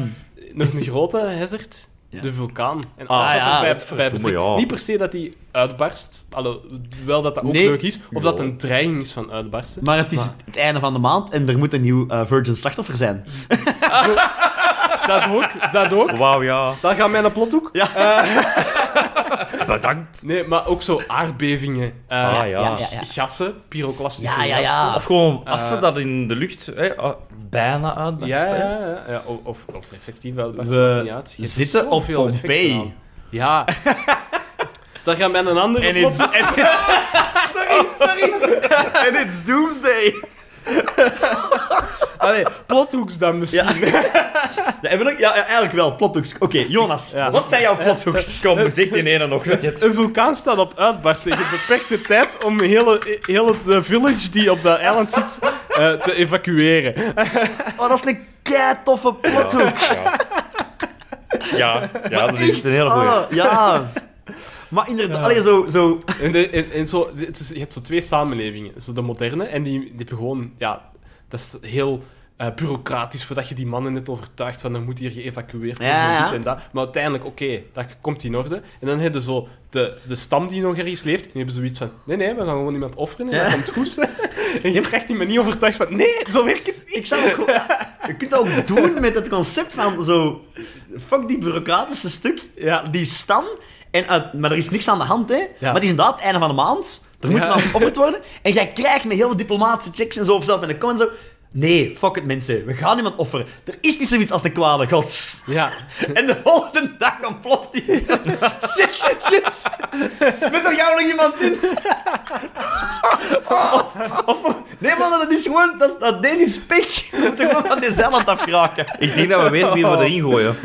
Speaker 3: Eh, Nog een grote hazard.
Speaker 1: Ja.
Speaker 3: De vulkaan. En
Speaker 2: Ah,
Speaker 3: alles wat er
Speaker 1: ja,
Speaker 3: bij- bij
Speaker 2: verdomme,
Speaker 3: vertrekt.
Speaker 2: ja.
Speaker 3: Niet per se dat die uitbarst. alhoewel wel dat dat ook
Speaker 1: Nee.
Speaker 3: leuk is. Of dat
Speaker 2: Ja.
Speaker 3: een dreiging is van uitbarsten.
Speaker 1: maar het is het einde van de maand en er moet een nieuw eh, Virgin slachtoffer zijn.
Speaker 3: Dat ook. Dat ook.
Speaker 2: Wauw, ja.
Speaker 3: Daar gaan wij naar plothoek.
Speaker 2: Eh, Bedankt.
Speaker 3: Nee, maar ook zo aardbevingen. eh,
Speaker 2: Ah, ja.
Speaker 1: ja, ja.
Speaker 3: Gassen. Pyroclastische
Speaker 1: Ja, ja, ja.
Speaker 2: Of gewoon, als ze
Speaker 3: Eh.
Speaker 2: dat in de lucht hè, ah, bijna
Speaker 3: gassen.
Speaker 2: uitbarst.
Speaker 3: Ja,
Speaker 2: hè.
Speaker 3: ja, ja, ja. O- eh, Of, of effectief uitbarsten.
Speaker 1: We
Speaker 3: maakt niet uit. Je hebt
Speaker 1: zitten op
Speaker 3: zoveel effecten
Speaker 1: Pompeii.
Speaker 3: aan. Ja. Daar gaan wij een andere
Speaker 2: En
Speaker 3: plot-
Speaker 2: it's, en it's, sorry, sorry. En it's doomsday.
Speaker 3: Allee, plothoeks dan misschien.
Speaker 1: Ja. Ja, heb ik- ja, ja, eigenlijk wel, plothoeks. Oké, Jonas,
Speaker 3: Ja.
Speaker 1: wat zijn jouw plothoeks?
Speaker 2: Kom, gezicht in één nog.
Speaker 3: Een vulkaan staat op uitbarsten. Je hebt beperkte tijd om heel, heel het eh, village die op dat eiland zit eh, te evacueren.
Speaker 1: Oh, dat is een kei toffe plothoek.
Speaker 2: Ja, ja dat is echt Oh. een hele goeie.
Speaker 1: Ah, ja. Maar inderdaad, allee, zo, zo...
Speaker 3: En, de- en, en zo, het is, je hebt zo twee samenlevingen. Zo de moderne en die, die hebben gewoon... Ja, dat is heel eh, bureaucratisch voordat je die mannen net overtuigt van dan moet hier geëvacueerd worden
Speaker 1: Ja, ja.
Speaker 3: dit en dat. Maar uiteindelijk, oké, dat komt in orde. En dan hebben ze zo de, de stam die nog ergens leeft. En die hebben zoiets van, nee, nee, we gaan gewoon iemand offeren en
Speaker 1: Ja.
Speaker 3: dat komt goed. En je krijgt die manier overtuigd van, nee, zo werkt het
Speaker 1: Ik zou ook... gewoon- Je kunt dat ook doen met het concept van zo... Fuck die bureaucratische stuk,
Speaker 3: Ja.
Speaker 1: die stam. En uit- maar er is niks aan de hand, hè. Maar het is inderdaad het einde van de maand. Er moet
Speaker 3: Ja.
Speaker 1: wel geofferd worden. En jij krijgt met heel veel diplomatische checks en zo, of zelf in de comments zo... Nee, fuck het mensen. We gaan niemand offeren. Er is niet zoiets als de kwade gods.
Speaker 3: Ja.
Speaker 1: En de volgende dag ontploft die. Shit, shit, shit. Smit er jou nog iemand in? Of, of- nee, man, dat is gewoon... Dat, is- dat, deze is pech. We moeten gewoon van dit eiland afgeraken.
Speaker 2: Ik denk dat we weten wie we erin gooien.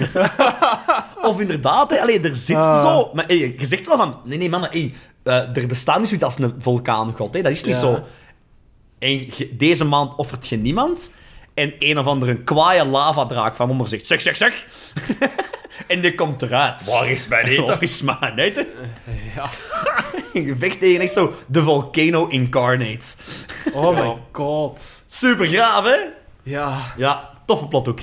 Speaker 1: Of inderdaad, hè, allee, er zit
Speaker 3: Ah.
Speaker 1: zo... Maar hey, je zegt wel van... Nee, nee, mannen, hey, eh, er bestaat niet zoiets als een vulkaangod. Hè. Dat is niet
Speaker 3: Ja.
Speaker 1: zo. En je- deze maand offert je niemand. En een of andere kwaaie lavadraak van Mommer zegt... Zeg, zeg, zeg. en die komt eruit.
Speaker 2: Waar is mijn eten?
Speaker 1: Dat is maar net, hè.
Speaker 3: ja.
Speaker 1: Eh, Je vecht tegen echt zo de Volcano Incarnate.
Speaker 3: Oh
Speaker 2: Ja.
Speaker 3: my god.
Speaker 1: Super graaf, hè?
Speaker 3: Ja.
Speaker 1: Ja, toffe plothoek.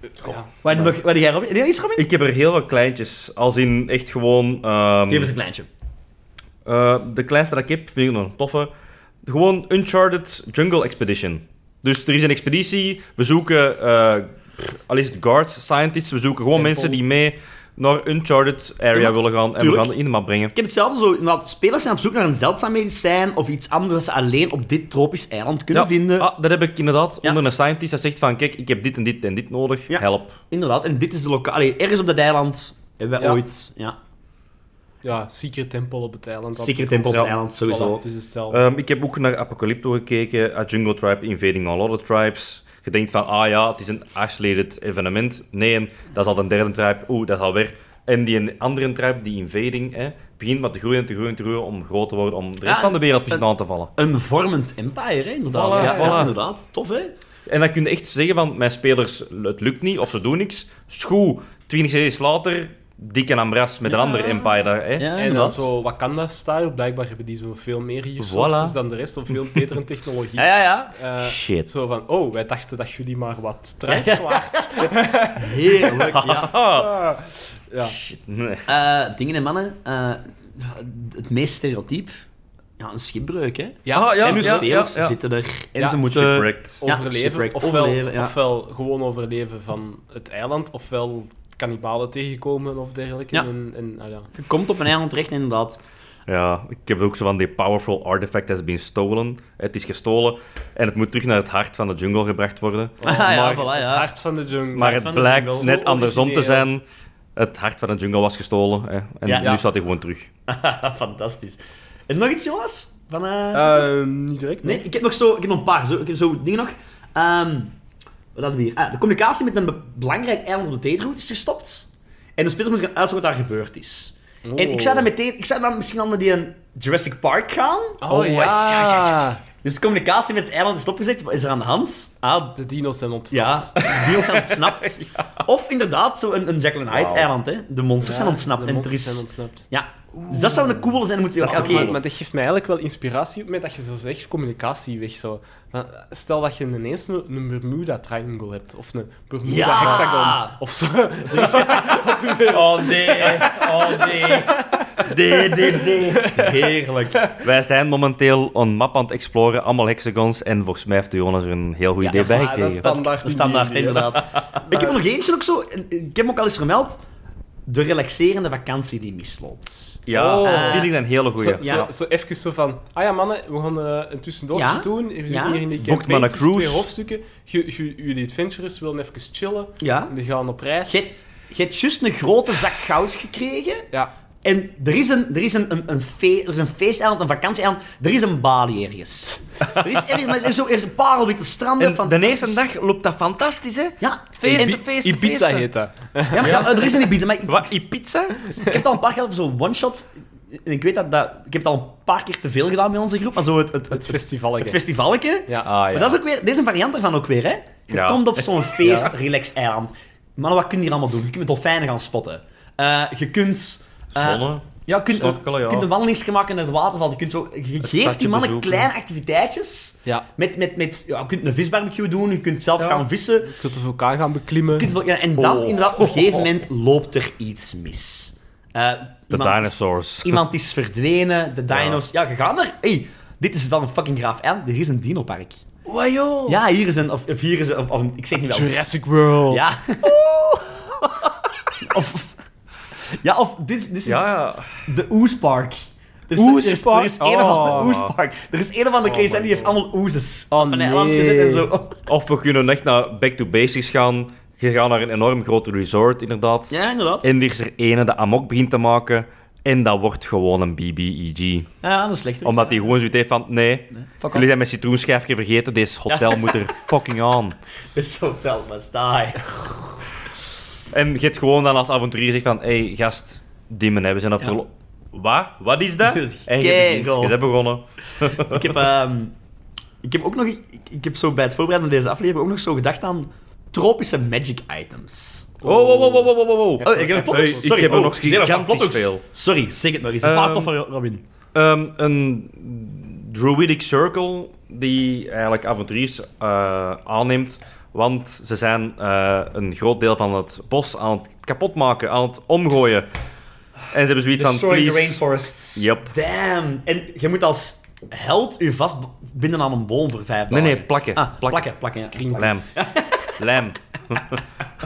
Speaker 3: ja.
Speaker 1: Wat heb wat heb jij, Robin? Nee, is Robin?
Speaker 2: Ik heb er heel wat kleintjes. Als in echt gewoon... ehm,
Speaker 1: Geef eens een kleintje.
Speaker 2: Eh, de kleinste dat ik heb, vind ik nog een toffe. Gewoon Uncharted Jungle Expedition. Dus er is een expeditie, we zoeken, eh pff, al is het guards, scientists, we zoeken gewoon
Speaker 3: Tempel.
Speaker 2: mensen die mee naar Uncharted area
Speaker 1: Ja, maar-
Speaker 2: willen gaan en
Speaker 1: tuurlijk.
Speaker 2: we gaan in de map brengen.
Speaker 1: Ik heb hetzelfde zo. inderdaad, Spelers zijn op zoek naar een zeldzaam medicijn of iets anders dat ze alleen op dit tropisch eiland kunnen
Speaker 2: Ja,
Speaker 1: vinden.
Speaker 2: Ah, dat heb ik inderdaad
Speaker 1: Ja.
Speaker 2: onder een scientist dat zegt van, kijk, ik heb dit en dit en dit nodig,
Speaker 1: Ja.
Speaker 2: help.
Speaker 1: Inderdaad, en dit is de locaal. Allee, ergens op dat eiland hebben wij
Speaker 3: Ja.
Speaker 1: ooit. Ja,
Speaker 3: Ja, Secret Temple op het eiland.
Speaker 1: Secret Temple op
Speaker 2: Ja.
Speaker 1: het eiland, sowieso.
Speaker 3: Voilà, dus hetzelfde.
Speaker 2: Ehm, ik heb ook naar Apocalypto gekeken, A Jungle Tribe Invading All Other Tribes. Je denkt van, ah ja, het is een isolated evenement. Nee, dat is al de derde tribe. Oeh, dat is alweer... En die andere tribe, die invading, hè, begint maar te groeien en te groeien en te groeien om groot te worden, om de rest
Speaker 1: Ja,
Speaker 2: van de wereld precies
Speaker 1: een-
Speaker 2: aan te vallen.
Speaker 1: Een vormend empire, hè, inderdaad.
Speaker 2: Voilà,
Speaker 1: ja,
Speaker 2: voilà.
Speaker 1: ja, inderdaad. Tof, hè?
Speaker 2: En dan kun je echt zeggen van, mijn spelers, het lukt niet, of ze doen niks. Schoe, 20 series later, dikke ambras met een
Speaker 1: Ja.
Speaker 2: ander empire daar. Hè.
Speaker 1: Ja,
Speaker 3: en dan
Speaker 1: inderdaad.
Speaker 3: zo Wakanda-style. Blijkbaar hebben die zo veel meer resources
Speaker 2: Voilà.
Speaker 3: dan de rest. Of veel betere technologie.
Speaker 1: Ja, ja, ja.
Speaker 3: Eh,
Speaker 2: Shit.
Speaker 3: zo van, oh, wij dachten dat jullie maar wat strijd waard.
Speaker 1: Heerlijk, ja.
Speaker 2: Ah,
Speaker 3: Ah, ja.
Speaker 2: shit, nee.
Speaker 1: Eh, dingen en mannen. eh, het meest stereotyp. Ja, een schipbreuk, hè?
Speaker 3: Ja,
Speaker 2: ja,
Speaker 1: en
Speaker 2: nu
Speaker 1: uw
Speaker 2: ja,
Speaker 1: spelers
Speaker 2: ja, ja.
Speaker 1: zitten er. En
Speaker 3: Ja.
Speaker 1: ze moeten...
Speaker 2: Shipwrecked.
Speaker 1: Ja,
Speaker 3: overleven.
Speaker 1: shipwrecked,
Speaker 3: ofwel,
Speaker 1: overleven, ja.
Speaker 3: ofwel gewoon overleven van het eiland, ofwel kannibalen tegenkomen of dergelijke.
Speaker 1: Ja.
Speaker 3: En, en, ah, ja.
Speaker 1: Je komt op een eiland terecht, inderdaad.
Speaker 2: Ja, ik heb ook zo van die powerful artifact has been stolen. Het is gestolen en het moet terug naar het hart van de jungle gebracht worden.
Speaker 1: Ah, ja,
Speaker 2: maar-
Speaker 1: voilà,
Speaker 3: Het
Speaker 1: ja.
Speaker 3: hart van de jungle.
Speaker 2: Maar het
Speaker 1: van de
Speaker 2: blijkt
Speaker 1: jungle.
Speaker 2: net
Speaker 3: Zo
Speaker 2: andersom te
Speaker 3: origineel.
Speaker 2: zijn. Het hart van de jungle was gestolen hè. en
Speaker 1: Ja.
Speaker 2: nu
Speaker 1: Ja.
Speaker 2: staat hij gewoon terug.
Speaker 1: Fantastisch. En nog iets, jongens? Van, eh,
Speaker 3: Ehm, niet direct.
Speaker 1: Nee, ik heb nog zo, ik heb nog een paar. Zo, ik heb zo dingen nog. Ehm, wat hadden we hier? Ah, de communicatie met een be- belangrijk eiland op de tijdroute is gestopt. En de speler moet gaan uitzoeken wat daar gebeurd is. En
Speaker 3: Oh.
Speaker 1: ik zou dan meteen, ik zou dan misschien aan die een Jurassic Park gaan.
Speaker 3: Oh, ja.
Speaker 1: Dus de communicatie met het eiland is stopgezet. Wat is er aan de hand? Ah,
Speaker 3: De dino's zijn ontsnapt.
Speaker 1: ja, deals zijn ontsnapt. Of inderdaad, zo een, een Jacqueline Hyde
Speaker 2: Wauw.
Speaker 1: eiland. Hè. De monsters zijn ontsnapt.
Speaker 3: de
Speaker 1: en er
Speaker 3: monsters
Speaker 1: is...
Speaker 3: zijn ontsnapt.
Speaker 1: Ja, dus dat zou een cool zijn. Dan moet je
Speaker 3: Dat is
Speaker 1: oké,
Speaker 3: toch- maar, maar dat geeft mij eigenlijk wel inspiratie op met dat je zo zegt, communicatie weg zo. Maar eh, Stel dat je ineens een, een Bermuda Triangle hebt, of een Bermuda
Speaker 1: Ja!
Speaker 3: Hexagon, of zo.
Speaker 2: Oh nee, oh nee.
Speaker 1: nee, nee, nee. Heerlijk.
Speaker 2: Wij zijn momenteel een map aan het exploren, allemaal hexagons. En volgens mij heeft Jonas er een heel goed
Speaker 1: Ja,
Speaker 2: idee bij
Speaker 3: Ah, dat is
Speaker 2: gekregen.
Speaker 3: standaard.
Speaker 1: De standaard,
Speaker 3: idee, hè.
Speaker 1: inderdaad. ik heb er nog eentje ook zo. en Ik heb hem ook al eens vermeld. De relaxerende vakantie die misloopt.
Speaker 2: Ja,
Speaker 3: Oh.
Speaker 2: dat vind ik een hele goeie.
Speaker 3: Zo,
Speaker 1: Ja.
Speaker 3: zo, zo even zo van, ah ja mannen, we gaan eh een tussendoortje
Speaker 1: Ja.
Speaker 3: doen. We zitten
Speaker 1: Ja.
Speaker 3: hier in die
Speaker 2: Boekt
Speaker 3: campaign
Speaker 2: maar een
Speaker 3: tussen
Speaker 2: cruise.
Speaker 3: twee hoofdstukken. Ju- ju- Jullie adventurers willen even chillen.
Speaker 1: Ja.
Speaker 3: Die gaan op reis.
Speaker 1: Je hebt- je hebt juist een grote zak goud gekregen.
Speaker 3: Ja.
Speaker 1: En er is een, er is een, een, een, fe- er is een feesteiland, een vakantieeiland. Er is een balie ergens. Er is ergens, maar er is, zo, er is een parelwitte stranden.
Speaker 2: En de
Speaker 1: fantastisch.
Speaker 2: eerste dag loopt dat fantastisch, hè?
Speaker 1: Ja,
Speaker 2: Feesten,
Speaker 1: en-
Speaker 2: feesten,
Speaker 3: Ibiza
Speaker 2: feesten.
Speaker 3: heet dat.
Speaker 1: Ja, maar ja, er is een Ibiza. Maar ik,
Speaker 2: Wat, Ibiza?
Speaker 1: Ik heb het al een paar keer gedaan voor zo'n one-shot. En ik weet dat, dat... Ik heb het al een paar keer te veel gedaan met onze groep. Maar zo het, het, het,
Speaker 3: Het
Speaker 1: het,
Speaker 3: festival.
Speaker 1: festivalke.
Speaker 3: Ja.
Speaker 2: Ah, ja.
Speaker 1: Maar dat is ook weer... Dit is een variant ervan ook weer, hè. Je
Speaker 2: Ja.
Speaker 1: komt op zo'n feest, relax eiland. Maar wat kun je hier allemaal doen? Je kunt met dolfijnen gaan spotten. Eh, je kunt... eh,
Speaker 2: Ah, Zonne.
Speaker 1: Ja, je kunt,
Speaker 2: snorkelen, ja.
Speaker 1: je kunt een wandeling maken naar het waterval. Je, kunt zo, je geeft die
Speaker 2: stadje
Speaker 1: mannen
Speaker 2: bezoeken.
Speaker 1: kleine activiteitjes.
Speaker 3: Ja.
Speaker 1: Met, met, met, ja, je kunt een visbarbecue doen, je kunt zelf
Speaker 3: Ja.
Speaker 1: gaan vissen.
Speaker 3: Je kunt de vulkaan gaan beklimmen.
Speaker 1: Kunt wel- ja, en dan
Speaker 2: Oh.
Speaker 1: inderdaad, op een gegeven moment loopt er iets mis. Eh,
Speaker 2: De
Speaker 1: iemand-
Speaker 2: dinosaurs.
Speaker 1: Iemand is verdwenen, de dino's. Ja, je gaat er. Hey, dit is wel een fucking graaf eiland. Er is een dinopark.
Speaker 2: Wajo.
Speaker 1: Ja, hier is een. Of, of hier is een. Of, of een- ik zeg niet wel.
Speaker 3: Jurassic World.
Speaker 1: Ja.
Speaker 2: Oh.
Speaker 1: of, ja, of dit, is- dit is
Speaker 2: Ja,
Speaker 1: de Oespark. Er is, er is, er
Speaker 3: Oespark?
Speaker 1: is een of andere
Speaker 3: Oh.
Speaker 1: Oespark. Er is een of andere
Speaker 2: Oh
Speaker 1: case en
Speaker 2: my
Speaker 1: die heeft allemaal oezes
Speaker 3: Oh,
Speaker 1: op een eiland
Speaker 3: nee.
Speaker 1: gezet en zo.
Speaker 2: Of we kunnen echt naar back to basics gaan. Je gaat naar een enorm groot resort, inderdaad.
Speaker 1: Ja, inderdaad.
Speaker 2: En er is er ene dat amok begint te maken. En dat wordt gewoon een BBEG.
Speaker 1: Ja, dat is slecht.
Speaker 2: Omdat hij gewoon zoiets heeft van... Nee,
Speaker 1: Fuck
Speaker 2: jullie
Speaker 1: off.
Speaker 2: zijn mijn citroenschijfje vergeten. Dit hotel moet er fucking aan.
Speaker 1: This hotel must die.
Speaker 2: En je hebt gewoon dan als avonturier zegt van... Hé, hey, gast, dimmen, hè, we zijn op...
Speaker 1: Ja.
Speaker 2: verlo- Wat? Wat is dat?
Speaker 1: Dat is
Speaker 2: En je begint.
Speaker 1: kegel. Oh.
Speaker 2: Je bent begonnen.
Speaker 1: Ik heb, ehm, ik heb ook nog... Ik, ik heb zo bij het voorbereiden van deze aflevering ook nog zo gedacht aan tropische magic items.
Speaker 2: Oh, wow, wow, wow, wow, wow, wow.
Speaker 1: Oh, ik heb een plothoek.
Speaker 2: Hey, ik
Speaker 1: Sorry,
Speaker 2: heb er
Speaker 1: oh,
Speaker 2: nog
Speaker 1: ik zei
Speaker 2: gigantisch
Speaker 1: plothoeks.
Speaker 2: veel.
Speaker 1: Sorry, zeg het nog eens. Een paar
Speaker 2: Ehm,
Speaker 1: toffe, Robin.
Speaker 2: Ehm, een druidic circle die eigenlijk avonturiers eh, aanneemt. Want ze zijn eh, een groot deel van het bos aan het kapotmaken, aan het omgooien. En ze hebben zoiets van,
Speaker 1: Destroying the
Speaker 2: please...
Speaker 1: rainforests.
Speaker 2: Yep.
Speaker 1: Damn. En je moet als held u vastbinden aan een boom voor vijf
Speaker 2: Nee,
Speaker 1: dagen.
Speaker 2: nee, plakken.
Speaker 1: Ah,
Speaker 2: plakken.
Speaker 1: plakken, plakken, ja.
Speaker 2: Lijm. Lijm.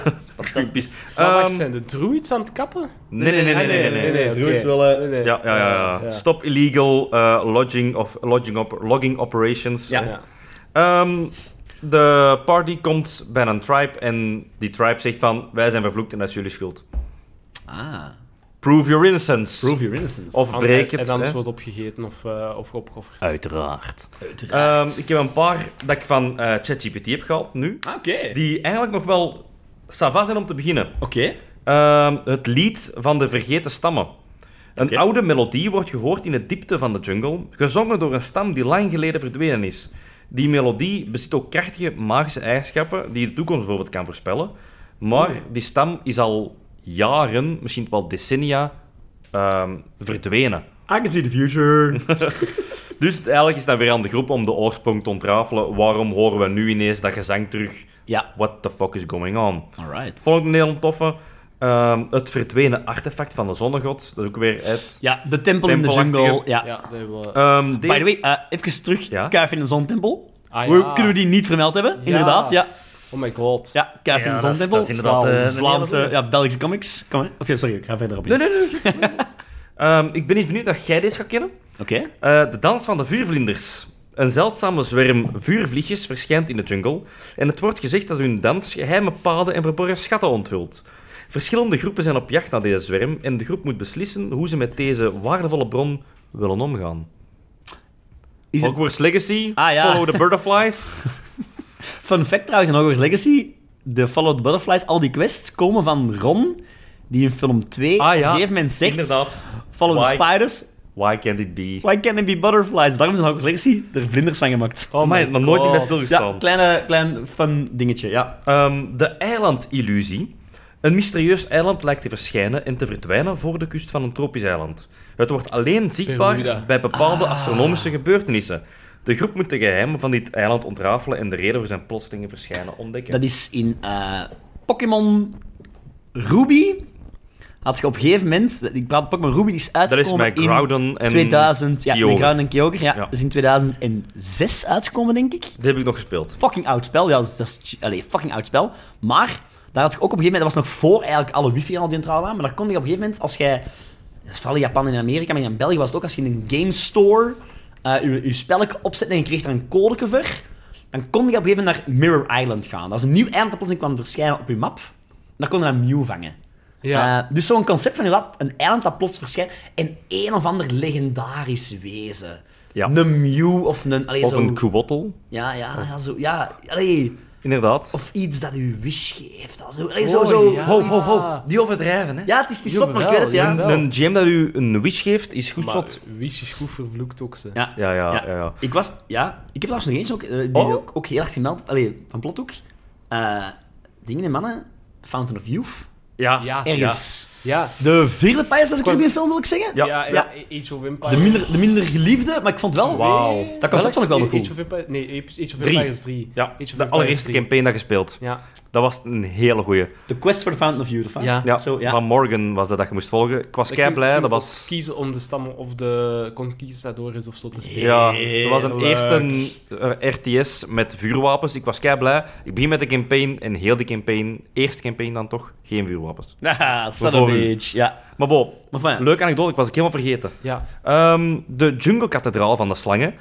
Speaker 1: Fantastisch.
Speaker 3: Maar wacht,
Speaker 2: Ehm,
Speaker 3: zijn de druids aan het kappen?
Speaker 2: nee, nee, nee, nee, nee, nee, nee.
Speaker 3: oké.
Speaker 1: Druids willen-
Speaker 3: Nee, nee.
Speaker 2: Ja, ja, ja, ja. Stop illegal eh, lodging of lodging op, logging operations.
Speaker 1: Ja.
Speaker 3: Ja.
Speaker 2: Ehm, de party komt bij een tribe en die tribe zegt van... Wij zijn vervloekt en dat is jullie schuld.
Speaker 1: Ah.
Speaker 2: Prove your innocence.
Speaker 1: Prove your innocence.
Speaker 2: Of- Breek het,
Speaker 3: En anders
Speaker 2: hè.
Speaker 3: wordt opgegeten of, eh, of opgeofferd.
Speaker 2: Uiteraard.
Speaker 1: Uiteraard.
Speaker 2: Ehm, ik heb een paar dat ik van eh, ChatGPT heb gehaald nu.
Speaker 1: Ah, Oké.
Speaker 2: Die eigenlijk nog wel sava zijn om te beginnen.
Speaker 1: Oké.
Speaker 2: Ehm, het lied van de vergeten stammen. Een
Speaker 1: Oké.
Speaker 2: oude melodie wordt gehoord in de diepte van de jungle, gezongen door een stam die lang geleden verdwenen is. Die melodie bezit ook krachtige magische eigenschappen die de toekomst bijvoorbeeld kan voorspellen. Maar die stam is al jaren, misschien wel decennia, ehm, verdwenen.
Speaker 1: I can see the future.
Speaker 2: Dus het- eigenlijk is dat weer aan de groep om de oorsprong te ontrafelen. Waarom horen we nu ineens dat gezang terug?
Speaker 1: ja.
Speaker 2: What the fuck is going on?
Speaker 1: Alright.
Speaker 2: Volgende heel toffe. ehm, het verdwenen artefact van de zonnegod. Dat is ook weer het.
Speaker 1: Ja, de tempel in de
Speaker 2: Tempelachtige-
Speaker 1: jungle. Ja.
Speaker 3: Ja, dat hebben we-
Speaker 2: Ehm, de-
Speaker 1: By the way, eh, even terug.
Speaker 2: Ja?
Speaker 1: Kuif in de zontempel.
Speaker 3: Ah,
Speaker 1: Hoe-
Speaker 3: ja.
Speaker 1: Kunnen we die niet vermeld hebben? Inderdaad, ja.
Speaker 3: Oh my god.
Speaker 1: Ja, Kuif in
Speaker 2: Ja,
Speaker 1: de
Speaker 2: dat is-
Speaker 1: zontempel.
Speaker 2: dat is inderdaad, eh,
Speaker 1: Vlaamse-
Speaker 2: een
Speaker 1: Vlaamse,
Speaker 2: hele
Speaker 1: ja, Belgische comics. Kom maar. Oké, sorry, ik ga verder op in.
Speaker 2: Nee, nee, nee. Ehm, ik ben eens benieuwd dat jij deze gaat kennen.
Speaker 1: Oké.
Speaker 2: Eh, de dans van de vuurvlinders. Een zeldzame zwerm vuurvliegjes verschijnt in de jungle en het wordt gezegd dat hun dans geheime paden en verborgen schatten onthult. Verschillende groepen zijn op jacht naar deze zwerm en de groep moet beslissen hoe ze met deze waardevolle bron willen omgaan.
Speaker 1: Is het-
Speaker 2: Hogwarts Legacy,
Speaker 1: Ah, ja.
Speaker 2: Follow the Butterflies.
Speaker 1: Fun fact trouwens, in Hogwarts Legacy, de Follow the Butterflies, al die quests komen van Ron, die in film 2
Speaker 2: Ah,
Speaker 1: op
Speaker 2: ja.
Speaker 1: een gegeven moment zegt,
Speaker 2: Inderdaad.
Speaker 1: Follow
Speaker 2: Why?
Speaker 1: the spiders,
Speaker 2: Why can't it be?
Speaker 1: why can't it be butterflies? Daarom is in Hogwarts Legacy er vlinders van gemaakt.
Speaker 2: Oh, mij nog nooit niet bij stilgestaan.
Speaker 1: Ja, kleine, klein fun dingetje, ja.
Speaker 2: Ehm, de eilandillusie. Een mysterieus eiland lijkt te verschijnen en te verdwijnen voor de kust van een tropisch eiland. Het wordt alleen zichtbaar
Speaker 3: Bermuda.
Speaker 2: bij bepaalde astronomische gebeurtenissen. De groep moet de geheimen van dit eiland ontrafelen en de reden voor zijn plotselinge verschijnen ontdekken.
Speaker 1: Dat is in eh, Pokémon Ruby. Had je op een gegeven moment... Ik praat Pokémon Ruby, die is
Speaker 2: Dat is
Speaker 1: uitgekomen
Speaker 2: met Groudon en...
Speaker 1: in 2000. Ja,
Speaker 2: Kyogre.
Speaker 1: met Groudon en Kyogre. Ja,
Speaker 2: Ja.
Speaker 1: Dat is in 2006 uitgekomen, denk ik.
Speaker 2: Die heb ik nog gespeeld.
Speaker 1: Fucking oud spel. Ja, dat is, dat is- allee, fucking oud spel. Maar daar had ik ook op een gegeven moment... Dat was nog voor eigenlijk alle wifi en al die entralen aan. Maar daar kon je op een gegeven moment, als jij... dat is Vooral in Japan en in Amerika, maar in België was het ook... Als je in een game store eh, je, je spelletje opzet en je kreeg daar een code voor... Dan kon je op een gegeven moment naar Mirror Island gaan. Dat is een nieuw eiland dat plotseling kwam verschijnen op je map. En dan kon je een Mew vangen.
Speaker 3: Ja.
Speaker 1: Eh, dus zo'n concept van inderdaad, een eiland dat plots verschijnt en een of ander legendarisch wezen.
Speaker 2: Ja.
Speaker 1: Een Mew of een... Allee,
Speaker 2: Of
Speaker 1: zo,
Speaker 2: een Kuwottle,
Speaker 1: ja, ja, ja, zo, ja, allee,
Speaker 2: inderdaad.
Speaker 1: of iets dat u wish geeft. al Zo, allee,
Speaker 3: Oh,
Speaker 1: zo, zo.
Speaker 3: ja.
Speaker 1: Ho, ho, ho.
Speaker 2: Die overdrijven, hè?
Speaker 1: Ja, het is, het is zot, maar ik
Speaker 3: Jawel,
Speaker 1: weet het, ja.
Speaker 3: jawel.
Speaker 2: Een gem dat u een wish geeft, is goed
Speaker 3: Maar
Speaker 2: zot.
Speaker 3: Wish is goed vervloekt ook, ze.
Speaker 1: Ja,
Speaker 2: Ja, ja, ja, ja.
Speaker 1: Ik was, ja, ik heb daar nog eens ook, eh, die
Speaker 2: Oh.
Speaker 1: ook, ook heel erg gemeld, allee, van plot ook. Eh, dingen en mannen, Fountain of Youth,
Speaker 2: Ja,
Speaker 3: Ja.
Speaker 1: ergens.
Speaker 3: Ja.
Speaker 1: De vierde Pirates of the Caribbean film, wil ik zeggen.
Speaker 2: Ja.
Speaker 3: Ja, ja, Age of Empires.
Speaker 1: De minder, de minder geliefde, maar ik vond wel...
Speaker 2: Wauw.
Speaker 1: Dat concept vond ik wel nog
Speaker 3: Age
Speaker 1: goed.
Speaker 3: of Empires, nee, Age of
Speaker 2: Drie.
Speaker 3: Empires 3.
Speaker 2: Ja, de allereerste campaign dat gespeeld.
Speaker 3: Ja.
Speaker 2: Dat was een hele goeie.
Speaker 1: The Quest for the Fountain of Youth, of wat?
Speaker 3: Ja.
Speaker 2: Ja,
Speaker 1: Zo, ja.
Speaker 2: van Morgan was dat dat je moest volgen. Ik was kei blij, dat was...
Speaker 3: Kiezen om de stammen of de conquistadores of zo te spelen.
Speaker 2: Ja, dat was een
Speaker 1: Heerlijk.
Speaker 2: eerste eh, RTS met vuurwapens. Ik was kei blij. Ik begin met de campaign en heel de campaign, eerste campaign dan toch, geen vuurwapens.
Speaker 1: Haha, son of a
Speaker 2: Bijvoorbeeld.
Speaker 1: bitch, ja.
Speaker 2: Maar bo,
Speaker 1: Maar van,
Speaker 2: leuke anekdote, ik was ik helemaal vergeten.
Speaker 3: Ja.
Speaker 2: Ehm, de jungle-kathedraal van de slangen.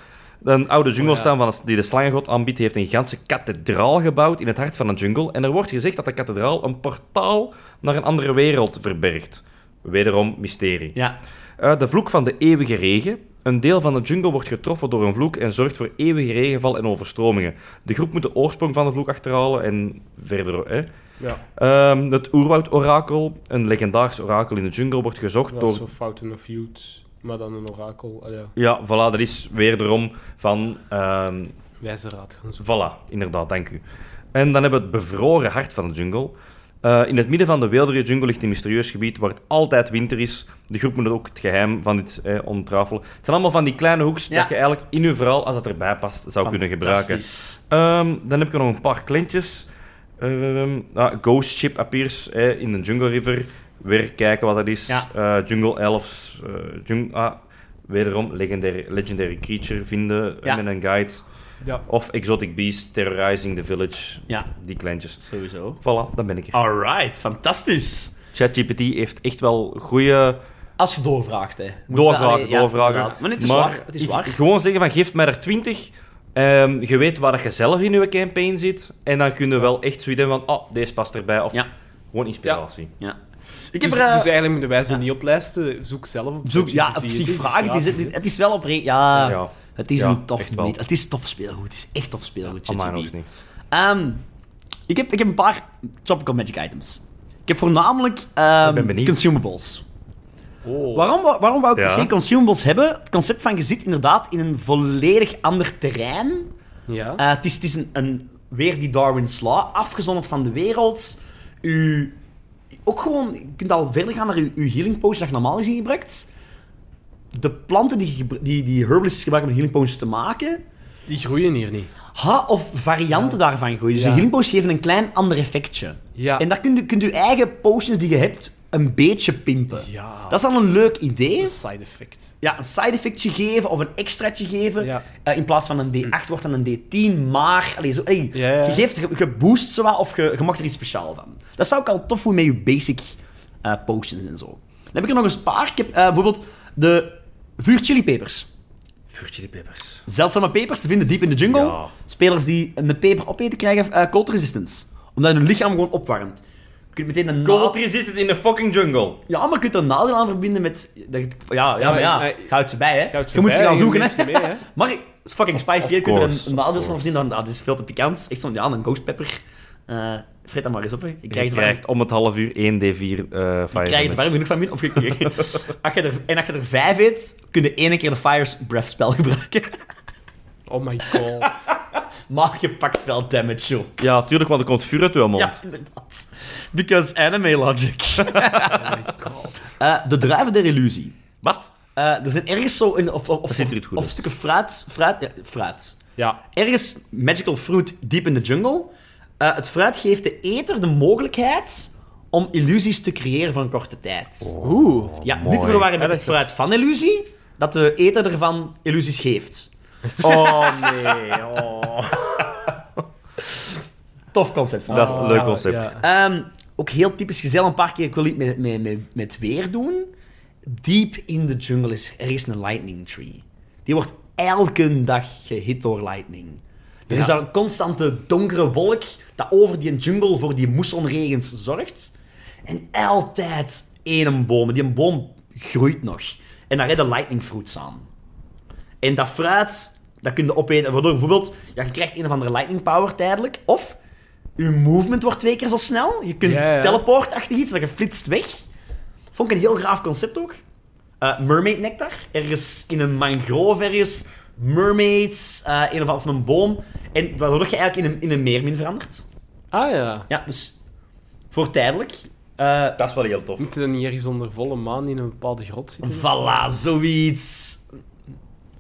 Speaker 2: Een oude jungle-stam
Speaker 3: Oh,
Speaker 2: van de- die de slangengod aanbiedt, heeft een ganse kathedraal gebouwd in het hart van een jungle. En er wordt gezegd dat de kathedraal een portaal naar een andere wereld verbergt. Wederom mysterie.
Speaker 1: ja.
Speaker 2: Eh, de vloek van de eeuwige regen. Een deel van de jungle wordt getroffen door een vloek en zorgt voor eeuwige regenval en overstromingen. De groep moet de oorsprong van de vloek achterhalen en verder. Hè.
Speaker 3: Ja,
Speaker 2: Ehm, het oerwoudorakel, een legendarisch orakel in de jungle, wordt gezocht
Speaker 3: dat
Speaker 2: door
Speaker 3: is zo Fountain of Youth, maar dan een orakel. Ah, ja.
Speaker 2: Ja, voilà, dat is weer erom van... ehm
Speaker 3: Wijze raad gaan zo.
Speaker 2: voilà, inderdaad, dank u. En dan hebben we het bevroren hart van de jungle. Eh, in het midden van de weelderige jungle ligt een mysterieus gebied waar het altijd winter is. De groep moet ook het geheim van dit eh, ontrafelen. Het zijn allemaal van die kleine hoeks
Speaker 1: Ja.
Speaker 2: dat je eigenlijk in je verhaal, als dat erbij past, zou kunnen gebruiken.
Speaker 1: Fantastisch.
Speaker 2: Ehm, dan heb ik er nog een paar klintjes. Ehm, ah, ghost Ship appears eh, in de Jungle River. Weer kijken wat dat is.
Speaker 1: Ja.
Speaker 2: Eh, jungle Elves. eh, jung- ah, wederom legendary, legendary creature vinden
Speaker 1: Ja.
Speaker 2: eh, met een guide.
Speaker 3: Ja.
Speaker 2: Of Exotic Beast terrorizing the village.
Speaker 1: Ja,
Speaker 2: Die kleintjes.
Speaker 1: sowieso.
Speaker 2: Voilà, dan ben ik er.
Speaker 1: Ah. Alright, fantastisch.
Speaker 2: ChatGPT heeft echt wel goede
Speaker 1: Als je doorvraagt, hè. Moeten we-
Speaker 2: doorvragen.
Speaker 1: allee, ja,
Speaker 2: doorvragen.
Speaker 1: inderdaad. maar het is waar. Het is
Speaker 2: ik-
Speaker 1: waar.
Speaker 2: Gewoon zeggen van geef mij er 20. Ehm, je weet waar dat je zelf in je campaign zit. En dan kun je wel echt zoiets hebben van, ah, deze past erbij. Of
Speaker 1: Ja.
Speaker 2: gewoon inspiratie.
Speaker 1: ja. Ik heb
Speaker 3: dus,
Speaker 1: er... eh,
Speaker 3: dus eigenlijk moeten wij ze niet oplijsten. Zoek zelf op.
Speaker 1: zoek, ja,
Speaker 3: ChatGPT.
Speaker 1: op zich
Speaker 3: Het is
Speaker 1: vragen. Het is,
Speaker 3: gratis.
Speaker 1: het is wel op... re- Ja,
Speaker 2: Ja.
Speaker 1: het is
Speaker 2: Ja,
Speaker 1: een tof...
Speaker 2: echt wel.
Speaker 1: medium. Het is tof speelgoed. Het is echt tof speelgoed,
Speaker 2: Ah, Amai,
Speaker 1: ChatGPT.
Speaker 2: nog eens niet.
Speaker 1: Ehm, ik, heb, ik heb een paar Tropical Magic items. Ik heb voornamelijk ehm,
Speaker 2: Ik ben benieuwd.
Speaker 1: consumables.
Speaker 3: Oh.
Speaker 1: Waarom, wou- waarom wou ik per
Speaker 2: Ja.
Speaker 1: se consumables hebben? Het concept van je zit inderdaad in een volledig ander terrein.
Speaker 3: Ja.
Speaker 1: Eh, het is, het is een, een, weer die Darwin's Law, afgezonderd van de wereld. U, ook gewoon, je kunt al verder gaan naar uw, uw healing potion dat je normaal gezien gebruikt. De planten die, gebru- die, die herbalists gebruiken om healing potions te maken,
Speaker 3: Die groeien hier niet.
Speaker 1: ha, of varianten daarvan groeien. Dus
Speaker 3: Ja.
Speaker 1: de healing potions geven een klein ander effectje.
Speaker 3: Ja.
Speaker 1: En daar kun je, kunt je eigen potions die je hebt een beetje pimpen.
Speaker 3: Ja.
Speaker 1: Dat is al een leuk idee.
Speaker 3: Een side effect.
Speaker 1: Ja, een side effectje geven of een extraatje geven.
Speaker 3: Ja. Mm.
Speaker 1: Eh, in plaats van een D8 wordt dan een D10, maar... Allee, zo, allee,
Speaker 3: Ja, ja.
Speaker 1: Je, geeft, je, je boost zowat of je, je maakt er iets speciaal van. Dat zou ik al tof voor met je basic eh, potions en zo. Dan heb ik er nog eens een paar. Ik heb eh, bijvoorbeeld de vuurchilipepers.
Speaker 2: Vuurtje de peppers.
Speaker 1: Zeldzame pepers te vinden diep in de jungle.
Speaker 2: Ja.
Speaker 1: Spelers die een peper opeten krijgen eh cold resistance. Omdat hun lichaam gewoon opwarmt. Je kunt meteen een
Speaker 2: Cold
Speaker 1: naald-
Speaker 2: resistant in de fucking jungle.
Speaker 1: Ja, maar Nou. je kunt er nadeel aan verbinden met... dat je- Ja, ja, maar ja,
Speaker 3: maar-
Speaker 1: je houdt ze bij, hè.
Speaker 3: Je houdt ze
Speaker 1: je moet
Speaker 3: bij,
Speaker 1: ze gaan
Speaker 3: je
Speaker 1: zoeken,
Speaker 3: neemt
Speaker 1: hè.
Speaker 3: ze mee, hè.
Speaker 1: Maar is fucking spicy. Je kunt er een,
Speaker 2: course,
Speaker 1: een
Speaker 2: of
Speaker 1: walrus of
Speaker 2: course.
Speaker 1: zien, dan, dat Ah, is veel te pikant. Echt zo'n, ja, een ghost pepper. Eh fret dat maar eens op, hè. Ik
Speaker 2: Je
Speaker 1: krijg
Speaker 2: krijgt,
Speaker 1: het warm.
Speaker 2: om het half uur 1 d4 eh fire
Speaker 1: Krijg je het warm
Speaker 2: damage.
Speaker 1: genoeg van min? Of je, als je er, en als je er vijf eet, kun je één keer de Fire's Breath spel gebruiken.
Speaker 3: Oh my god.
Speaker 1: Maar je pakt wel damage, joh.
Speaker 2: Ja, tuurlijk, want er komt vuur uit uw mond.
Speaker 1: Ja, inderdaad. Because anime logic.
Speaker 3: Oh my god.
Speaker 1: Eh, de druiven der illusie.
Speaker 2: Wat?
Speaker 1: Eh, er zijn ergens zo in, of, of, of,
Speaker 2: ziet er iets goed
Speaker 1: of
Speaker 2: uit.
Speaker 1: stukken fruit, fruit, ja, fruit.
Speaker 3: Ja,
Speaker 1: Ergens magical fruit diep in de jungle. Eh, het fruit geeft de eter de mogelijkheid om illusies te creëren van korte tijd.
Speaker 3: oeh.
Speaker 1: ja,
Speaker 2: Oh, mooi.
Speaker 1: niet te verwarren met
Speaker 3: Ja,
Speaker 1: het
Speaker 3: dat is
Speaker 1: fruit van illusie, dat de eter ervan illusies geeft.
Speaker 2: Oh nee. Oh.
Speaker 1: Tof concept Oh. van
Speaker 2: Dat is een leuk
Speaker 3: Ja,
Speaker 2: concept.
Speaker 3: ja.
Speaker 1: Ehm, ook heel typisch gezel, een paar keer, ik wil niet met, met, met, met weer doen. Diep in de jungle is er is een lightning tree. Die wordt elke dag gehit door lightning. Er is
Speaker 3: Ja.
Speaker 1: daar een constante donkere wolk dat over die jungle voor die moessonregens zorgt. En altijd één boom. Die boom groeit nog. En daar redden lightning fruits aan. En dat fruit, dat kun je opeten. Waardoor bijvoorbeeld, ja, je krijgt een of andere lightning power tijdelijk. Of, je movement wordt twee keer zo snel. Je kunt
Speaker 3: Ja, ja.
Speaker 1: teleport achter iets, maar je flitst weg. Vond ik een heel graaf concept ook. Eh, mermaid nectar. Ergens in een mangrove ergens. Mermaids, eh een of, of een boom. En waardoor je eigenlijk in een, in een meermin verandert.
Speaker 3: Ah ja.
Speaker 1: Ja, dus voor tijdelijk. Eh
Speaker 2: Dat is wel heel tof.
Speaker 3: Moet je dan niet ergens onder volle maan in een bepaalde grot zitten?
Speaker 1: voilà, zoiets.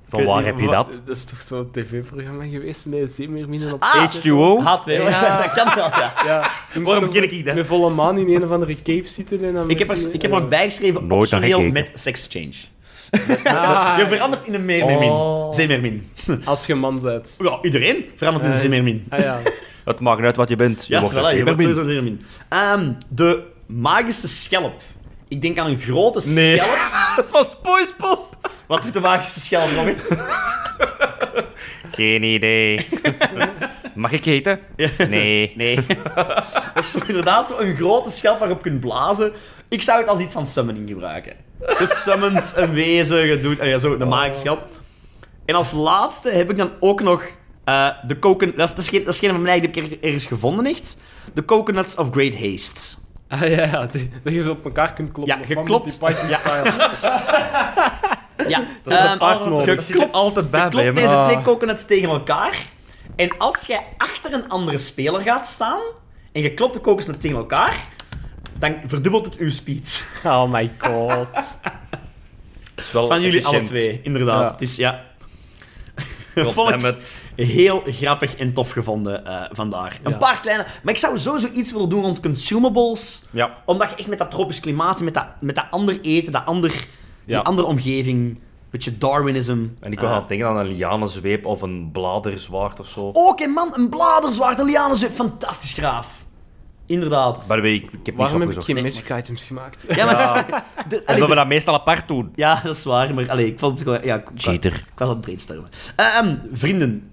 Speaker 2: Van waar heb je dat?
Speaker 3: Dat is toch zo'n tv-programma geweest met zeemeerminnen op...
Speaker 1: Ah,
Speaker 2: H2O?
Speaker 1: H2O,
Speaker 3: Ja.
Speaker 1: dat kan wel, ja.
Speaker 3: Ja, je moest
Speaker 2: Waarom
Speaker 3: toch
Speaker 2: ken
Speaker 3: met-
Speaker 2: ik dat?
Speaker 3: Met volle maan in een of andere cave zitten en dan...
Speaker 1: Ik heb er, ik heb er ook bijgeschreven,
Speaker 2: Nooit
Speaker 1: optioneel
Speaker 2: naar gekeken.
Speaker 1: met sexchange.
Speaker 3: Ah,
Speaker 1: Je verandert in een meermin.
Speaker 3: Oh.
Speaker 1: Zeemermin.
Speaker 3: Als je man bent.
Speaker 1: Ja, iedereen verandert in een
Speaker 3: Eh,
Speaker 1: zeemermin.
Speaker 3: Ah ja.
Speaker 2: Het maakt niet uit wat je bent. Je
Speaker 1: Ja,
Speaker 2: wordt
Speaker 1: voilà,
Speaker 2: een
Speaker 1: je wordt
Speaker 2: zeemermin.
Speaker 1: sowieso zeemermin. Ehm, de magische schelp. Ik denk aan een grote
Speaker 2: Nee.
Speaker 1: schelp.
Speaker 2: Van SpongeBob.
Speaker 1: Wat doet de magische schelp, Robin?
Speaker 2: Geen idee. Mag ik eten? Nee.
Speaker 1: Nee. Dat is zo inderdaad zo'n grote schelp waarop je kunt blazen. Ik zou het als iets van summoning gebruiken. Je summons een wezen, je doet... en ja, zo, de magische schelp. En als laatste heb ik dan ook nog eh, de coconut... Dat is, dat, is geen, dat is geen van mij, die heb ik ergens gevonden, echt. De coconuts of great haste.
Speaker 3: Ah ja, ja. die- Dat je zo op elkaar kunt kloppen.
Speaker 1: Ja,
Speaker 3: Of
Speaker 1: je
Speaker 3: wat
Speaker 1: klopt.
Speaker 3: met die Python style.
Speaker 1: Ja, Ehm, oh,
Speaker 3: Dat is een paard nodig.
Speaker 1: je
Speaker 3: Dat
Speaker 2: zit er
Speaker 1: klopt-
Speaker 2: altijd bij
Speaker 1: je klopt
Speaker 2: bij me.
Speaker 1: deze
Speaker 3: Ah.
Speaker 1: twee coconuts tegen elkaar. En als jij achter een andere speler gaat staan en je klopt de coconut tegen elkaar, dan verdubbelt het uw speed.
Speaker 3: Oh my god.
Speaker 2: Dat is wel
Speaker 1: Van jullie alle
Speaker 2: efficiënt.
Speaker 1: twee, inderdaad.
Speaker 3: Ja.
Speaker 1: Het is ja. Vond ik
Speaker 2: Goddammit.
Speaker 1: heel grappig en tof gevonden eh, vandaar. Een
Speaker 3: Ja.
Speaker 1: paar kleine. Maar ik zou sowieso iets willen doen rond consumables.
Speaker 2: Ja.
Speaker 1: Omdat je echt met dat tropisch klimaat, en met dat, met dat ander eten, dat ander, die
Speaker 2: Ja.
Speaker 1: andere omgeving, een beetje Darwinism.
Speaker 2: En ik wil
Speaker 3: Ah.
Speaker 1: eh,
Speaker 2: aan het denken aan een lianenzweep of een bladerzwaard of
Speaker 3: Oh.
Speaker 2: zo.
Speaker 1: Ook een man, een bladerzwaard, een lianenzweep. Fantastisch graaf. Inderdaad.
Speaker 2: Maar weet ik, ik heb niks
Speaker 3: Waarom heb ik
Speaker 2: opgezocht.
Speaker 3: geen magic items gemaakt?
Speaker 1: ja, maar... de- allee,
Speaker 2: Omdat we dat meestal apart doen.
Speaker 1: ja, dat is waar, maar allee, ik vond het gewoon... Ja, ik, ik-
Speaker 2: Cheater.
Speaker 1: Ik was aan het brainstormen. Eh, ehm, vrienden,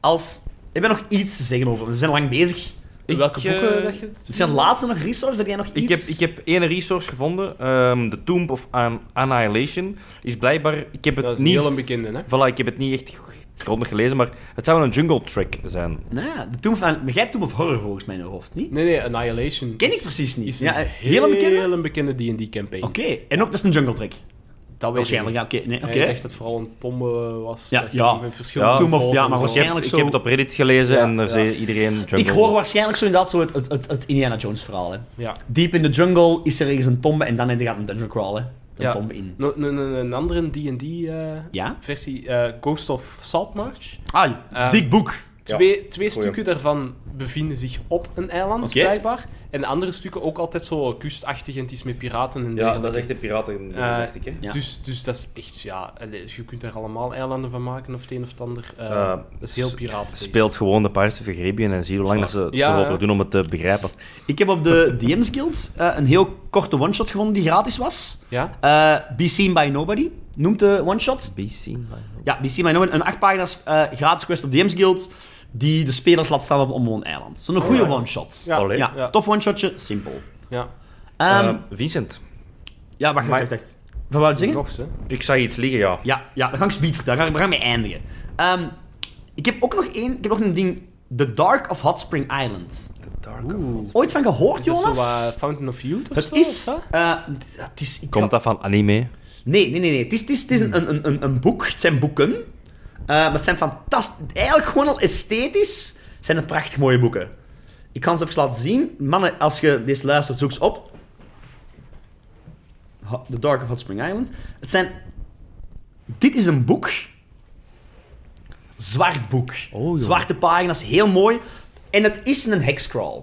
Speaker 1: als... Ik ben nog iets te zeggen over... We zijn lang bezig.
Speaker 3: In welke
Speaker 2: eh,
Speaker 3: boeken dat je het...
Speaker 1: Is het laatste nog resource? Wil jij nog iets?
Speaker 2: Ik heb, ik heb één resource gevonden. ehm de Tomb of An- Annihilation is blijkbaar... Ik heb het
Speaker 3: Dat is
Speaker 2: niet...
Speaker 3: heel een bekende, hè?
Speaker 2: Voilà, ik heb het niet echt grondig gelezen, maar het zou wel een jungle track zijn.
Speaker 1: Nou ja, de Tomb van... Maar jij Tomb of Horror volgens mij in je hoofd, niet?
Speaker 3: Nee, nee, Annihilation.
Speaker 1: Ken ik
Speaker 3: is-
Speaker 1: precies niet.
Speaker 3: Is
Speaker 1: Ja,
Speaker 3: een
Speaker 1: een hele bekende?
Speaker 3: Heel bekende D&D-campaign.
Speaker 1: Oké, en ook dat is een jungle track.
Speaker 3: Dat weet ik
Speaker 1: Waarschijnlijk,
Speaker 3: niet.
Speaker 1: ja, oké. nee,
Speaker 3: Ja,
Speaker 1: oké.
Speaker 3: Eh, Ik dacht dat het vooral een tombe was.
Speaker 1: Ja,
Speaker 3: dat je
Speaker 1: ja.
Speaker 3: Met verschillende
Speaker 2: Ja,
Speaker 1: tomb of-
Speaker 3: golven
Speaker 1: ja,
Speaker 3: en
Speaker 1: maar
Speaker 3: zo.
Speaker 2: Ik
Speaker 1: waarschijnlijk-
Speaker 2: heb, ik
Speaker 1: zo-
Speaker 2: heb het op Reddit gelezen
Speaker 3: Ja,
Speaker 2: en daar
Speaker 3: ja.
Speaker 2: zei iedereen jungle.
Speaker 1: Ik hoor waarschijnlijk zo inderdaad zo het, het, het, het Indiana Jones verhaal, hè.
Speaker 3: Ja.
Speaker 1: Diep in de jungle is er ergens een tombe en dan heb je gaat een dungeon crawl, hè. Een
Speaker 3: Ja.
Speaker 1: tombe in.
Speaker 3: Nog Een, een, een andere D&D-versie,
Speaker 1: Ja?
Speaker 3: Coast eh, of Saltmarsh.
Speaker 1: Ah,
Speaker 3: Eh,
Speaker 1: dik boek.
Speaker 2: Ja,
Speaker 3: Twee, twee
Speaker 2: goeie.
Speaker 3: stukken daarvan bevinden zich op een eiland,
Speaker 1: Oké.
Speaker 3: blijkbaar. En de andere stukken ook altijd zo kustachtig en het is met piraten en
Speaker 2: Ja,
Speaker 3: dergelijke.
Speaker 2: dat is echt de piraten,
Speaker 3: Eh,
Speaker 2: dacht ik. Hè.
Speaker 1: Ja.
Speaker 3: Dus, dus dat is echt, ja, allee, je kunt er allemaal eilanden van maken of het een of het ander. Eh,
Speaker 2: Eh,
Speaker 3: dat is heel
Speaker 2: s-
Speaker 3: piraten.
Speaker 2: Speelt gewoon de Pirates of the Caribbean en zie hoe lang dat ze
Speaker 3: Ja,
Speaker 2: erover
Speaker 3: ja.
Speaker 2: doen om het te begrijpen.
Speaker 1: Ik heb op de DM's Guild eh, een heel korte one-shot gevonden die gratis was.
Speaker 3: Ja?
Speaker 1: Eh, Be Seen by Nobody noemt de one-shot.
Speaker 2: Be seen by
Speaker 1: Ja, Be Seen by Nobody. Een acht pagina's eh, gratis quest op DM's Guild die de spelers laat staan op een onbewoond eiland. Zo'n goede
Speaker 3: Alright.
Speaker 1: one-shot.
Speaker 3: Oh, Ja,
Speaker 2: Allee.
Speaker 1: Ja,
Speaker 3: ja.
Speaker 1: tof one-shotje, simpel.
Speaker 3: ja.
Speaker 1: Ehm,
Speaker 2: Vincent,
Speaker 1: ja, wacht,
Speaker 2: maar-
Speaker 1: wacht, wacht. Wat wou je zeggen?
Speaker 3: Nog, hè?
Speaker 2: ik zag iets liggen, ja.
Speaker 1: Ja, ja, we gaan ik speed vertellen. We gaan- We gaan mee eindigen. Ehm, Ehm, ik heb ook nog één... Ik heb nog een ding. The Dark of Hot Spring Island.
Speaker 3: Oeh.
Speaker 1: Ooit van gehoord,
Speaker 3: Is dat zo
Speaker 1: Jonas?
Speaker 3: wat Fountain of Youth of
Speaker 1: Het
Speaker 3: zo,
Speaker 1: is...
Speaker 3: hè?
Speaker 1: eh, het is ik
Speaker 2: Komt
Speaker 1: ga-
Speaker 2: dat van anime?
Speaker 1: Nee, nee, nee. nee. Het is, het is, het is een,
Speaker 2: Hmm.
Speaker 1: een, een, een boek. Het zijn boeken. Eh, maar het zijn fantastisch... Eigenlijk gewoon al esthetisch zijn het prachtig mooie boeken. Ik kan ze even laten zien. Mannen, als je deze luistert, zoek ze op. Ho- The Dark of Hot Spring Island. Het zijn... Dit is een boek. Zwart boek.
Speaker 2: Oh, joh.
Speaker 1: Zwarte pagina's, heel mooi. En het is een hexcrawl.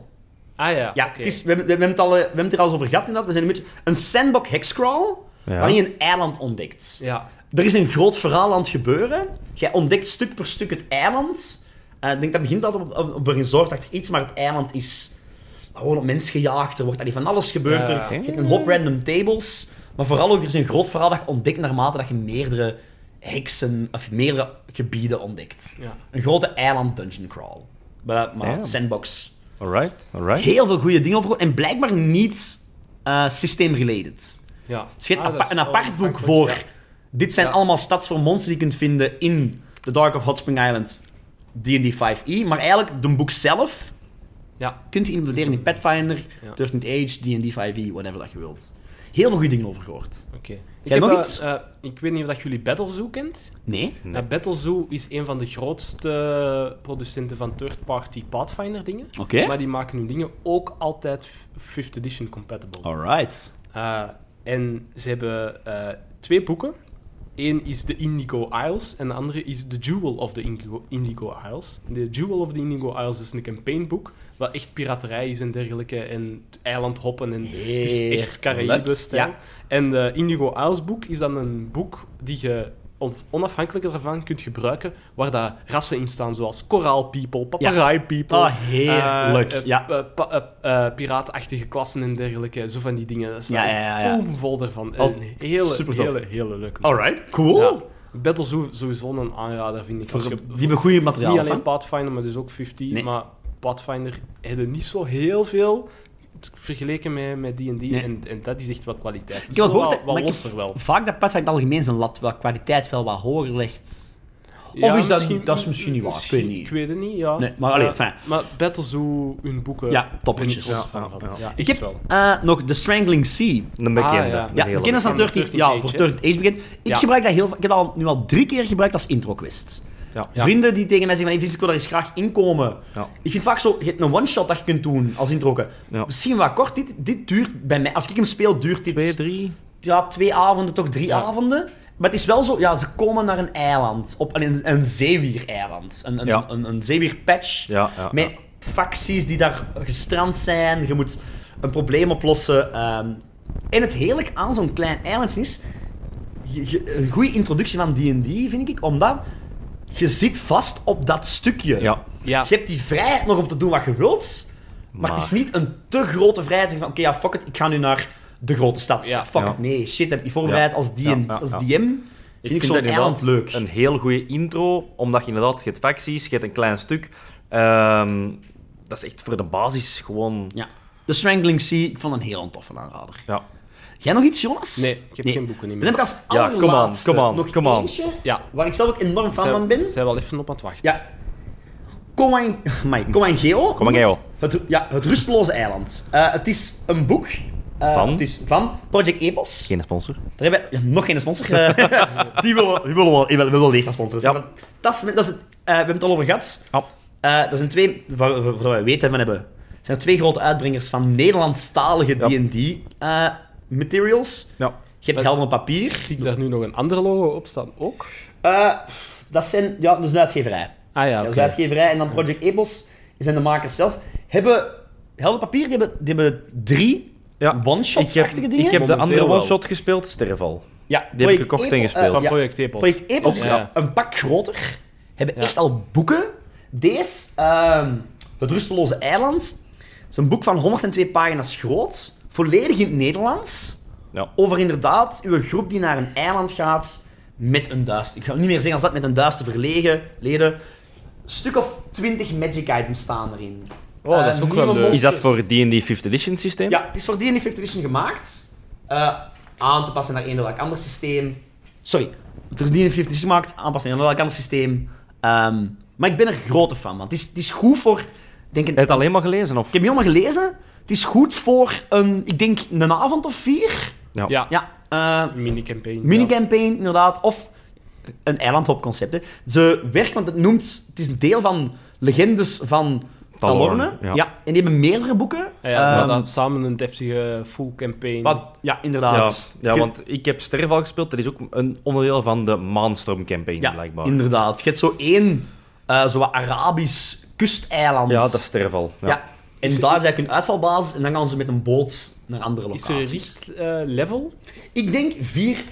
Speaker 3: Ah ja,
Speaker 1: Ja,
Speaker 3: oké.
Speaker 1: het is, we, hebben, we, hebben het al, eh, we hebben het er al eens over gehad inderdaad. We zijn een beetje een sandbox hexcrawl,
Speaker 2: Ja.
Speaker 1: waarin je een eiland ontdekt.
Speaker 3: Ja.
Speaker 1: Er is een groot verhaal aan het gebeuren. Jij ontdekt stuk per stuk het eiland. Eh, ik denk dat begint altijd op, op, op een resortachtig iets, maar het eiland is gewoon op mensen gejaagd. Er wordt allee, van alles gebeurd.
Speaker 3: Ja.
Speaker 1: Er- Je hebt een hoop random tables. Maar vooral ook, er is een groot verhaal dat je ontdekt naarmate dat je meerdere heksen, of meerdere gebieden ontdekt.
Speaker 3: Ja.
Speaker 1: Een grote eiland dungeon crawl. Maar, maar
Speaker 2: Ja.
Speaker 1: sandbox
Speaker 2: Alright, alright.
Speaker 1: heel veel goede dingen over gehoord en blijkbaar niet eh systeemrelated.
Speaker 3: ja.
Speaker 1: Dus je hebt
Speaker 3: Ah,
Speaker 1: apa-
Speaker 3: dat is
Speaker 1: een
Speaker 3: wel
Speaker 1: apart boek
Speaker 3: praktisch,
Speaker 1: voor.
Speaker 3: ja.
Speaker 1: Dit zijn
Speaker 3: Ja.
Speaker 1: allemaal stads voor monsters die je kunt vinden in The Dark of Hot Spring Island, D&D 5e. E. Maar eigenlijk, de boek zelf
Speaker 3: Ja.
Speaker 1: kunt je implementeren in Pathfinder,
Speaker 3: Ja.
Speaker 1: 13th Age, D&D 5e, E, whatever dat je wilt. Heel veel goede dingen over gehoord.
Speaker 3: Oké. Ik,
Speaker 1: Jij
Speaker 3: heb,
Speaker 1: nog
Speaker 3: eh,
Speaker 1: iets?
Speaker 3: eh, ik weet niet of dat jullie Battlezoo kent.
Speaker 1: Nee?
Speaker 2: Nee.
Speaker 3: Eh, Battlezoo is een van de grootste producenten van third-party Pathfinder dingen.
Speaker 1: Oké.
Speaker 3: Maar die maken hun dingen ook altijd 5th edition compatible.
Speaker 1: Alright.
Speaker 3: Eh, en ze hebben eh, twee boeken. Eén is The Indigo Isles en de andere is The Jewel of the Indigo, Indigo Isles. De Jewel of the Indigo Isles is een campaignboek, wat echt piraterij is en dergelijke, en t- eilandhoppen en het is echt Caraïbe-stijl.
Speaker 1: Ja.
Speaker 3: En de Indigo Isles boek is dan een boek die je on- onafhankelijk daarvan kunt gebruiken, waar daar rassen in staan, zoals Coral People, Papagai People.
Speaker 1: Ah, heerlijk,
Speaker 3: eh, eh,
Speaker 1: ja.
Speaker 3: eh, pa- eh, eh, piraatachtige klassen en dergelijke, zo van die dingen. Dat is
Speaker 1: Ja, ja, ja, ja.
Speaker 3: vol daarvan.
Speaker 1: Oh,
Speaker 3: Een Eh, hele,
Speaker 1: supertof.
Speaker 3: hele, hele leuke.
Speaker 1: Alright, cool.
Speaker 3: Ja. Battlezoo sowieso een aanrader, vind ik.
Speaker 1: Voor-
Speaker 3: Als je-
Speaker 1: die hebben goede materiaal.
Speaker 3: niet alleen
Speaker 1: van.
Speaker 3: Pathfinder, maar dus ook 50.
Speaker 1: Nee.
Speaker 3: Maar Pathfinder hadden niet zo heel veel t- vergeleken met met D&D. en, en dat is echt wat kwaliteit.
Speaker 1: Ik heb wel gehoord,
Speaker 3: wat,
Speaker 1: dat- maar ik heb
Speaker 3: losser wel.
Speaker 1: vaak dat Pathfinder in het algemeen zijn lat wel kwaliteit wel wat hoger legt.
Speaker 3: Ja,
Speaker 1: is dat- dat is misschien niet waar, ik weet niet.
Speaker 3: Ik weet het niet, ja.
Speaker 1: Nee, maar allee,
Speaker 3: Eh,
Speaker 1: fijn.
Speaker 3: maar Battlezoo, hun boeken...
Speaker 1: Ja, toppetjes.
Speaker 3: ben ik wel
Speaker 1: Ja,
Speaker 3: fan
Speaker 2: ja,
Speaker 3: van.
Speaker 2: ja.
Speaker 3: Ja,
Speaker 1: Ik
Speaker 3: echt
Speaker 1: heb
Speaker 3: wel.
Speaker 1: eh, nog The Strangling Sea.
Speaker 2: Een bekende.
Speaker 3: Ah, ja.
Speaker 2: Een
Speaker 1: Ja,
Speaker 2: hele
Speaker 1: bekend als van
Speaker 2: bekende.
Speaker 1: 13
Speaker 3: 13th
Speaker 1: Ja,
Speaker 3: Age,
Speaker 1: voor
Speaker 3: hè?
Speaker 1: 13 Age bekend. Ik
Speaker 3: Ja.
Speaker 1: gebruik dat heel vaak. Ik heb dat al, nu al drie keer gebruikt als intro quest.
Speaker 2: Ja.
Speaker 1: Vrienden die tegen mij zeggen van, "Hey, Vince, ik wil daar eens graag inkomen.
Speaker 2: Ja.
Speaker 1: Ik vind het vaak zo, je hebt een one-shot dat je kunt doen als intro.
Speaker 2: Ja.
Speaker 1: Misschien wat kort, dit, dit duurt bij mij, als ik hem speel, duurt dit
Speaker 2: Twee, drie.
Speaker 1: ja, twee avonden, toch drie
Speaker 3: Ja.
Speaker 1: avonden. Maar het is wel zo, ja, ze komen naar een eiland, op een, een zeewiereiland. Een, een,
Speaker 2: Ja.
Speaker 1: een, een zeewierpatch
Speaker 2: Ja, ja,
Speaker 1: met
Speaker 2: ja.
Speaker 1: facties die daar gestrand zijn. Je moet een probleem oplossen. ehm. en het heerlijk aan zo'n klein eilandje is, je- je- een goede introductie van D&D, vind ik, omdat je zit vast op dat stukje.
Speaker 2: Ja.
Speaker 3: Ja.
Speaker 1: Je hebt die vrijheid nog om te doen wat je wilt, maar, het is
Speaker 2: Maar-
Speaker 1: niet een te grote vrijheid. Zeg van, oké, ja, fuck it, ik ga nu naar de grote stad.
Speaker 3: Ja.
Speaker 1: Fuck
Speaker 2: Ja.
Speaker 1: it, nee, shit, heb ik niet voorbereid
Speaker 2: Ja.
Speaker 1: als, DM,
Speaker 2: Ja, ja,
Speaker 1: als
Speaker 2: ja.
Speaker 1: DM. Vind ik, zo'n
Speaker 2: dat inderdaad
Speaker 1: eiland leuk.
Speaker 2: Een heel goede intro, omdat je inderdaad, je hebt facties, je hebt een klein stuk. Ehm, dat is echt voor de basis gewoon...
Speaker 1: Ja. The Strangling Sea, ik vond een heel toffe aanrader.
Speaker 2: Ja.
Speaker 1: Jij nog iets, Jonas?
Speaker 3: Nee, ik heb geen boeken
Speaker 1: Dan
Speaker 3: meer.
Speaker 1: heb ik als
Speaker 2: Ja, come on,
Speaker 1: allerlaatste
Speaker 2: come on,
Speaker 1: nog
Speaker 2: come on.
Speaker 1: eentje,
Speaker 3: Ja.
Speaker 1: waar ik zelf ook enorm fan
Speaker 3: Zij-
Speaker 1: van ben.
Speaker 3: Zij wel even op aan het wachten.
Speaker 1: Ja. Coan- amai, Coangeo.
Speaker 2: Coangeo.
Speaker 1: Het, ja, het rusteloze eiland. Eh, het is een boek. eh,
Speaker 2: Van?
Speaker 1: Het is van Project Epos.
Speaker 2: Geen sponsor.
Speaker 1: Daar hebben we nog geen sponsor. Eh, die willen die willen wel, die willen, we willen echt als sponsor. Dus
Speaker 2: Ja.
Speaker 1: dat, dat is, dat is, het- eh, we hebben het al over gehad.
Speaker 2: Ja.
Speaker 1: Eh, er zijn twee, voor, voor, voor wat wij weten van hebben, zijn er twee grote uitbrengers van Nederlandstalige
Speaker 2: Ja.
Speaker 1: D&D eh, materials.
Speaker 2: Ja.
Speaker 1: Je hebt helm op papier.
Speaker 3: Zie ik daar nu nog een ander logo op staan ook?
Speaker 1: Eh, dat zijn, ja, dat is een uitgeverij.
Speaker 3: Ah ja,
Speaker 1: Dat is
Speaker 3: oké.
Speaker 1: een uitgeverij. En dan Project Epos, zijn de makers zelf, hebben helm op papier, die hebben, die hebben drie
Speaker 2: Ja. ik
Speaker 1: one-shots-achtige
Speaker 2: heb,
Speaker 1: dingen.
Speaker 2: Ik heb de
Speaker 3: Momenteel
Speaker 2: andere
Speaker 3: wel.
Speaker 2: one-shot gespeeld, Sterval.
Speaker 1: ja,
Speaker 2: heb ik
Speaker 1: Project
Speaker 2: gekocht en
Speaker 1: Epos- eh,
Speaker 2: gespeeld.
Speaker 3: Van
Speaker 1: ja.
Speaker 3: Project Epos.
Speaker 1: Project Epos is
Speaker 3: Ja.
Speaker 1: al een pak groter. Hebben
Speaker 3: Ja.
Speaker 1: echt al boeken. Deze, ehm, Het Rusteloze Eiland, is een boek van 102 pagina's groot. Volledig in het Nederlands.
Speaker 2: Ja.
Speaker 1: Over inderdaad uw groep die naar een eiland gaat met een duister. Ik ga niet meer zeggen als dat met een duister verlegen leden. stuk of 20 magic items staan erin.
Speaker 3: Oh, dat is
Speaker 1: Eh,
Speaker 3: ook
Speaker 1: nieuwe
Speaker 3: wel leuk.
Speaker 2: Is dat
Speaker 1: monsters.
Speaker 2: voor D&D 5th edition systeem?
Speaker 1: Ja, het is voor die 5th Edition gemaakt. eh, aan te passen naar een welk ander systeem. Sorry, voor die 5th Edition gemaakt, aanpassen naar een welk ander systeem. Ehm, maar ik ben er grote fan van. Het is, het is goed voor... ik Denk een-
Speaker 2: Heb je het alleen maar gelezen? Of?
Speaker 1: ik heb helemaal gelezen. Het is goed voor een, ik denk, een avond of vier.
Speaker 3: Ja,
Speaker 1: Ja, eh,
Speaker 3: minicampaign.
Speaker 1: minicampaign inderdaad. Of een eilandhopconcept. hè. Ze werken, want het noemt... Het is een deel van Legendes van
Speaker 2: Talorne,
Speaker 1: Talorne.
Speaker 2: ja.
Speaker 1: Ja. en die hebben meerdere boeken.
Speaker 3: Ja, ja, maar
Speaker 1: Ehm,
Speaker 3: dan samen een deftige full campaign.
Speaker 1: wat, ja
Speaker 2: Ja,
Speaker 1: inderdaad.
Speaker 2: ja,
Speaker 1: Je-
Speaker 2: want ik heb Sterval gespeeld. Dat is ook een onderdeel van de Maanstorm campaign,
Speaker 1: Ja,
Speaker 2: blijkbaar.
Speaker 1: inderdaad. Je hebt zo één eh, zo wat Arabisch kusteiland.
Speaker 2: Ja, dat is Sterval. Ja.
Speaker 1: Ja. En
Speaker 3: Is-
Speaker 1: daar is eigenlijk een uitvalbasis en dan gaan ze met een boot naar andere
Speaker 3: Is er een
Speaker 1: locaties.
Speaker 3: richt eh, level?
Speaker 1: Ik denk 4,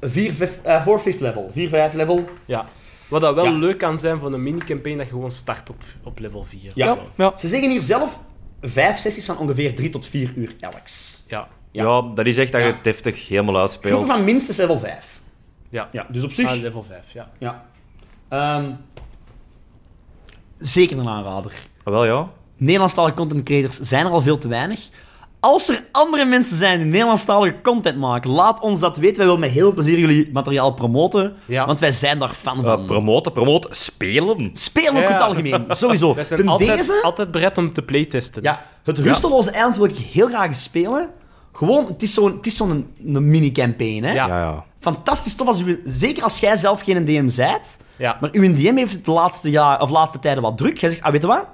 Speaker 1: 4, 5 eh, level. 4, 5 level.
Speaker 3: Ja. Wat dat wel
Speaker 1: Ja.
Speaker 3: leuk kan zijn van een mini-campaign, dat je gewoon start op, op level 4.
Speaker 1: Ja.
Speaker 3: Zo.
Speaker 2: Ja.
Speaker 1: Ze zeggen hier zelf 5 sessies van ongeveer 3 tot 4 uur elks.
Speaker 3: ja.
Speaker 1: Ja.
Speaker 2: Ja, dat is echt dat je
Speaker 3: Ja.
Speaker 2: het deftig helemaal
Speaker 1: Groepen
Speaker 2: uitspeelt. Ah,
Speaker 1: van minstens level 5.
Speaker 3: Ja.
Speaker 1: Ja, dus op
Speaker 3: Ah,
Speaker 1: zich.
Speaker 3: level 5, ja.
Speaker 1: Ja. Ehm, zeker een aanrader.
Speaker 2: Ah, Wel ja.
Speaker 1: Nederlandstalige content creators zijn er al veel te weinig. Als er andere mensen zijn die Nederlandstalige content maken, laat ons dat weten. Wij willen met heel plezier jullie materiaal promoten,
Speaker 3: Ja.
Speaker 1: want wij zijn daar fan
Speaker 2: Eh,
Speaker 1: van.
Speaker 2: promoten, promoten, spelen.
Speaker 1: Spelen ook in het
Speaker 3: Ja.
Speaker 1: algemeen, sowieso.
Speaker 3: Wij
Speaker 1: Ten
Speaker 3: zijn altijd,
Speaker 1: deze,
Speaker 3: altijd bereid om te playtesten.
Speaker 1: ja, het rusteloze eiland wil ik heel graag eens spelen. Gewoon, het is zo'n het is zo'n een mini-campaign. Hè?
Speaker 3: Ja.
Speaker 2: Ja, ja.
Speaker 1: Fantastisch tof, als u, zeker als jij zelf geen DM zijt.
Speaker 3: Ja.
Speaker 1: Maar uw DM heeft het de laatste, jaar, of laatste tijden wat druk. Jij zegt, ah, weet je wat?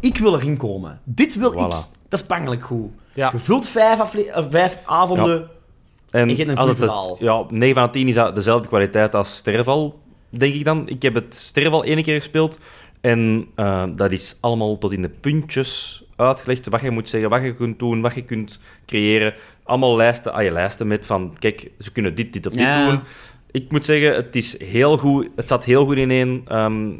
Speaker 1: Ik wil erin komen. Dit wil ik.
Speaker 2: Voilà.
Speaker 1: Dat is pangelijk goed.
Speaker 3: Ja.
Speaker 1: Je vult vijf, afle- eh, vijf avonden.
Speaker 2: En
Speaker 1: Ik heb een
Speaker 2: als
Speaker 1: goed
Speaker 2: het
Speaker 1: verhaal.
Speaker 2: is, ja, 9 van de 10 is dat dezelfde kwaliteit als Sterval, denk ik dan. Ik heb het Sterval één keer gespeeld. En eh, dat is allemaal tot in de puntjes uitgelegd. Wat je moet zeggen, wat je kunt doen, wat je kunt creëren. Allemaal lijsten aan je lijsten met van, kijk, ze kunnen dit, dit of dit
Speaker 1: Ja.
Speaker 2: doen. Ik moet zeggen, het is heel goed. Het zat heel goed ineen. Ehm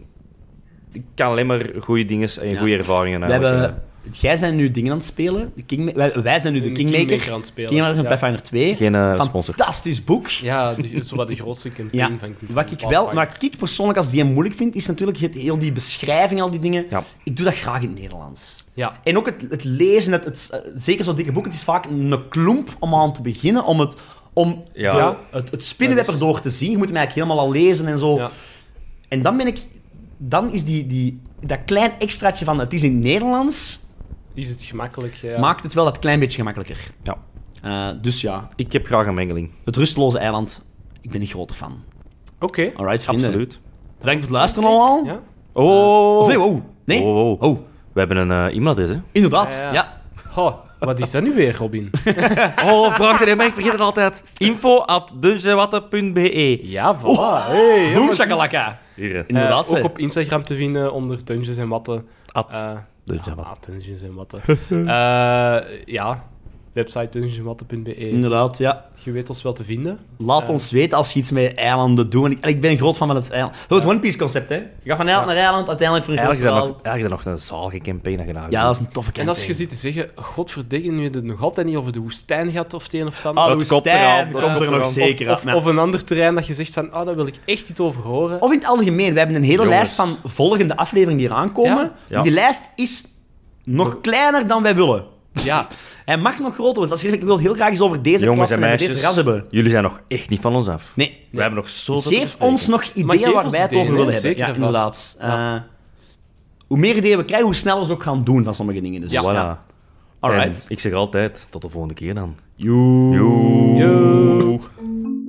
Speaker 2: ik kan alleen maar goede dingen en
Speaker 1: Ja.
Speaker 2: goede ervaringen
Speaker 1: We
Speaker 2: eigenlijk, eh.
Speaker 1: hebben... Jij zijn nu dingen aan het spelen. De Kingma- wij, wij zijn nu de
Speaker 3: Een
Speaker 1: Kingmaker.
Speaker 3: Kingmaker aan het spelen.
Speaker 1: Kingmaker van
Speaker 3: Ja.
Speaker 1: Pathfinder 2.
Speaker 2: Geen, eh, sponsor.
Speaker 1: Fantastisch boek.
Speaker 3: Ja, de, zo wat de grootste campaign
Speaker 1: Ja,
Speaker 3: van
Speaker 1: wat ik wel, maar ik persoonlijk als die hem moeilijk vind, is natuurlijk het, heel die beschrijving, al die dingen.
Speaker 2: Ja.
Speaker 1: Ik doe dat graag in het Nederlands.
Speaker 3: Ja.
Speaker 1: En ook het, het lezen, het, het, eh, zeker zo'n dikke boek, het is vaak een klomp om aan te beginnen, om het, om
Speaker 2: Ja.
Speaker 1: de-
Speaker 2: Ja.
Speaker 1: het, het spinnenweb
Speaker 3: Dat is-
Speaker 1: erdoor te zien. Je moet hem eigenlijk helemaal al lezen en zo.
Speaker 3: Ja.
Speaker 1: En dan ben ik, dan is die, die, dat klein extraatje van het is in het Nederlands,
Speaker 3: Is het gemakkelijk? Ja.
Speaker 1: maakt het wel dat klein beetje gemakkelijker.
Speaker 2: Ja.
Speaker 1: Eh, dus ja,
Speaker 2: Ik heb graag een mengeling.
Speaker 1: het rusteloze eiland, ik ben een grote fan.
Speaker 3: Oké.
Speaker 1: Alright, vrienden.
Speaker 2: Absoluut.
Speaker 1: Bedankt voor het luisteren allemaal.
Speaker 3: Ja.
Speaker 2: Oh!
Speaker 1: Of nee, wow. Nee.
Speaker 2: Oh, oh, oh.
Speaker 1: Oh,
Speaker 2: We hebben een eh, e-mailadres, hè?
Speaker 1: inderdaad. Ja,
Speaker 3: Ja, ja. Oh, wat is dat nu weer, Robin?
Speaker 2: Oh, vraag het maar ik vergeet het altijd. Info at dezewatte.be
Speaker 3: Ja, voilà. Hey,
Speaker 1: Boem,
Speaker 3: jongens.
Speaker 1: shakalaka.
Speaker 2: Hier,
Speaker 3: Eh,
Speaker 1: Inderdaad,
Speaker 3: ook
Speaker 1: hè.
Speaker 3: op Instagram te vinden onder Dungeons en Watten.
Speaker 2: at
Speaker 3: Eh,
Speaker 2: dezewatte.
Speaker 3: ah, Dungeons en Watten. Eh, ja, website dungeonswatten.be.
Speaker 1: Inderdaad, ja.
Speaker 3: Je weet ons wel te vinden.
Speaker 1: Laat ons weten als je iets met eilanden doet. En ik, en ik ben een groot fan van het eiland. Zo het One Piece concept, hè. Je gaat van eiland naar eiland, uiteindelijk voor een groot
Speaker 2: Eigenlijk is dat nog,
Speaker 1: verhaal.
Speaker 2: eigenlijk is dat nog een zalige campaign dat je daar
Speaker 1: Ja, dat is een toffe
Speaker 3: En
Speaker 1: campaign.
Speaker 3: als je zit te zeggen, godverdikke, nu je het nog altijd niet over de woestijn gaat of het een of het ander.
Speaker 1: Ah,
Speaker 2: Het
Speaker 1: Louis
Speaker 2: komt
Speaker 1: Stijn
Speaker 2: eraan, dat
Speaker 1: komt
Speaker 2: komt
Speaker 1: er nog
Speaker 2: eraan.
Speaker 1: zeker
Speaker 3: of,
Speaker 1: af.
Speaker 3: of een ander terrein dat je zegt van, ah, daar wil ik echt iets over horen.
Speaker 1: Of in het algemeen, we hebben een hele
Speaker 2: Jongens.
Speaker 1: lijst van volgende afleveringen die eraan komen.
Speaker 3: Ja,
Speaker 2: ja.
Speaker 1: Die lijst is nog kleiner dan wij willen.
Speaker 3: Ja,
Speaker 1: Hij mag nog groter worden. Als je zegt, ik wil heel graag iets over deze
Speaker 2: Jongens en
Speaker 1: klassen en,
Speaker 2: meisjes,
Speaker 1: deze ras hebben.
Speaker 2: jullie zijn nog echt niet van ons af.
Speaker 1: Nee,
Speaker 2: We hebben nog zoveel te
Speaker 1: Geef
Speaker 2: bespreken.
Speaker 1: ons nog
Speaker 3: Maar geef
Speaker 1: ideeën waar
Speaker 3: ons
Speaker 1: wij het
Speaker 3: ideeën,
Speaker 1: over willen
Speaker 3: hè,
Speaker 1: hebben.
Speaker 3: zeker
Speaker 1: Ja,
Speaker 3: en
Speaker 1: inderdaad.
Speaker 3: vast. Ja.
Speaker 1: Eh, hoe meer ideeën we krijgen, hoe sneller we ze ook gaan doen van sommige dingen. Dus.
Speaker 2: Voilà.
Speaker 1: Alright.
Speaker 2: En ik zeg altijd, tot de volgende keer dan.
Speaker 1: Joe.
Speaker 2: Joe.
Speaker 3: Joe.